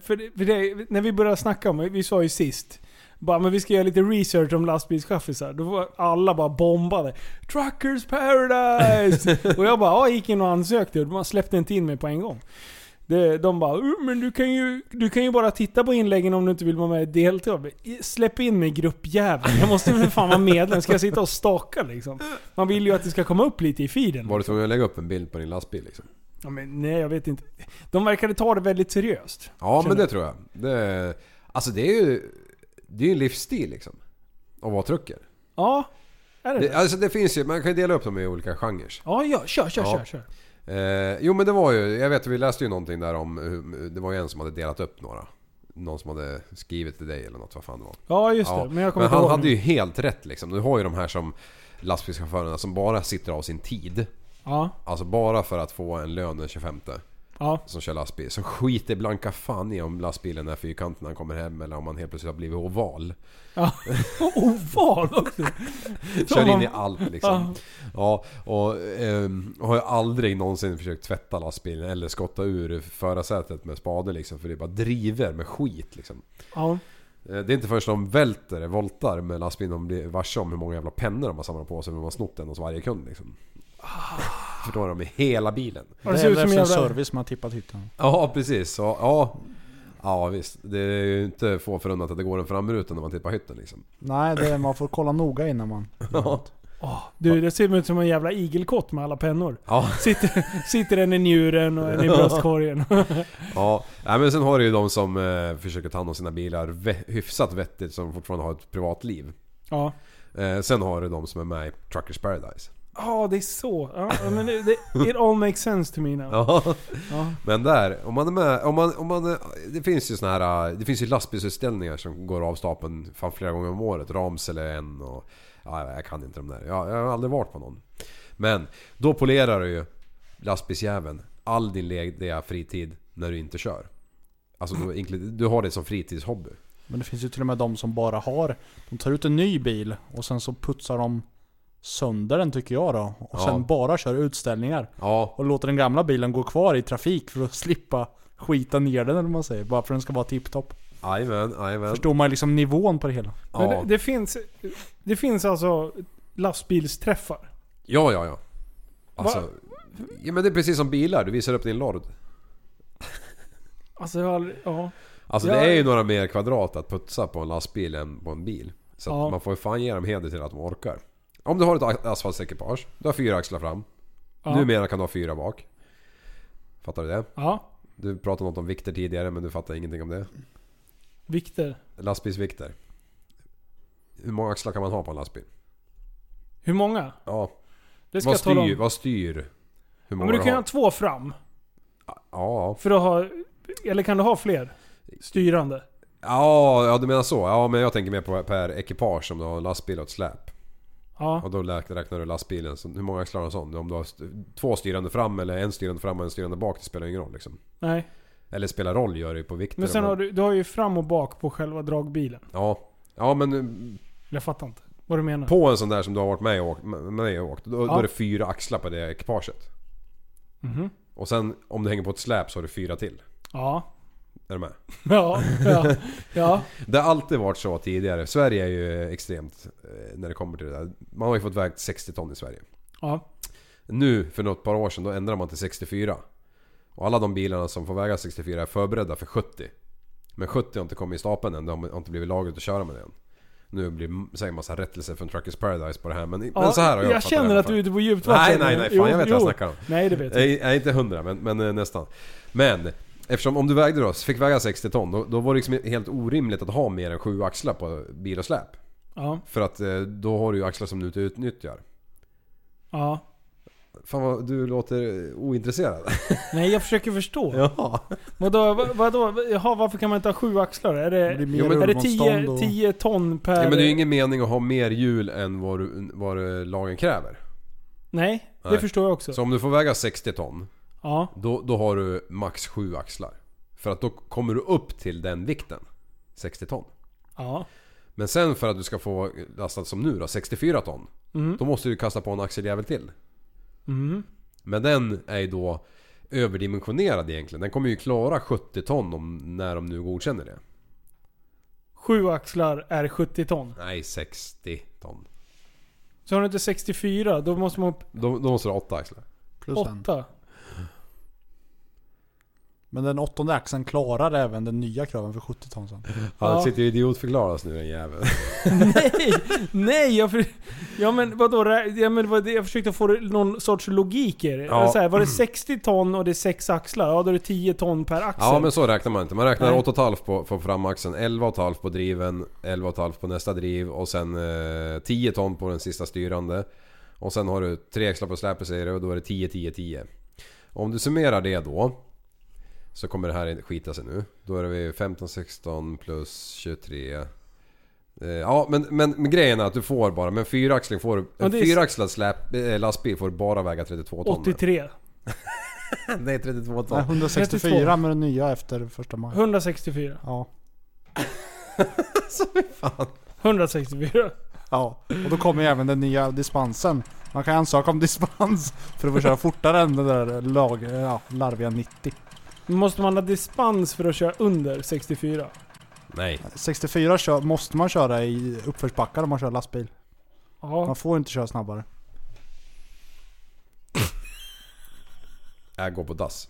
Speaker 2: för, det- för det, när vi började snacka om det, vi sa ju sist. Bara, men vi ska göra lite research om lastbilschaffisar. Då var alla bara bombade. 'Truckers paradise!' och jag bara, ja, gick in och ansökte. och Man släppte inte in mig på en gång. Det, de bara, "Uh, men du kan, ju, du kan ju bara titta på inläggen om du inte vill vara med i delta. Släpp in mig gruppjäveln. Jag måste ju för fan vara medlem. Ska jag sitta och staka liksom? Man vill ju att det ska komma upp lite i feeden.
Speaker 3: Var du tvungen att lägga upp en bild på din lastbil liksom?
Speaker 2: Ja, men, nej, jag vet inte. De verkade ta det väldigt seriöst.
Speaker 3: Ja,
Speaker 2: Känner
Speaker 3: men det
Speaker 2: du?
Speaker 3: tror jag. Det, alltså det är ju det är ju en livsstil liksom. Att vara trucker.
Speaker 2: Ja, är det
Speaker 3: Det,
Speaker 2: det?
Speaker 3: alltså det finns ju, man kan ju dela upp dem i olika genrer.
Speaker 2: Ja, ja, kör, kör,
Speaker 3: Ja.
Speaker 2: kör, kör.
Speaker 3: Eh, jo men det var ju, jag vet vi läste ju någonting där om, hur- det var ju en som hade delat upp några. Någon som hade skrivit till dig eller något, vad fan det var.
Speaker 2: Ja, just
Speaker 3: Ja,
Speaker 2: det. Men jag kommer
Speaker 3: men
Speaker 2: inte
Speaker 3: han
Speaker 2: ihåg
Speaker 3: hade
Speaker 2: nu.
Speaker 3: ju helt rätt liksom. Du har ju de här som lastbilschaufförerna som bara sitter av sin tid.
Speaker 2: Ja,
Speaker 3: Alltså bara för att få en lön den 25
Speaker 2: ja.
Speaker 3: som kör lastbil. Så skiter blanka fan i om lastbilen är fyrkantig när han kommer hem eller om han helt plötsligt har blivit oval.
Speaker 2: ja. Oval också.
Speaker 3: Kör in
Speaker 2: man-
Speaker 3: i allt liksom. Ja, och ehm, har ju aldrig någonsin försökt tvätta lastbilen eller skotta ur förarsätet med spade liksom. För det är bara driver med skit liksom.
Speaker 2: Ja.
Speaker 3: Eh, Det är inte först de välter, voltar med lastbilen de blir varse om hur många jävla pennor de har samlat på sig. Hur de har snott en hos varje kund liksom. För då har de i hela bilen.
Speaker 2: Och
Speaker 4: Det
Speaker 2: det ser
Speaker 4: är
Speaker 2: ut som
Speaker 4: därför
Speaker 2: en
Speaker 4: en
Speaker 2: jävla...
Speaker 4: service man har tippat hytten.
Speaker 3: Ja, precis. Så, ja. ja, visst. Det är ju inte få förunnat att det går en framruta när man tippar hytten liksom.
Speaker 4: Nej, det, man får kolla noga innan man...
Speaker 2: Du, det ser ut som en jävla igelkott med alla pennor.
Speaker 3: Ja.
Speaker 2: Sitter, sitter en i njuren och en i bröstkorgen.
Speaker 3: Ja, nej, men sen har du ju de som eh, försöker ta hand om sina bilar ve- hyfsat vettigt som fortfarande har ett privatliv.
Speaker 2: Ja.
Speaker 3: Eh, sen har du de som är med i Truckers Paradise.
Speaker 2: Ja, det är så. Ja, men det, det, it all makes sense to me now.
Speaker 3: Ja.
Speaker 2: Ja.
Speaker 3: Men där, om man är med... Om man, om man, eh, det finns ju såna här... eh, Det finns ju lastbilsutställningar som går av stapeln fan flera gånger om året. Ramsele är en och... Ja, jag kan inte de där. Jag, jag har aldrig varit på någon. Men då polerar du ju lastbilsjäveln all din lediga fritid när du inte kör. Alltså då, inkl- du har det som fritidshobby.
Speaker 4: Men det finns ju till och med de som bara har... De tar ut en ny bil och sen så putsar de sönder den tycker jag då. Och
Speaker 3: Ja.
Speaker 4: sen bara kör utställningar.
Speaker 3: Ja,
Speaker 4: Och låter den gamla bilen gå kvar i trafik för att slippa skita ner den eller vad man säger. Bara för att den ska vara tipptopp.
Speaker 3: Jajamän, jajamän.
Speaker 4: Förstår man liksom nivån på det hela?
Speaker 2: Men
Speaker 3: Ja.
Speaker 2: det, det, finns, det finns alltså lastbilsträffar.
Speaker 3: ja, ja, ja. Alltså, ja, men det är precis som bilar, du visar upp din lord.
Speaker 2: Alltså jag har aldrig, ja.
Speaker 3: Alltså
Speaker 2: Ja.
Speaker 3: det är ju några mer kvadrat att putsa på en lastbil än på en bil. Så att
Speaker 2: Ja.
Speaker 3: man får ju fan ge dem heder till att de orkar. Om du har ett a- asfaltsekipage, du har fyra axlar fram.
Speaker 2: Ja.
Speaker 3: Numera kan du ha fyra bak. Fattar du det?
Speaker 2: Ja.
Speaker 3: Du pratade något om vikter tidigare men du fattar ingenting om det.
Speaker 2: Vikter.
Speaker 3: Lastbilsvikter. Hur många axlar kan man ha på en lastbil?
Speaker 2: Hur många?
Speaker 3: Ja.
Speaker 2: Det ska
Speaker 3: Vad
Speaker 2: jag tala om.
Speaker 3: styr, vad styr? Hur
Speaker 2: Ja,
Speaker 3: många
Speaker 2: men du kan ju
Speaker 3: har?
Speaker 2: ha två fram.
Speaker 3: Ja,
Speaker 2: För att ha... Eller kan du ha fler? Styrande.
Speaker 3: Ja, ja du menar så. Ja, men jag tänker mer på per ekipage om du har en lastbil och ett släp.
Speaker 2: Ja.
Speaker 3: Och då lä- räknar du lastbilen. Så hur många klarar en sån? Om du har st- två styrande fram eller en styrande fram och en styrande bak, det spelar ingen roll liksom.
Speaker 2: Nej.
Speaker 3: Eller spelar roll gör det ju på vikter.
Speaker 2: Men sen
Speaker 3: och-
Speaker 2: har du, du har ju fram och bak på själva dragbilen.
Speaker 3: Ja. Ja men eh,
Speaker 2: Jag fattar inte vad du menar.
Speaker 3: på en sån där som du har varit med och åkt, med- med och åkt då, då
Speaker 2: Ja. Mhm.
Speaker 3: är det fyra axlar på det ekipaget. Och sen om du hänger på ett släp så har du fyra till.
Speaker 2: Ja.
Speaker 3: Är du med?
Speaker 2: Ja. Ja. ja.
Speaker 3: Det har alltid varit så tidigare. Sverige är ju extremt eh, när det kommer till det där. Man har ju fått vägt 60 ton i Sverige.
Speaker 2: ja.
Speaker 3: Nu för något par år sedan då ändrade man till 64. Och alla de bilarna som får väga 64 är förberedda för 70. Men 70 har inte kommit i stapeln än, det har har inte blivit lagligt att köra med det än. Nu blir, säger man så här rättelse från Truckers Paradise på det här men, men så här har jag
Speaker 2: jag
Speaker 3: uppfattat det i
Speaker 2: känner
Speaker 3: alla
Speaker 2: att du är
Speaker 3: fall.
Speaker 2: ute på djupt
Speaker 3: Nej,
Speaker 2: vatten.
Speaker 3: nej, nej. Fan,
Speaker 2: Jo,
Speaker 3: jag vet vad jag
Speaker 2: jo.
Speaker 3: snackar om. Eh.
Speaker 2: Nej, det vet jag.
Speaker 3: Nej, nej, inte hundra, men, men eh, nästan. Men eftersom om du vägde då, fick väga 60 ton, då, då var det liksom helt orimligt att ha mer än sju axlar på bil och släp.
Speaker 2: Ja,
Speaker 3: För att eh, då har du ju axlar som du inte utnyttjar.
Speaker 2: ja.
Speaker 3: Fan vad du låter ointresserad.
Speaker 2: Nej, jag försöker förstå.
Speaker 3: Ja.
Speaker 2: Vadå, va- vadå? Jaha, varför kan man inte ha sju axlar? Är
Speaker 4: Det
Speaker 2: det,
Speaker 4: blir mer
Speaker 3: Jo, men-
Speaker 2: är det
Speaker 4: rullmotstånd
Speaker 2: 10,
Speaker 4: och-
Speaker 2: 10 ton per...
Speaker 3: men det är ju ingen mening att ha mer hjul än vad, du, vad eh, lagen kräver.
Speaker 2: Nej, det
Speaker 3: Nej.
Speaker 2: förstår jag också.
Speaker 3: Så om du får väga 60 ton,
Speaker 2: Ja,
Speaker 3: då, då har du max sju axlar. För att då kommer du upp till den vikten. 60 ton.
Speaker 2: ja.
Speaker 3: Men sen för att du ska få lastat som nu då, 64 ton. Då måste du kasta på en axeljävel till.
Speaker 2: Mm.
Speaker 3: Men den är ju då överdimensionerad egentligen. Den kommer ju klara 70 ton om, när de nu godkänner det.
Speaker 2: Sju axlar är 70 ton.
Speaker 3: Nej, 60 ton.
Speaker 2: Så har du inte 64, då måste man upp
Speaker 3: Då, då måste du ha 8 axlar.
Speaker 4: Plus den.
Speaker 2: 8.
Speaker 4: Men den åttonde axeln klarar även den nya kraven för 70 ton sen.
Speaker 3: Han
Speaker 2: Ja.
Speaker 3: sitter ju idiotförklaras nu den jäveln.
Speaker 2: Nej! Nej, jag för... Ja men vadå? rä- Ja, men vad det- jag försökte få det- någon sorts logik i det.
Speaker 3: Ja.
Speaker 2: Så här, var det 60 ton och det är 6 axlar? Ja, då är det 10 ton per axel.
Speaker 3: Ja men så räknar man inte. Man räknar
Speaker 2: Nej.
Speaker 3: 8,5 på, på framaxeln, 11,5 på driven, 11,5 på nästa driv och sen eh, 10 ton på den sista styrande. Och sen har du tre axlar på släpet säger du och då är det 10, 10, 10. Om du summerar det då så kommer det här skita sig nu. Då är det vi 15, 16 plus 23. Eh, Ja men, men, men grejen är att du får bara, men fyraxling får,
Speaker 2: Ja,
Speaker 3: en
Speaker 2: det är-
Speaker 3: fyraxlad släp, eh, lastbil får bara väga 32 ton.
Speaker 2: 83.
Speaker 3: Nej 32 ton.
Speaker 4: Nej, 164 med den nya efter första maj.
Speaker 2: 164.
Speaker 4: Ja.
Speaker 2: 164.
Speaker 4: ja. Och då kommer ju även den nya dispensen. Man kan ju ansöka om dispens för att få köra fortare än den där lag, ja, larviga 90.
Speaker 2: Måste man ha dispens för att köra under 64?
Speaker 3: Nej.
Speaker 4: 64 kör, måste man köra i uppförsbackar om man kör lastbil.
Speaker 2: Ja.
Speaker 4: Man får inte köra snabbare.
Speaker 3: Jag går på dass.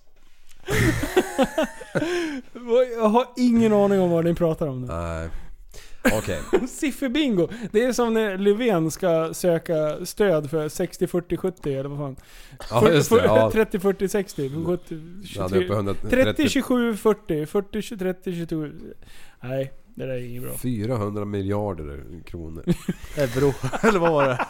Speaker 2: Jag har ingen aning om vad ni pratar om nu.
Speaker 3: Nej. Okej.
Speaker 2: Sifferbingo! Det är som när Löfven ska söka stöd för 60, 40, 70 eller vad fan.
Speaker 3: Ja just det. Ja.
Speaker 2: 30, 40, 60, 70,
Speaker 3: Jag hade
Speaker 2: 23.
Speaker 3: uppe
Speaker 2: 30,
Speaker 3: 130,
Speaker 2: 27, 40, 40, 20, 30, 27. Nej, det där är inget bra.
Speaker 3: 400 miljarder kronor.
Speaker 4: Euro, eller vad var det?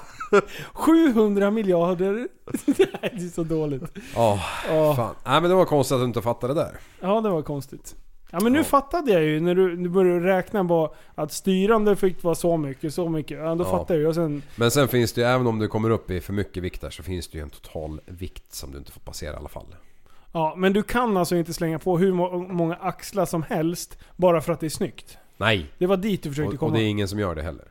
Speaker 2: 700 miljarder! Nej, det är så dåligt.
Speaker 3: Ja,
Speaker 2: Ja,
Speaker 3: fan. Nej men det var konstigt att du inte fattade det där.
Speaker 2: ja det var konstigt. Ja men nu
Speaker 3: Ja.
Speaker 2: fattade jag ju när du, du började räkna på att styrande fick vara så mycket, så mycket. Ja, då
Speaker 3: Ja.
Speaker 2: fattade jag ju. Och sen...
Speaker 3: Men sen finns det ju, även om du kommer upp i för mycket vikt där så finns det ju en total vikt som du inte får passera i alla fall.
Speaker 2: Ja, men du kan alltså inte slänga på hur må- många axlar som helst bara för att det är snyggt.
Speaker 3: Nej!
Speaker 2: Det var dit du
Speaker 3: Och,
Speaker 2: försökte
Speaker 3: och
Speaker 2: komma.
Speaker 3: det är ingen som gör det heller.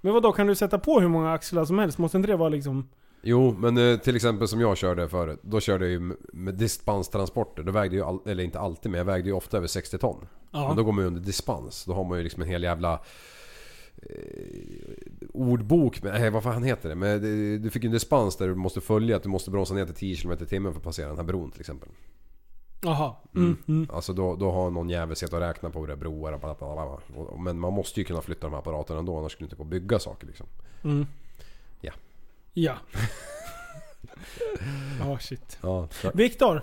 Speaker 2: Men vad då kan du sätta på hur många axlar som helst? Måste inte det vara liksom...
Speaker 3: Jo, men eh, till exempel som jag körde förut. Då körde jag ju med- med dispenstransporter. Då vägde ju, all, eller inte alltid, men jag vägde ju ofta över 60 ton.
Speaker 2: Ja.
Speaker 3: Men då går man ju under dispens. Då har man ju liksom en hel jävla eh, ordbok med, nej vad fan heter det? Men det, du fick ju en dispens där du måste följa att du måste bromsa ner till 10 km i timmen för att passera den här bron till exempel.
Speaker 2: Jaha. Mm. Mm.
Speaker 3: Alltså då, då har någon jävel sett och räknat på hur det är broar och bla, bla, bla, bla. Och- Men man måste ju kunna flytta de här apparaterna ändå annars skulle du inte få bygga saker liksom.
Speaker 2: Mm.
Speaker 3: Ja.
Speaker 2: Ja. Ja, shit.
Speaker 3: Ja,
Speaker 2: Viktor,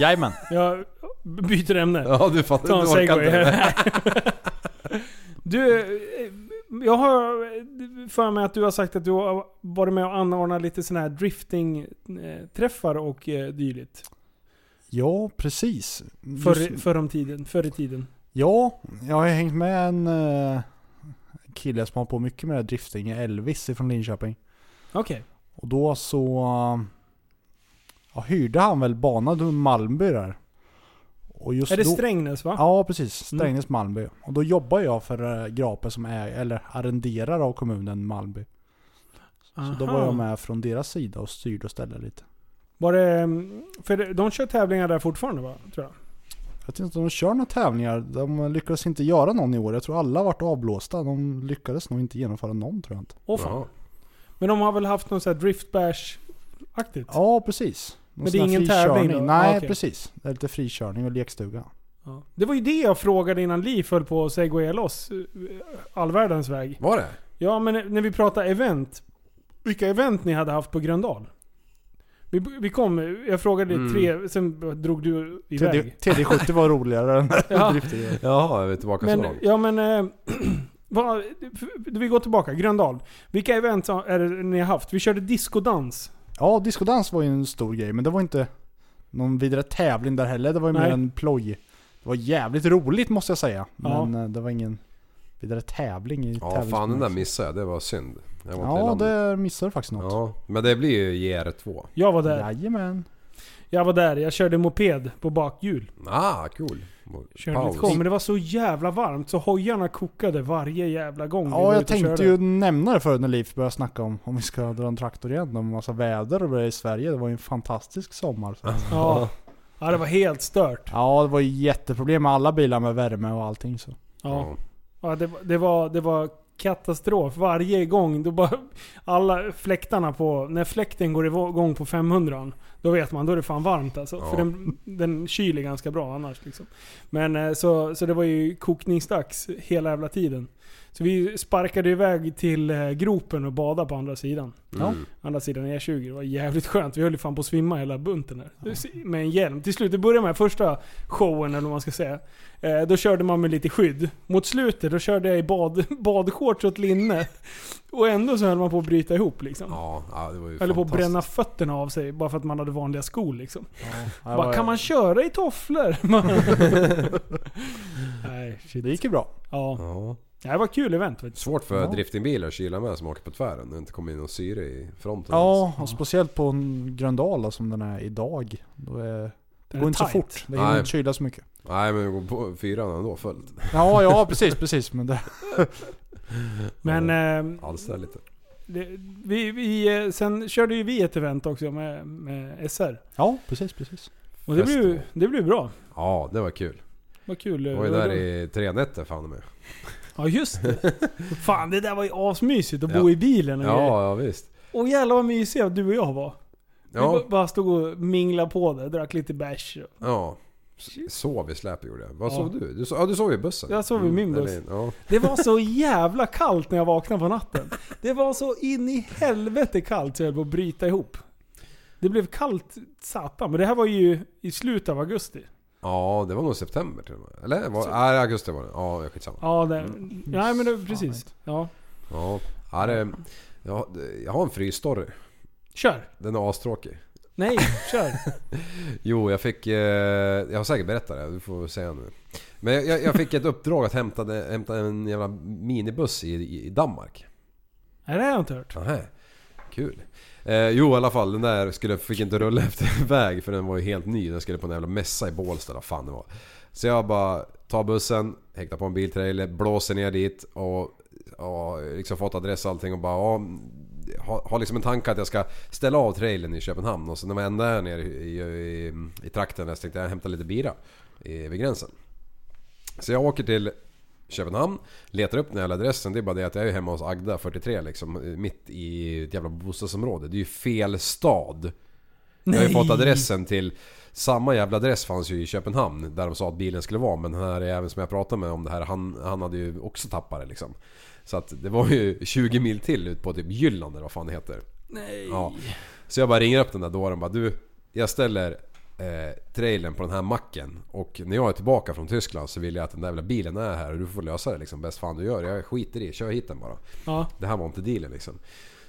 Speaker 4: Jajamän.
Speaker 2: jag byter ämne.
Speaker 3: ja du fattar,
Speaker 2: Ta en
Speaker 3: du orkar
Speaker 2: segway
Speaker 3: inte.
Speaker 2: här. Du, eh, jag har för mig att du har sagt att du har varit med och anordnat lite sådana här drifting-träffar och eh, dylikt.
Speaker 4: Ja, precis. Du-
Speaker 2: Förr, förr, om tiden, förr i tiden.
Speaker 4: Ja, jag har hängt med en eh, kille som har på mycket med drifting, Elvis från Linköping.
Speaker 2: Okej.
Speaker 4: Och då så eh, ja, hyrde han väl banan runt Malmby där. Och just
Speaker 2: Är det
Speaker 4: då,
Speaker 2: Strängnäs Mm. va?
Speaker 4: Ja, precis. Strängnäs Malmby. Och då jobbar jag för eh, Grape som är, eller arrenderar av kommunen Malmby. Så då var
Speaker 2: Aha.
Speaker 4: jag med från deras sida och styrde och ställde lite.
Speaker 2: Var det, mm, för det- de kör tävlingar där fortfarande va? Tror jag.
Speaker 4: Jag vet inte om de kör några tävlingar. De lyckades inte göra någon i år. Jag tror alla varit avblåsta. De lyckades nog inte genomföra någon tror jag inte.
Speaker 2: Åh fan. Men de har väl haft någon sån här driftbash-aktigt?
Speaker 4: Ja, precis.
Speaker 2: Men det är ingen tävling då?
Speaker 4: Nej,
Speaker 2: Ah, okej.
Speaker 4: precis. Det är lite frikörning och lekstuga.
Speaker 2: Ja. Det var ju det jag frågade innan Liv höll på att segwaya loss eh, all världens väg.
Speaker 3: Var det?
Speaker 2: Ja, men när vi pratade event. Vilka event ni hade haft på Gröndal? Vi, vi kom, jag frågade
Speaker 3: Mm.
Speaker 2: tre, sen drog du
Speaker 4: TD,
Speaker 2: iväg.
Speaker 4: TD70 var roligare än
Speaker 2: Ja.
Speaker 4: driftiga.
Speaker 3: Jaha, jag är tillbaka så
Speaker 2: Men,
Speaker 3: långt.
Speaker 2: ja men... Eh, vad, vi går tillbaka, Gröndal. Vilka event är det ni har haft? Vi körde discodans.
Speaker 4: Ja, discodans var ju en stor grej, men det var inte någon vidare tävling där heller. Det var ju
Speaker 2: Nej.
Speaker 4: mer en ploj. Det var jävligt roligt måste jag säga.
Speaker 2: Ja.
Speaker 4: Men eh, det var ingen vidare tävling i
Speaker 3: Ja, fan den
Speaker 4: tävlingsbemärkelsen.
Speaker 3: där missade jag. Det var synd. Jag var
Speaker 4: Ja,
Speaker 3: det...
Speaker 4: det missade du faktiskt något.
Speaker 3: Ja, men det blir ju JR2.
Speaker 2: Jag var där.
Speaker 4: Jajamän.
Speaker 2: Jag var där. Jag körde moped på bakhjul.
Speaker 3: Ah, cool.
Speaker 2: Körde
Speaker 3: Paus.
Speaker 2: lite kom, men det var så jävla varmt så hojarna kokade varje jävla gång vi var
Speaker 4: Ja, jag
Speaker 2: ute och
Speaker 4: tänkte
Speaker 2: körde.
Speaker 4: ju nämna det förut när Liv började snacka om om vi ska dra en traktor igen. Om massa väder och det i Sverige. Det var ju en fantastisk sommar. Så. att-
Speaker 2: Ja. ja, det var helt stört.
Speaker 4: Ja, det var ju jätteproblem med alla bilar med värme och allting. Så.
Speaker 2: Ja. Ja, det, var- det, var, det var katastrof. Varje gång, då bara, alla fläktarna på, när fläkten går igång på 500 då vet man, då är det fan varmt alltså.
Speaker 3: Ja.
Speaker 2: För den, den kyler ganska bra annars. Liksom. Men eh, så, så det var ju kokningsdags hela jävla tiden. Så vi sparkade iväg till eh, gropen och badade på andra sidan.
Speaker 4: Ja.
Speaker 3: Mm.
Speaker 2: Andra sidan E20. Det var jävligt skönt. Vi höll ju fan på att svimma hela bunten här. Med en hjälm. Till slut, det började med första showen eller vad man ska säga. Eh, då körde man med lite skydd. Mot slutet då körde jag i bad, badshorts och ett linne. Och ändå så höll man på att bryta ihop liksom.
Speaker 3: Ja, ja, det var ju
Speaker 2: Höll på att
Speaker 3: fantastiskt.
Speaker 2: bränna fötterna av sig bara för att man hade vanliga skor liksom.
Speaker 4: Det,
Speaker 2: Bara,
Speaker 4: var,
Speaker 2: kan man köra i tofflor? Nej, shit.
Speaker 4: det gick ju bra.
Speaker 2: Ja.
Speaker 3: Ja.
Speaker 2: Det var ett kul event. Vet du.
Speaker 3: Svårt för
Speaker 4: Ja.
Speaker 3: driftingbilar att kyla med som åker på tvären och inte kommer in någon syre i fronten.
Speaker 4: Ja, och speciellt på en Gröndal då, som den är idag. Då är, det
Speaker 2: är
Speaker 4: går inte så
Speaker 2: tight.
Speaker 4: fort. Det hinner
Speaker 3: Nej.
Speaker 4: inte kyla så mycket.
Speaker 3: Nej men vi går på fyran ändå fullt.
Speaker 4: Ja, ja precis, precis. Men det,
Speaker 2: Men... ehm,
Speaker 3: Alls där lite.
Speaker 2: Det, vi, vi, eh, sen körde ju vi ett event också med, med SR.
Speaker 4: ja, precis, precis.
Speaker 2: Och det
Speaker 3: Fest.
Speaker 2: blev, det blev bra.
Speaker 3: Ja det var kul.
Speaker 2: Vad kul. eh,
Speaker 3: Jag var ju där i tre nätter fan med.
Speaker 2: Ja just det. Fan det där var ju asmysigt att bo
Speaker 3: Ja.
Speaker 2: i bilen och grejer.
Speaker 3: Ja, ja visst.
Speaker 2: Och jävlar vad mysiga du och jag var. Vi
Speaker 3: Ja,
Speaker 2: ba- bara stod och minglade på där, drack lite bärs. och-
Speaker 3: ja. S- Sov i släp gjorde jag. Vad
Speaker 2: Ja.
Speaker 3: sov du? Du, so- ja, du sov i bussen?
Speaker 2: Jag sov i min
Speaker 3: Mm,
Speaker 2: buss.
Speaker 3: eller- Ja.
Speaker 2: Det var så jävla kallt när jag vaknade på natten. Det var så in i helvete kallt så jag höll på att bryta ihop. Det blev kallt satan. Men det här var ju i slutet av augusti.
Speaker 3: ja, det var nog september till och med. Eller? Var, nej, augusti var det. Ja, jag skitsamma.
Speaker 2: Ja, det,
Speaker 3: Mm.
Speaker 2: nej men det,
Speaker 4: Fan,
Speaker 2: precis. Ja.
Speaker 3: Ja. ja det, jag, jag har en frysstory.
Speaker 2: Kör!
Speaker 3: Den är astråkig.
Speaker 2: Nej, kör.
Speaker 3: Jo, jag fick... Eh, jag har säkert berättat det, du får säga nu. Men jag- jag, jag fick ett uppdrag att hämta, de- hämta en jävla minibuss i, i Danmark.
Speaker 2: Nej, det har jag inte hört.
Speaker 3: Aha. Kul. Eh, jo i alla fall, den där skulle, fick inte rulla efter väg för den var ju helt ny. Den skulle på en jävla mässa i Bålsta eller vad fan det var. Så jag bara tar bussen, häktar på en biltrailer, blåser ner dit och, och liksom fått adress och allting och bara ja, har, har liksom en tanke att jag ska ställa av trailern i Köpenhamn och sen när jag ändå är nere i, i, i, i trakten där så tänkte jag hämta lite bira i, vid gränsen. Så jag åker till Köpenhamn, letar upp den här jävla adressen. Det är bara det att jag är hemma hos Agda, 43 liksom. eh, Mitt i ett jävla bostadsområde. Det är ju fel stad. Jag har ju fått adressen till... Samma jävla adress fanns ju i Köpenhamn där de sa att bilen skulle vara. Men den här även som jag pratade med om det här, han, han hade ju också tappat det liksom. Så att det var ju 20 mil till ut på typ Jylland eller vad fan det heter. Nej. Ja. Så jag bara ringer upp den där dåren och bara du, jag ställer eh, trailern på den här macken och när jag är tillbaka från Tyskland så vill jag att den där jävla bilen är här och du får lösa det liksom bäst fan du gör. Jag skiter i, kör hit den bara.
Speaker 2: Ja.
Speaker 3: Det här var inte dealen liksom.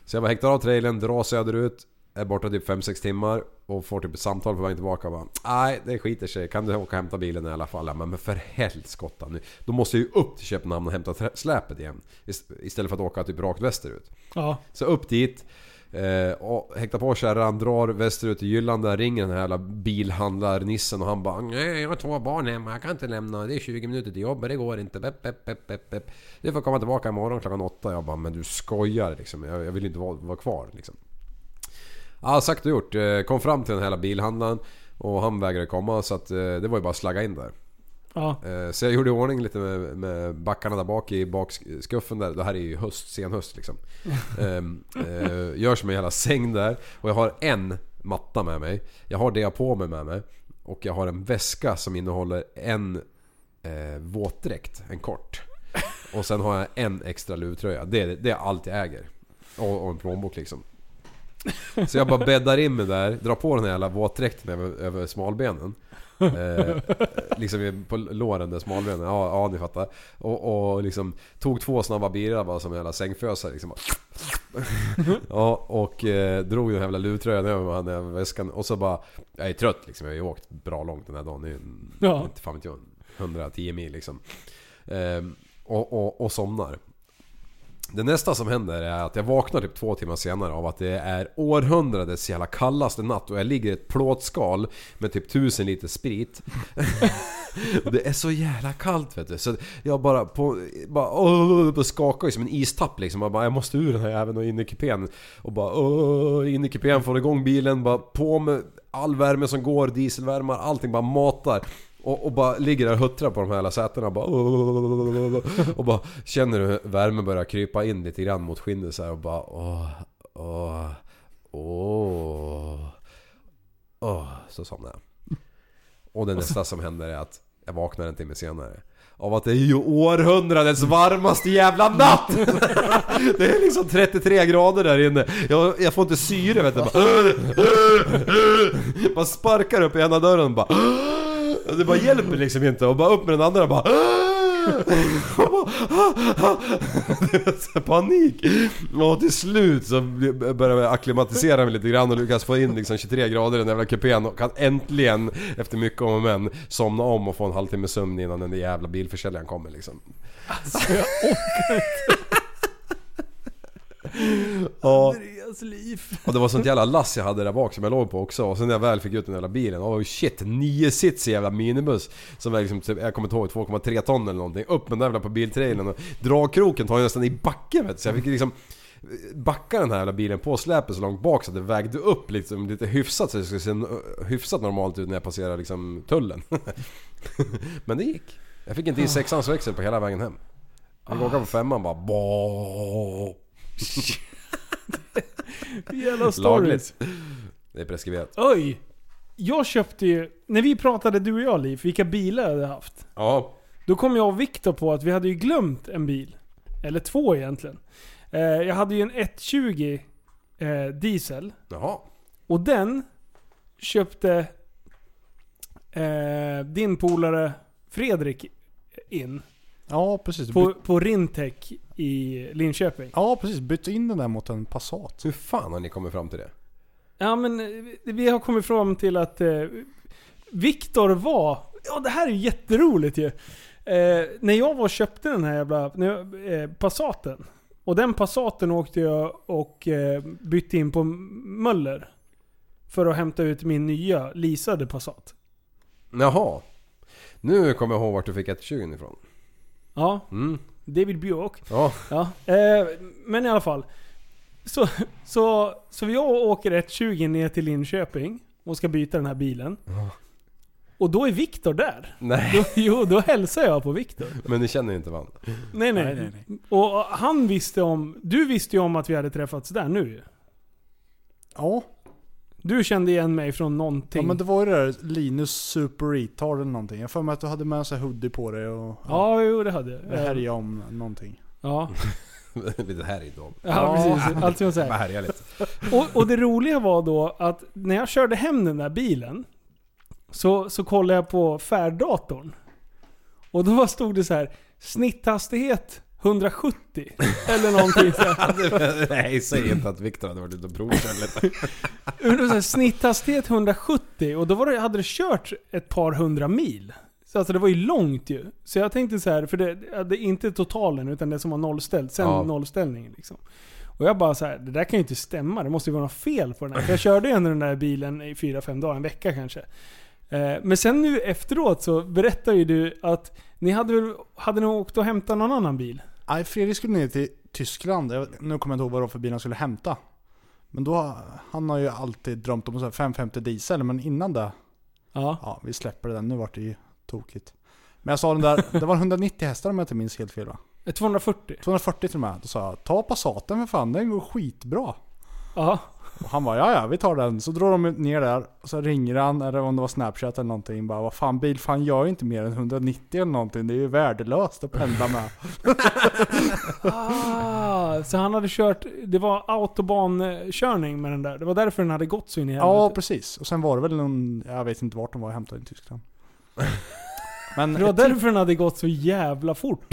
Speaker 3: Så jag bara häktar av trailern, drar söderut, är borta typ 5-6 timmar och får typ ett samtal på vägen tillbaka. Bara, Nej, det skiter sig. Kan du åka och hämta bilen i alla fall? Jag bara, Men för helskotta nu. Då måste jag ju upp till Köpenhamn och hämta trä- släpet igen. Ist- Istället för att åka typ rakt västerut.
Speaker 2: Ja.
Speaker 3: Så upp dit. Eh, och häktar på kärran, drar västerut till Jylland där ringer den här jävla bilhandlarnissen och han bara Nej jag har två barn hemma, jag kan inte lämna. Det är 20 minuter till jobbet, det går inte. Pep, pep, pep, pep, pep. Du får komma tillbaka imorgon klockan åtta. Jag bara men du skojar liksom. Jag, jag vill inte vara, vara kvar liksom. Ja, sagt och gjort. Eh, Kom fram till den här jävla bilhandlaren och han vägrade komma så att eh, det var ju bara att slagga in där.
Speaker 2: Ja.
Speaker 3: Eh, Så jag gjorde i ordning lite med, med backarna där bak i bakskuffen där. Det här är ju höst, sen höst liksom. Ehm, eh, Gör som en jävla säng där. Och jag har en matta med mig. Jag har det jag har på mig med mig. Och jag har en väska som innehåller en eh, våtdräkt, en kort. Och sen har jag en extra luvtröja. Det är, det är allt jag äger. Och, och en plånbok liksom. Så jag bara bäddar in mig där, drar på den här jävla våtdräkten över, över smalbenen. Eh, liksom i- på låren där smalbenen, ja, ja ni fattar. Och, och liksom tog två snabba birrar bara som en jävla sängfösare liksom. Ja, och eh, drog den här jävla luvtröjan över mig, den här väskan och så bara... Jag är trött liksom, jag har ju åkt bra långt den här dagen. Det är ju en-
Speaker 2: Ja.
Speaker 3: inte fan vet jag, 110 mil liksom. Ehm, och, och, och somnar. Det nästa som händer är att jag vaknar typ två timmar senare av att det är århundradets jävla kallaste natt och jag ligger i ett plåtskal med typ tusen liter sprit. Och det är så jävla kallt vet du. Så jag bara, på, bara åh, på skakar ju som en istapp liksom. Jag, bara, jag måste ur den här även och in i kupén. Och bara åh, in i kupén, får igång bilen, bara på med all värme som går, dieselvärmar, allting bara matar. Och, och bara ligger där och huttrar på de här jävla sätena och bara, åh, och bara känner hur värmen börjar krypa in lite grann mot skinnet så här och bara åh, åh, åh, åh. Så somnar jag. Och det nästa som händer är att jag vaknar en timme senare. Av att det är ju århundradets varmaste jävla natt! Det är liksom 33 grader där inne. Jag, jag får inte syre vet du. Bara, bara sparkar upp i ena dörren bara. "Ah!" Det bara hjälper liksom inte. Och bara upp med den andra bara. "Ah!" Det är så här "Ah!" Panik! Och till slut så börjar jag acklimatisera mig lite grann och lyckas få in liksom 23 grader i den jävla kupén och kan äntligen efter mycket om och men somna om och få en halvtimme sömn innan den där jävla bilförsäljaren kommer liksom. Ja.
Speaker 2: Andreas liv.
Speaker 3: Och det var sånt jävla lass jag hade där bak som jag låg på också. Och sen när jag väl fick ut den jävla bilen. Oh shit, nio sits i jävla minibuss. Som väger liksom, typ, jag kommer inte ihåg, 2,3 ton eller någonting. Upp med den jävla på biltrailern och dragkroken tar ju nästan i backen vet du. Så jag fick liksom backa den här jävla bilen på släpet så långt bak så att det vägde upp liksom, lite hyfsat så det skulle se n- eh, hyfsat normalt ut när jag passerar liksom tullen. Men det gick. Jag fick inte i sexans växel på hela vägen hem. Jag åkte på femman bara boop.
Speaker 2: Jävla stories.
Speaker 3: Lagligt. Det är preskriberat.
Speaker 2: Oj! Jag köpte ju, när vi pratade du och jag Liv, vilka bilar jag hade haft.
Speaker 3: Ja,
Speaker 2: Då kom jag och Viktor på att vi hade ju glömt en bil. Eller två egentligen. Eh, jag hade ju en 120 eh, diesel.
Speaker 3: jaha.
Speaker 2: Och den köpte eh, din polare Fredrik in.
Speaker 4: Ja, precis. Du
Speaker 2: På,
Speaker 4: byt-
Speaker 2: på Rintec i Linköping.
Speaker 4: ja, precis. Bytt in den där mot en Passat.
Speaker 3: Hur fan har ni kommit fram till det?
Speaker 2: Ja men eh, vi- vi har kommit fram till att eh, Viktor var... Ja det här är ju jätteroligt ju. Eh, när jag var och köpte den här jävla när jag, eh, Passaten. Och den Passaten åkte jag och eh, bytte in på Möller. För att hämta ut min nya leasade Passat.
Speaker 3: Jaha. Nu kommer jag ihåg vart du fick 120 ifrån.
Speaker 2: Ja,
Speaker 3: Mm.
Speaker 2: David Björk.
Speaker 3: Ja.
Speaker 2: Ja, eh, men i alla fall. Så, så, så jag åker 120 ner till Linköping och ska byta den här bilen. Och då är Viktor där.
Speaker 3: Nej,
Speaker 2: Då, jo, då hälsar jag på Viktor.
Speaker 3: men ni känner inte varandra.
Speaker 2: Nej, nej. Och han visste om... Du visste ju om att vi hade träffats där nu ju.
Speaker 4: Ja,
Speaker 2: Du kände igen mig från någonting.
Speaker 4: ja men det var ju det där Linus Super Retard eller någonting. Jag får mig att du hade med en sån här hoodie på dig och
Speaker 2: Ja, jo det hade jag.
Speaker 4: det härjade om någonting.
Speaker 2: Ja,
Speaker 3: Lite härj då.
Speaker 2: ja precis. Allt som jag säger.
Speaker 3: Bara härja lite.
Speaker 2: och, och det roliga var då att när jag körde hem den där bilen så, så kollade jag på färddatorn. Och då var- stod det så här snitthastighet 170 eller någonting så här.
Speaker 3: Nej, säg inte att Viktor hade varit ute och provkört lite.
Speaker 2: Men det var så här, Snitthastighet 170 och då var det, hade det kört ett par hundra mil. Så alltså det var ju långt ju. Så jag tänkte så här, för det, det är inte totalen utan det som var nollställt, sen
Speaker 3: Ja.
Speaker 2: nollställningen liksom. Och jag bara så här, det där kan ju inte stämma, det måste ju vara något fel på den här. För jag körde ju ändå den där bilen i fyra fem dagar, en vecka kanske. Eh, Men sen nu efteråt så berättar ju du att ni hade väl, hade ni åkt och hämtat någon annan bil?
Speaker 4: Nej, Fredrik skulle ner till Tyskland. Jag, nu kommer jag inte ihåg vad det var för bil han skulle hämta. Men då, han har ju alltid drömt om en sån här 550 diesel, men innan det
Speaker 2: Ja.
Speaker 4: Ja, vi släpper den. Nu vart det ju tokigt. Men jag sa den där, det var 190 hästar om jag inte minns helt fel va?
Speaker 2: 240?
Speaker 4: 240 till och med. Då sa jag, ta Passaten för fan, den går skitbra.
Speaker 2: Ja.
Speaker 4: Och han bara ja ja, vi tar den. Så drar de ner där, och så ringer han, eller om det var snapchat eller någonting. Bara vad fan bilfan gör ju inte mer än 190 eller någonting. Det är ju värdelöst att pendla med.
Speaker 2: Ah, så han hade kört, det var autobankörning med den där. Det var därför den hade gått så in i
Speaker 4: ja
Speaker 2: helvete.
Speaker 4: precis. Och sen var det väl någon, jag vet inte vart de var, jag hämtade i Tyskland. Men
Speaker 2: det var därför den hade gått så jävla fort.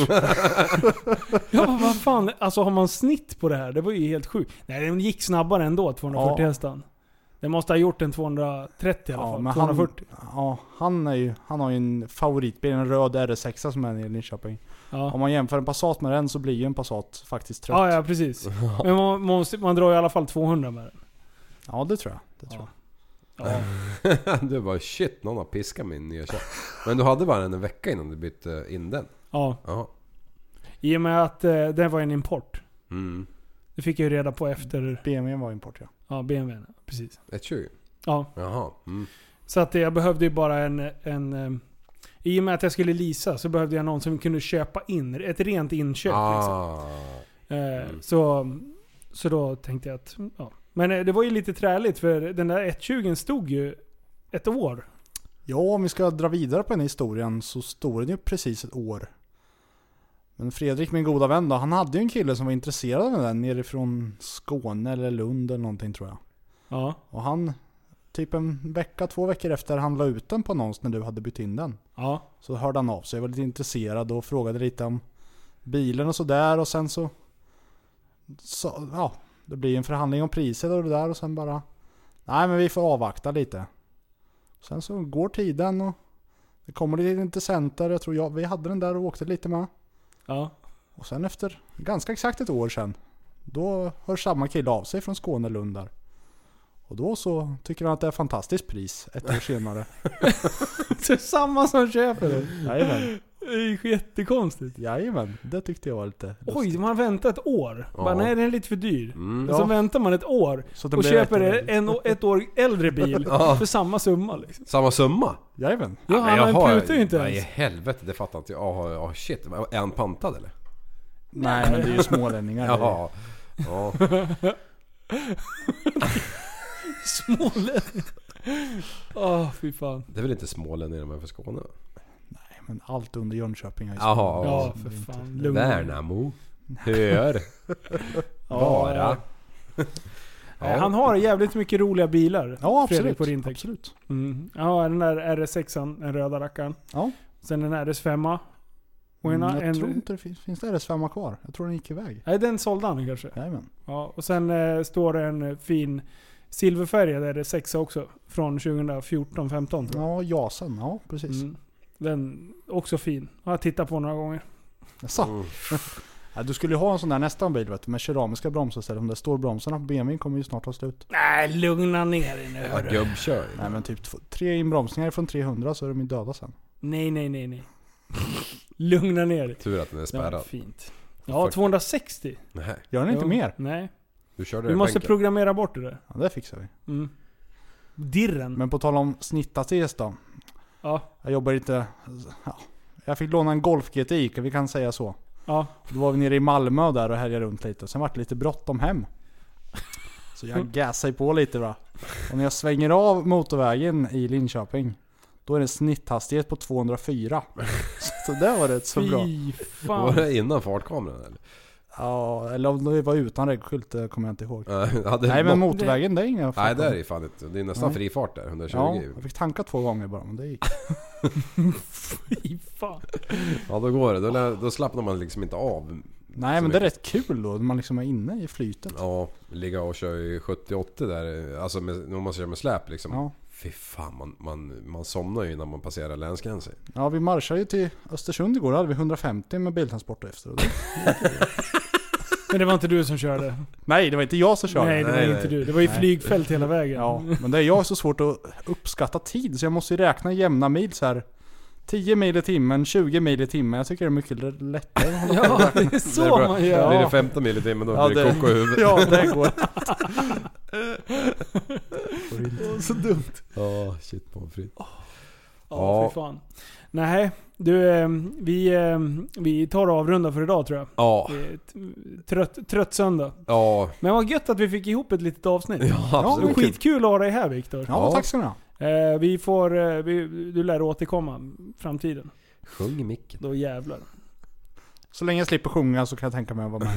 Speaker 2: jag bara, vad fan, alltså har man snitt på det här? Det var ju helt sjukt. Nej, den gick snabbare ändå, 240
Speaker 4: Ja.
Speaker 2: hästan. Den måste ha gjort en 230 i alla fall.
Speaker 4: men
Speaker 2: 240.
Speaker 4: Han, ja, han, är ju, han har ju en favoritbil, en röd RS6 som är nere i Linköping.
Speaker 2: ja.
Speaker 4: Om man jämför en Passat med den så blir ju en Passat faktiskt trött.
Speaker 2: Ja, ja, precis. Men man, man, måste- man drar i alla fall 200 med den.
Speaker 4: Ja, det tror jag. Det tror jag.
Speaker 2: Ja.
Speaker 3: Du bara shit, någon har piskat min nya kärl. Men du hade bara den en vecka innan du bytte in den.
Speaker 2: ja.
Speaker 3: Ja.
Speaker 2: I och med att eh, det var en import.
Speaker 3: Mm.
Speaker 2: Det fick jag ju reda på efter
Speaker 4: BMW var import ja.
Speaker 2: ja, BMWn. Precis.
Speaker 3: 120?
Speaker 2: Ja.
Speaker 3: Jaha. Mm.
Speaker 2: Så att jag behövde ju bara en, en... eh, I och med att jag skulle leasa så behövde jag någon som kunde köpa in. Ett rent inköp liksom.
Speaker 3: Ah.
Speaker 2: Eh, så, så då tänkte jag att... Ja. Men eh, det var ju lite träligt för den där 120 stod ju ett år.
Speaker 4: Ja, om vi ska dra vidare på den här historien så står den ju precis ett år. Men Fredrik, min goda vän då, han hade ju en kille som var intresserad av den nerifrån Skåne eller Lund eller någonting tror jag.
Speaker 2: Ja.
Speaker 4: Och han, typ en vecka, två veckor efter han la ut den på annons när du hade bytt in den.
Speaker 2: Ja.
Speaker 4: Så hörde han av sig, var lite intresserad och frågade lite om bilen och sådär och sen så... så ja, det blir en förhandling om priset och det där och sen bara... Nej men vi får avvakta lite. Sen så går tiden och det kommer lite intressenter. Jag tror jag, vi hade den där och åkte lite med.
Speaker 2: Ja.
Speaker 4: Och sen efter ganska exakt ett år sedan. Då hör samma kille av sig från Skåne Lund där. Och då så tycker han att det är ett fantastiskt pris ett år senare.
Speaker 2: Så samma som köper det.
Speaker 4: Jajamän.
Speaker 2: Det är ju jättekonstigt.
Speaker 4: Jajamän, det tyckte jag var lite
Speaker 2: Oj, man väntar ett år. Bara,
Speaker 3: Ja.
Speaker 2: nej, den är lite för dyr.
Speaker 3: Mm.
Speaker 2: Och så
Speaker 4: Ja.
Speaker 2: väntar man ett år
Speaker 4: Så det
Speaker 2: och
Speaker 4: blir
Speaker 2: köper
Speaker 4: ett år
Speaker 2: en- en, ett år äldre bil
Speaker 3: Ja.
Speaker 2: för samma summa. Liksom.
Speaker 3: Samma summa?
Speaker 4: Jajamän.
Speaker 2: Ja,
Speaker 3: Nej,
Speaker 2: han
Speaker 3: jaha,
Speaker 2: prutar ju inte
Speaker 3: Nej
Speaker 2: ens.
Speaker 3: helvete, det fattar inte jag. Jaha, ja, shit. Är han pantad eller?
Speaker 4: Nej men det är ju smålänningar.
Speaker 3: Jaha. Ja.
Speaker 2: Smålänning. Åh, fy fan.
Speaker 3: Det är väl inte smålänningar de är för Skåne? va?
Speaker 4: Nej, men allt under Jönköping är ju
Speaker 3: Jaha.
Speaker 2: Ja,
Speaker 3: Ja.
Speaker 2: för fan. Lugn.
Speaker 3: Värnamo. Hör. Vara.
Speaker 2: ja.
Speaker 3: Ja.
Speaker 2: Han har jävligt mycket roliga bilar.
Speaker 4: Ja
Speaker 2: Fredrik
Speaker 4: absolut.
Speaker 2: på din text.
Speaker 4: absolut.
Speaker 2: Mm. Ja, den där RS6an, den röda rackaren.
Speaker 4: Ja.
Speaker 2: Sen en RS5a. Och en,
Speaker 4: Mm, jag
Speaker 2: en,
Speaker 4: tror inte det finns, finns det RS5 kvar. Jag tror den gick iväg.
Speaker 2: Nej, den sålde han kanske.
Speaker 4: Jajamän.
Speaker 2: Ja, och sen eh, står det en eh, fin silverfärgad RS6 också. Från 2014-15 tror jag.
Speaker 4: Ja, Jasen. Ja precis.
Speaker 2: Mm. Den också fin. Har jag tittat på några gånger.
Speaker 4: Jaså?
Speaker 3: Mm.
Speaker 4: Ja, du skulle ju ha en sån där nästa bil vet du, med keramiska bromsar istället. De där stålbromsarna på BMWn kommer ju snart ta slut.
Speaker 2: Nej, lugna ner dig nu
Speaker 3: Ja,
Speaker 2: hörru.
Speaker 3: gubbkör.
Speaker 4: Nej men typ två, tre inbromsningar från 300 så är de ju döda sen.
Speaker 2: Nej, nej, nej, nej. lugna ner dig.
Speaker 3: Tur att den är
Speaker 2: Det var
Speaker 3: spärrad.
Speaker 2: fint. Ja,
Speaker 3: Fuck.
Speaker 2: 260.
Speaker 3: Nej,
Speaker 4: Gör den inte
Speaker 2: Jo.
Speaker 4: mer?
Speaker 2: Nej.
Speaker 3: du körde
Speaker 2: Vi
Speaker 3: den
Speaker 2: måste
Speaker 3: bänken.
Speaker 2: programmera bort det där.
Speaker 4: Ja, det fixar vi.
Speaker 2: Mm. Dirren.
Speaker 4: Men på tal om snitthastighet då.
Speaker 2: Ja,
Speaker 4: Jag jobbar inte... Ja. Jag fick låna en Golf GTI, vi kan säga så.
Speaker 2: ja.
Speaker 4: Då var vi nere i Malmö där och härjade runt lite. Sen vart det lite bråttom hem. Så jag gasade på lite va. Och när jag svänger av motorvägen i Linköping. Då är det en snitthastighet på 204. Så det var rätt så bra.
Speaker 2: Fy
Speaker 3: Var
Speaker 2: fan.
Speaker 3: det innan fartkameran eller?
Speaker 4: Ja, eller om det var utan reggskylt, det kommer jag inte ihåg.
Speaker 3: Nej, hade
Speaker 4: Nej men
Speaker 3: någon-
Speaker 4: motorvägen, det är inga
Speaker 3: Nej det är det fan inte. Det är nästan
Speaker 4: Nej.
Speaker 3: fri fart där, 120.
Speaker 4: Ja,
Speaker 3: Ja,
Speaker 4: jag fick tanka två gånger bara, men det gick.
Speaker 2: Fy fan.
Speaker 3: då går det. Då, lär- då slappnar man liksom inte av.
Speaker 4: Nej
Speaker 3: Så
Speaker 4: men det är
Speaker 3: mycket.
Speaker 4: rätt kul då, när man liksom är inne i flytet.
Speaker 3: Ja, ligga och köra i 70-80 där. Alltså med, om man kör med släp liksom.
Speaker 4: Ja.
Speaker 3: Fy fan, man, man, man somnar ju innan man passerar länsgränser.
Speaker 4: Ja, vi marschade ju till Östersund igår. Då hade vi 150 med biltransport efter. Och det-
Speaker 2: Men det var inte du som körde.
Speaker 4: Nej, det var inte jag som körde.
Speaker 2: Nej, det var
Speaker 3: Nej,
Speaker 2: inte
Speaker 3: nej.
Speaker 2: du. Det var ju
Speaker 4: Nej.
Speaker 2: flygfält hela vägen.
Speaker 4: Ja, men det är jag så svårt att uppskatta tid så jag måste ju räkna jämna mil så här. 10 mil i timmen, 20 mil i timmen. Jag tycker det är mycket lättare. att hålla-
Speaker 2: Ja, det är
Speaker 3: Det
Speaker 2: så
Speaker 3: är bra.
Speaker 2: man gör.
Speaker 3: Blir det 15 mil i timmen då
Speaker 4: Ja,
Speaker 3: blir det
Speaker 4: det-
Speaker 3: koko i huvudet.
Speaker 4: Ja, det går.
Speaker 2: Så dumt.
Speaker 3: Ja, shit på fritt.
Speaker 2: Ja,
Speaker 3: Ja.
Speaker 2: fy fan. Nej, du, eh, vi, eh, vi tar och avrundar för idag tror jag.
Speaker 3: Ja,
Speaker 2: Det är ett eh, Trött, trött söndag.
Speaker 3: ja,
Speaker 2: Men vad gött att vi fick ihop ett litet avsnitt.
Speaker 3: ja
Speaker 2: det var
Speaker 3: absolut.
Speaker 2: skitkul att ha dig här Viktor.
Speaker 4: Ja,
Speaker 3: Ja.
Speaker 4: tack ska ni ha.
Speaker 2: Eh, vi får, eh, vi, du lär återkomma framtiden.
Speaker 3: Sjung i micken.
Speaker 2: Då jävlar.
Speaker 4: Så länge jag slipper sjunga så kan jag tänka mig att vara med.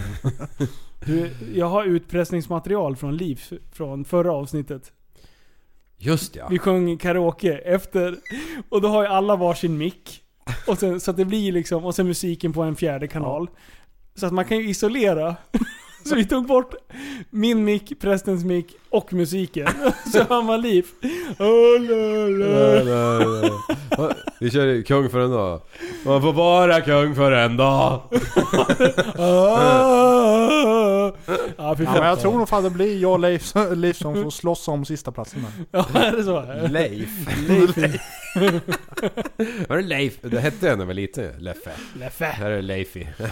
Speaker 2: Du, jag har utpressningsmaterial från Liv från förra avsnittet.
Speaker 3: Just ja.
Speaker 2: Vi sjöng karaoke efter och då har ju alla varsin mick. Och sen, så att det blir liksom, och sen musiken på en fjärde kanal. Så att man kan ju isolera. Så vi tog bort min mick, prästens mick och musiken. Så hör man Liv.
Speaker 4: Eh.
Speaker 3: Vi kör ju kung för en dag. Man får vara kung för en dag.
Speaker 2: Ah. Ja, fy
Speaker 4: Eh. Ja,
Speaker 2: fan.
Speaker 4: men jag tror nog fan det blir jag och Leif, Leif som får slåss om sista platsen där.
Speaker 2: Ja, är det så?
Speaker 3: Leif. Var det Leif? Det hette jag när jag var liten. Leffe.
Speaker 2: Leffe.
Speaker 3: Här är Leifi.
Speaker 2: Eh,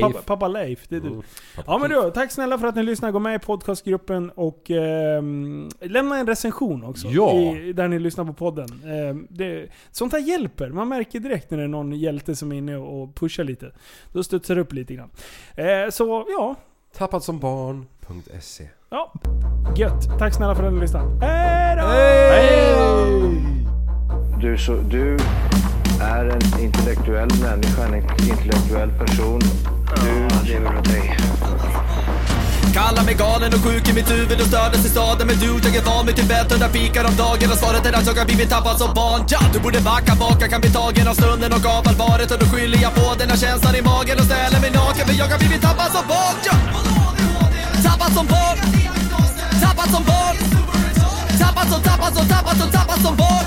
Speaker 2: Ja, pappa, pappa Leif, det är du. Ja men du, tack snälla för att ni lyssnar. Gå med i podcastgruppen och ehm, lämna en recension också.
Speaker 3: Ja.
Speaker 2: I, där ni lyssnar på podden. Ehm, det, sånt här hjälper. Man märker direkt när det är någon hjälte som är inne och och pushar lite. Då studsar det upp lite grann. Eh, så ja,
Speaker 3: Tappad som barn.se
Speaker 2: ja. Gött. Tack snälla för att ni lyssnar. Hej då!
Speaker 6: Du, är så, du är en intellektuell människa, en intellektuell person. Du lever åt dig.
Speaker 7: Kallar mig galen och sjuk i mitt huvud och stördes i staden Men du, jag är van vid Tibet under fikar om dagen Och svaret är att jag har blivit tappad som barn ja, Du borde backa bak, jag kan bli tagen av stunden och av allvaret Och då skyller jag på den här känslan i magen och ställer mig naken För jag har blivit tappad som barn ja. Tappad som barn Tappad som barn Tappad som, tappad som, tappad som, tappad som barn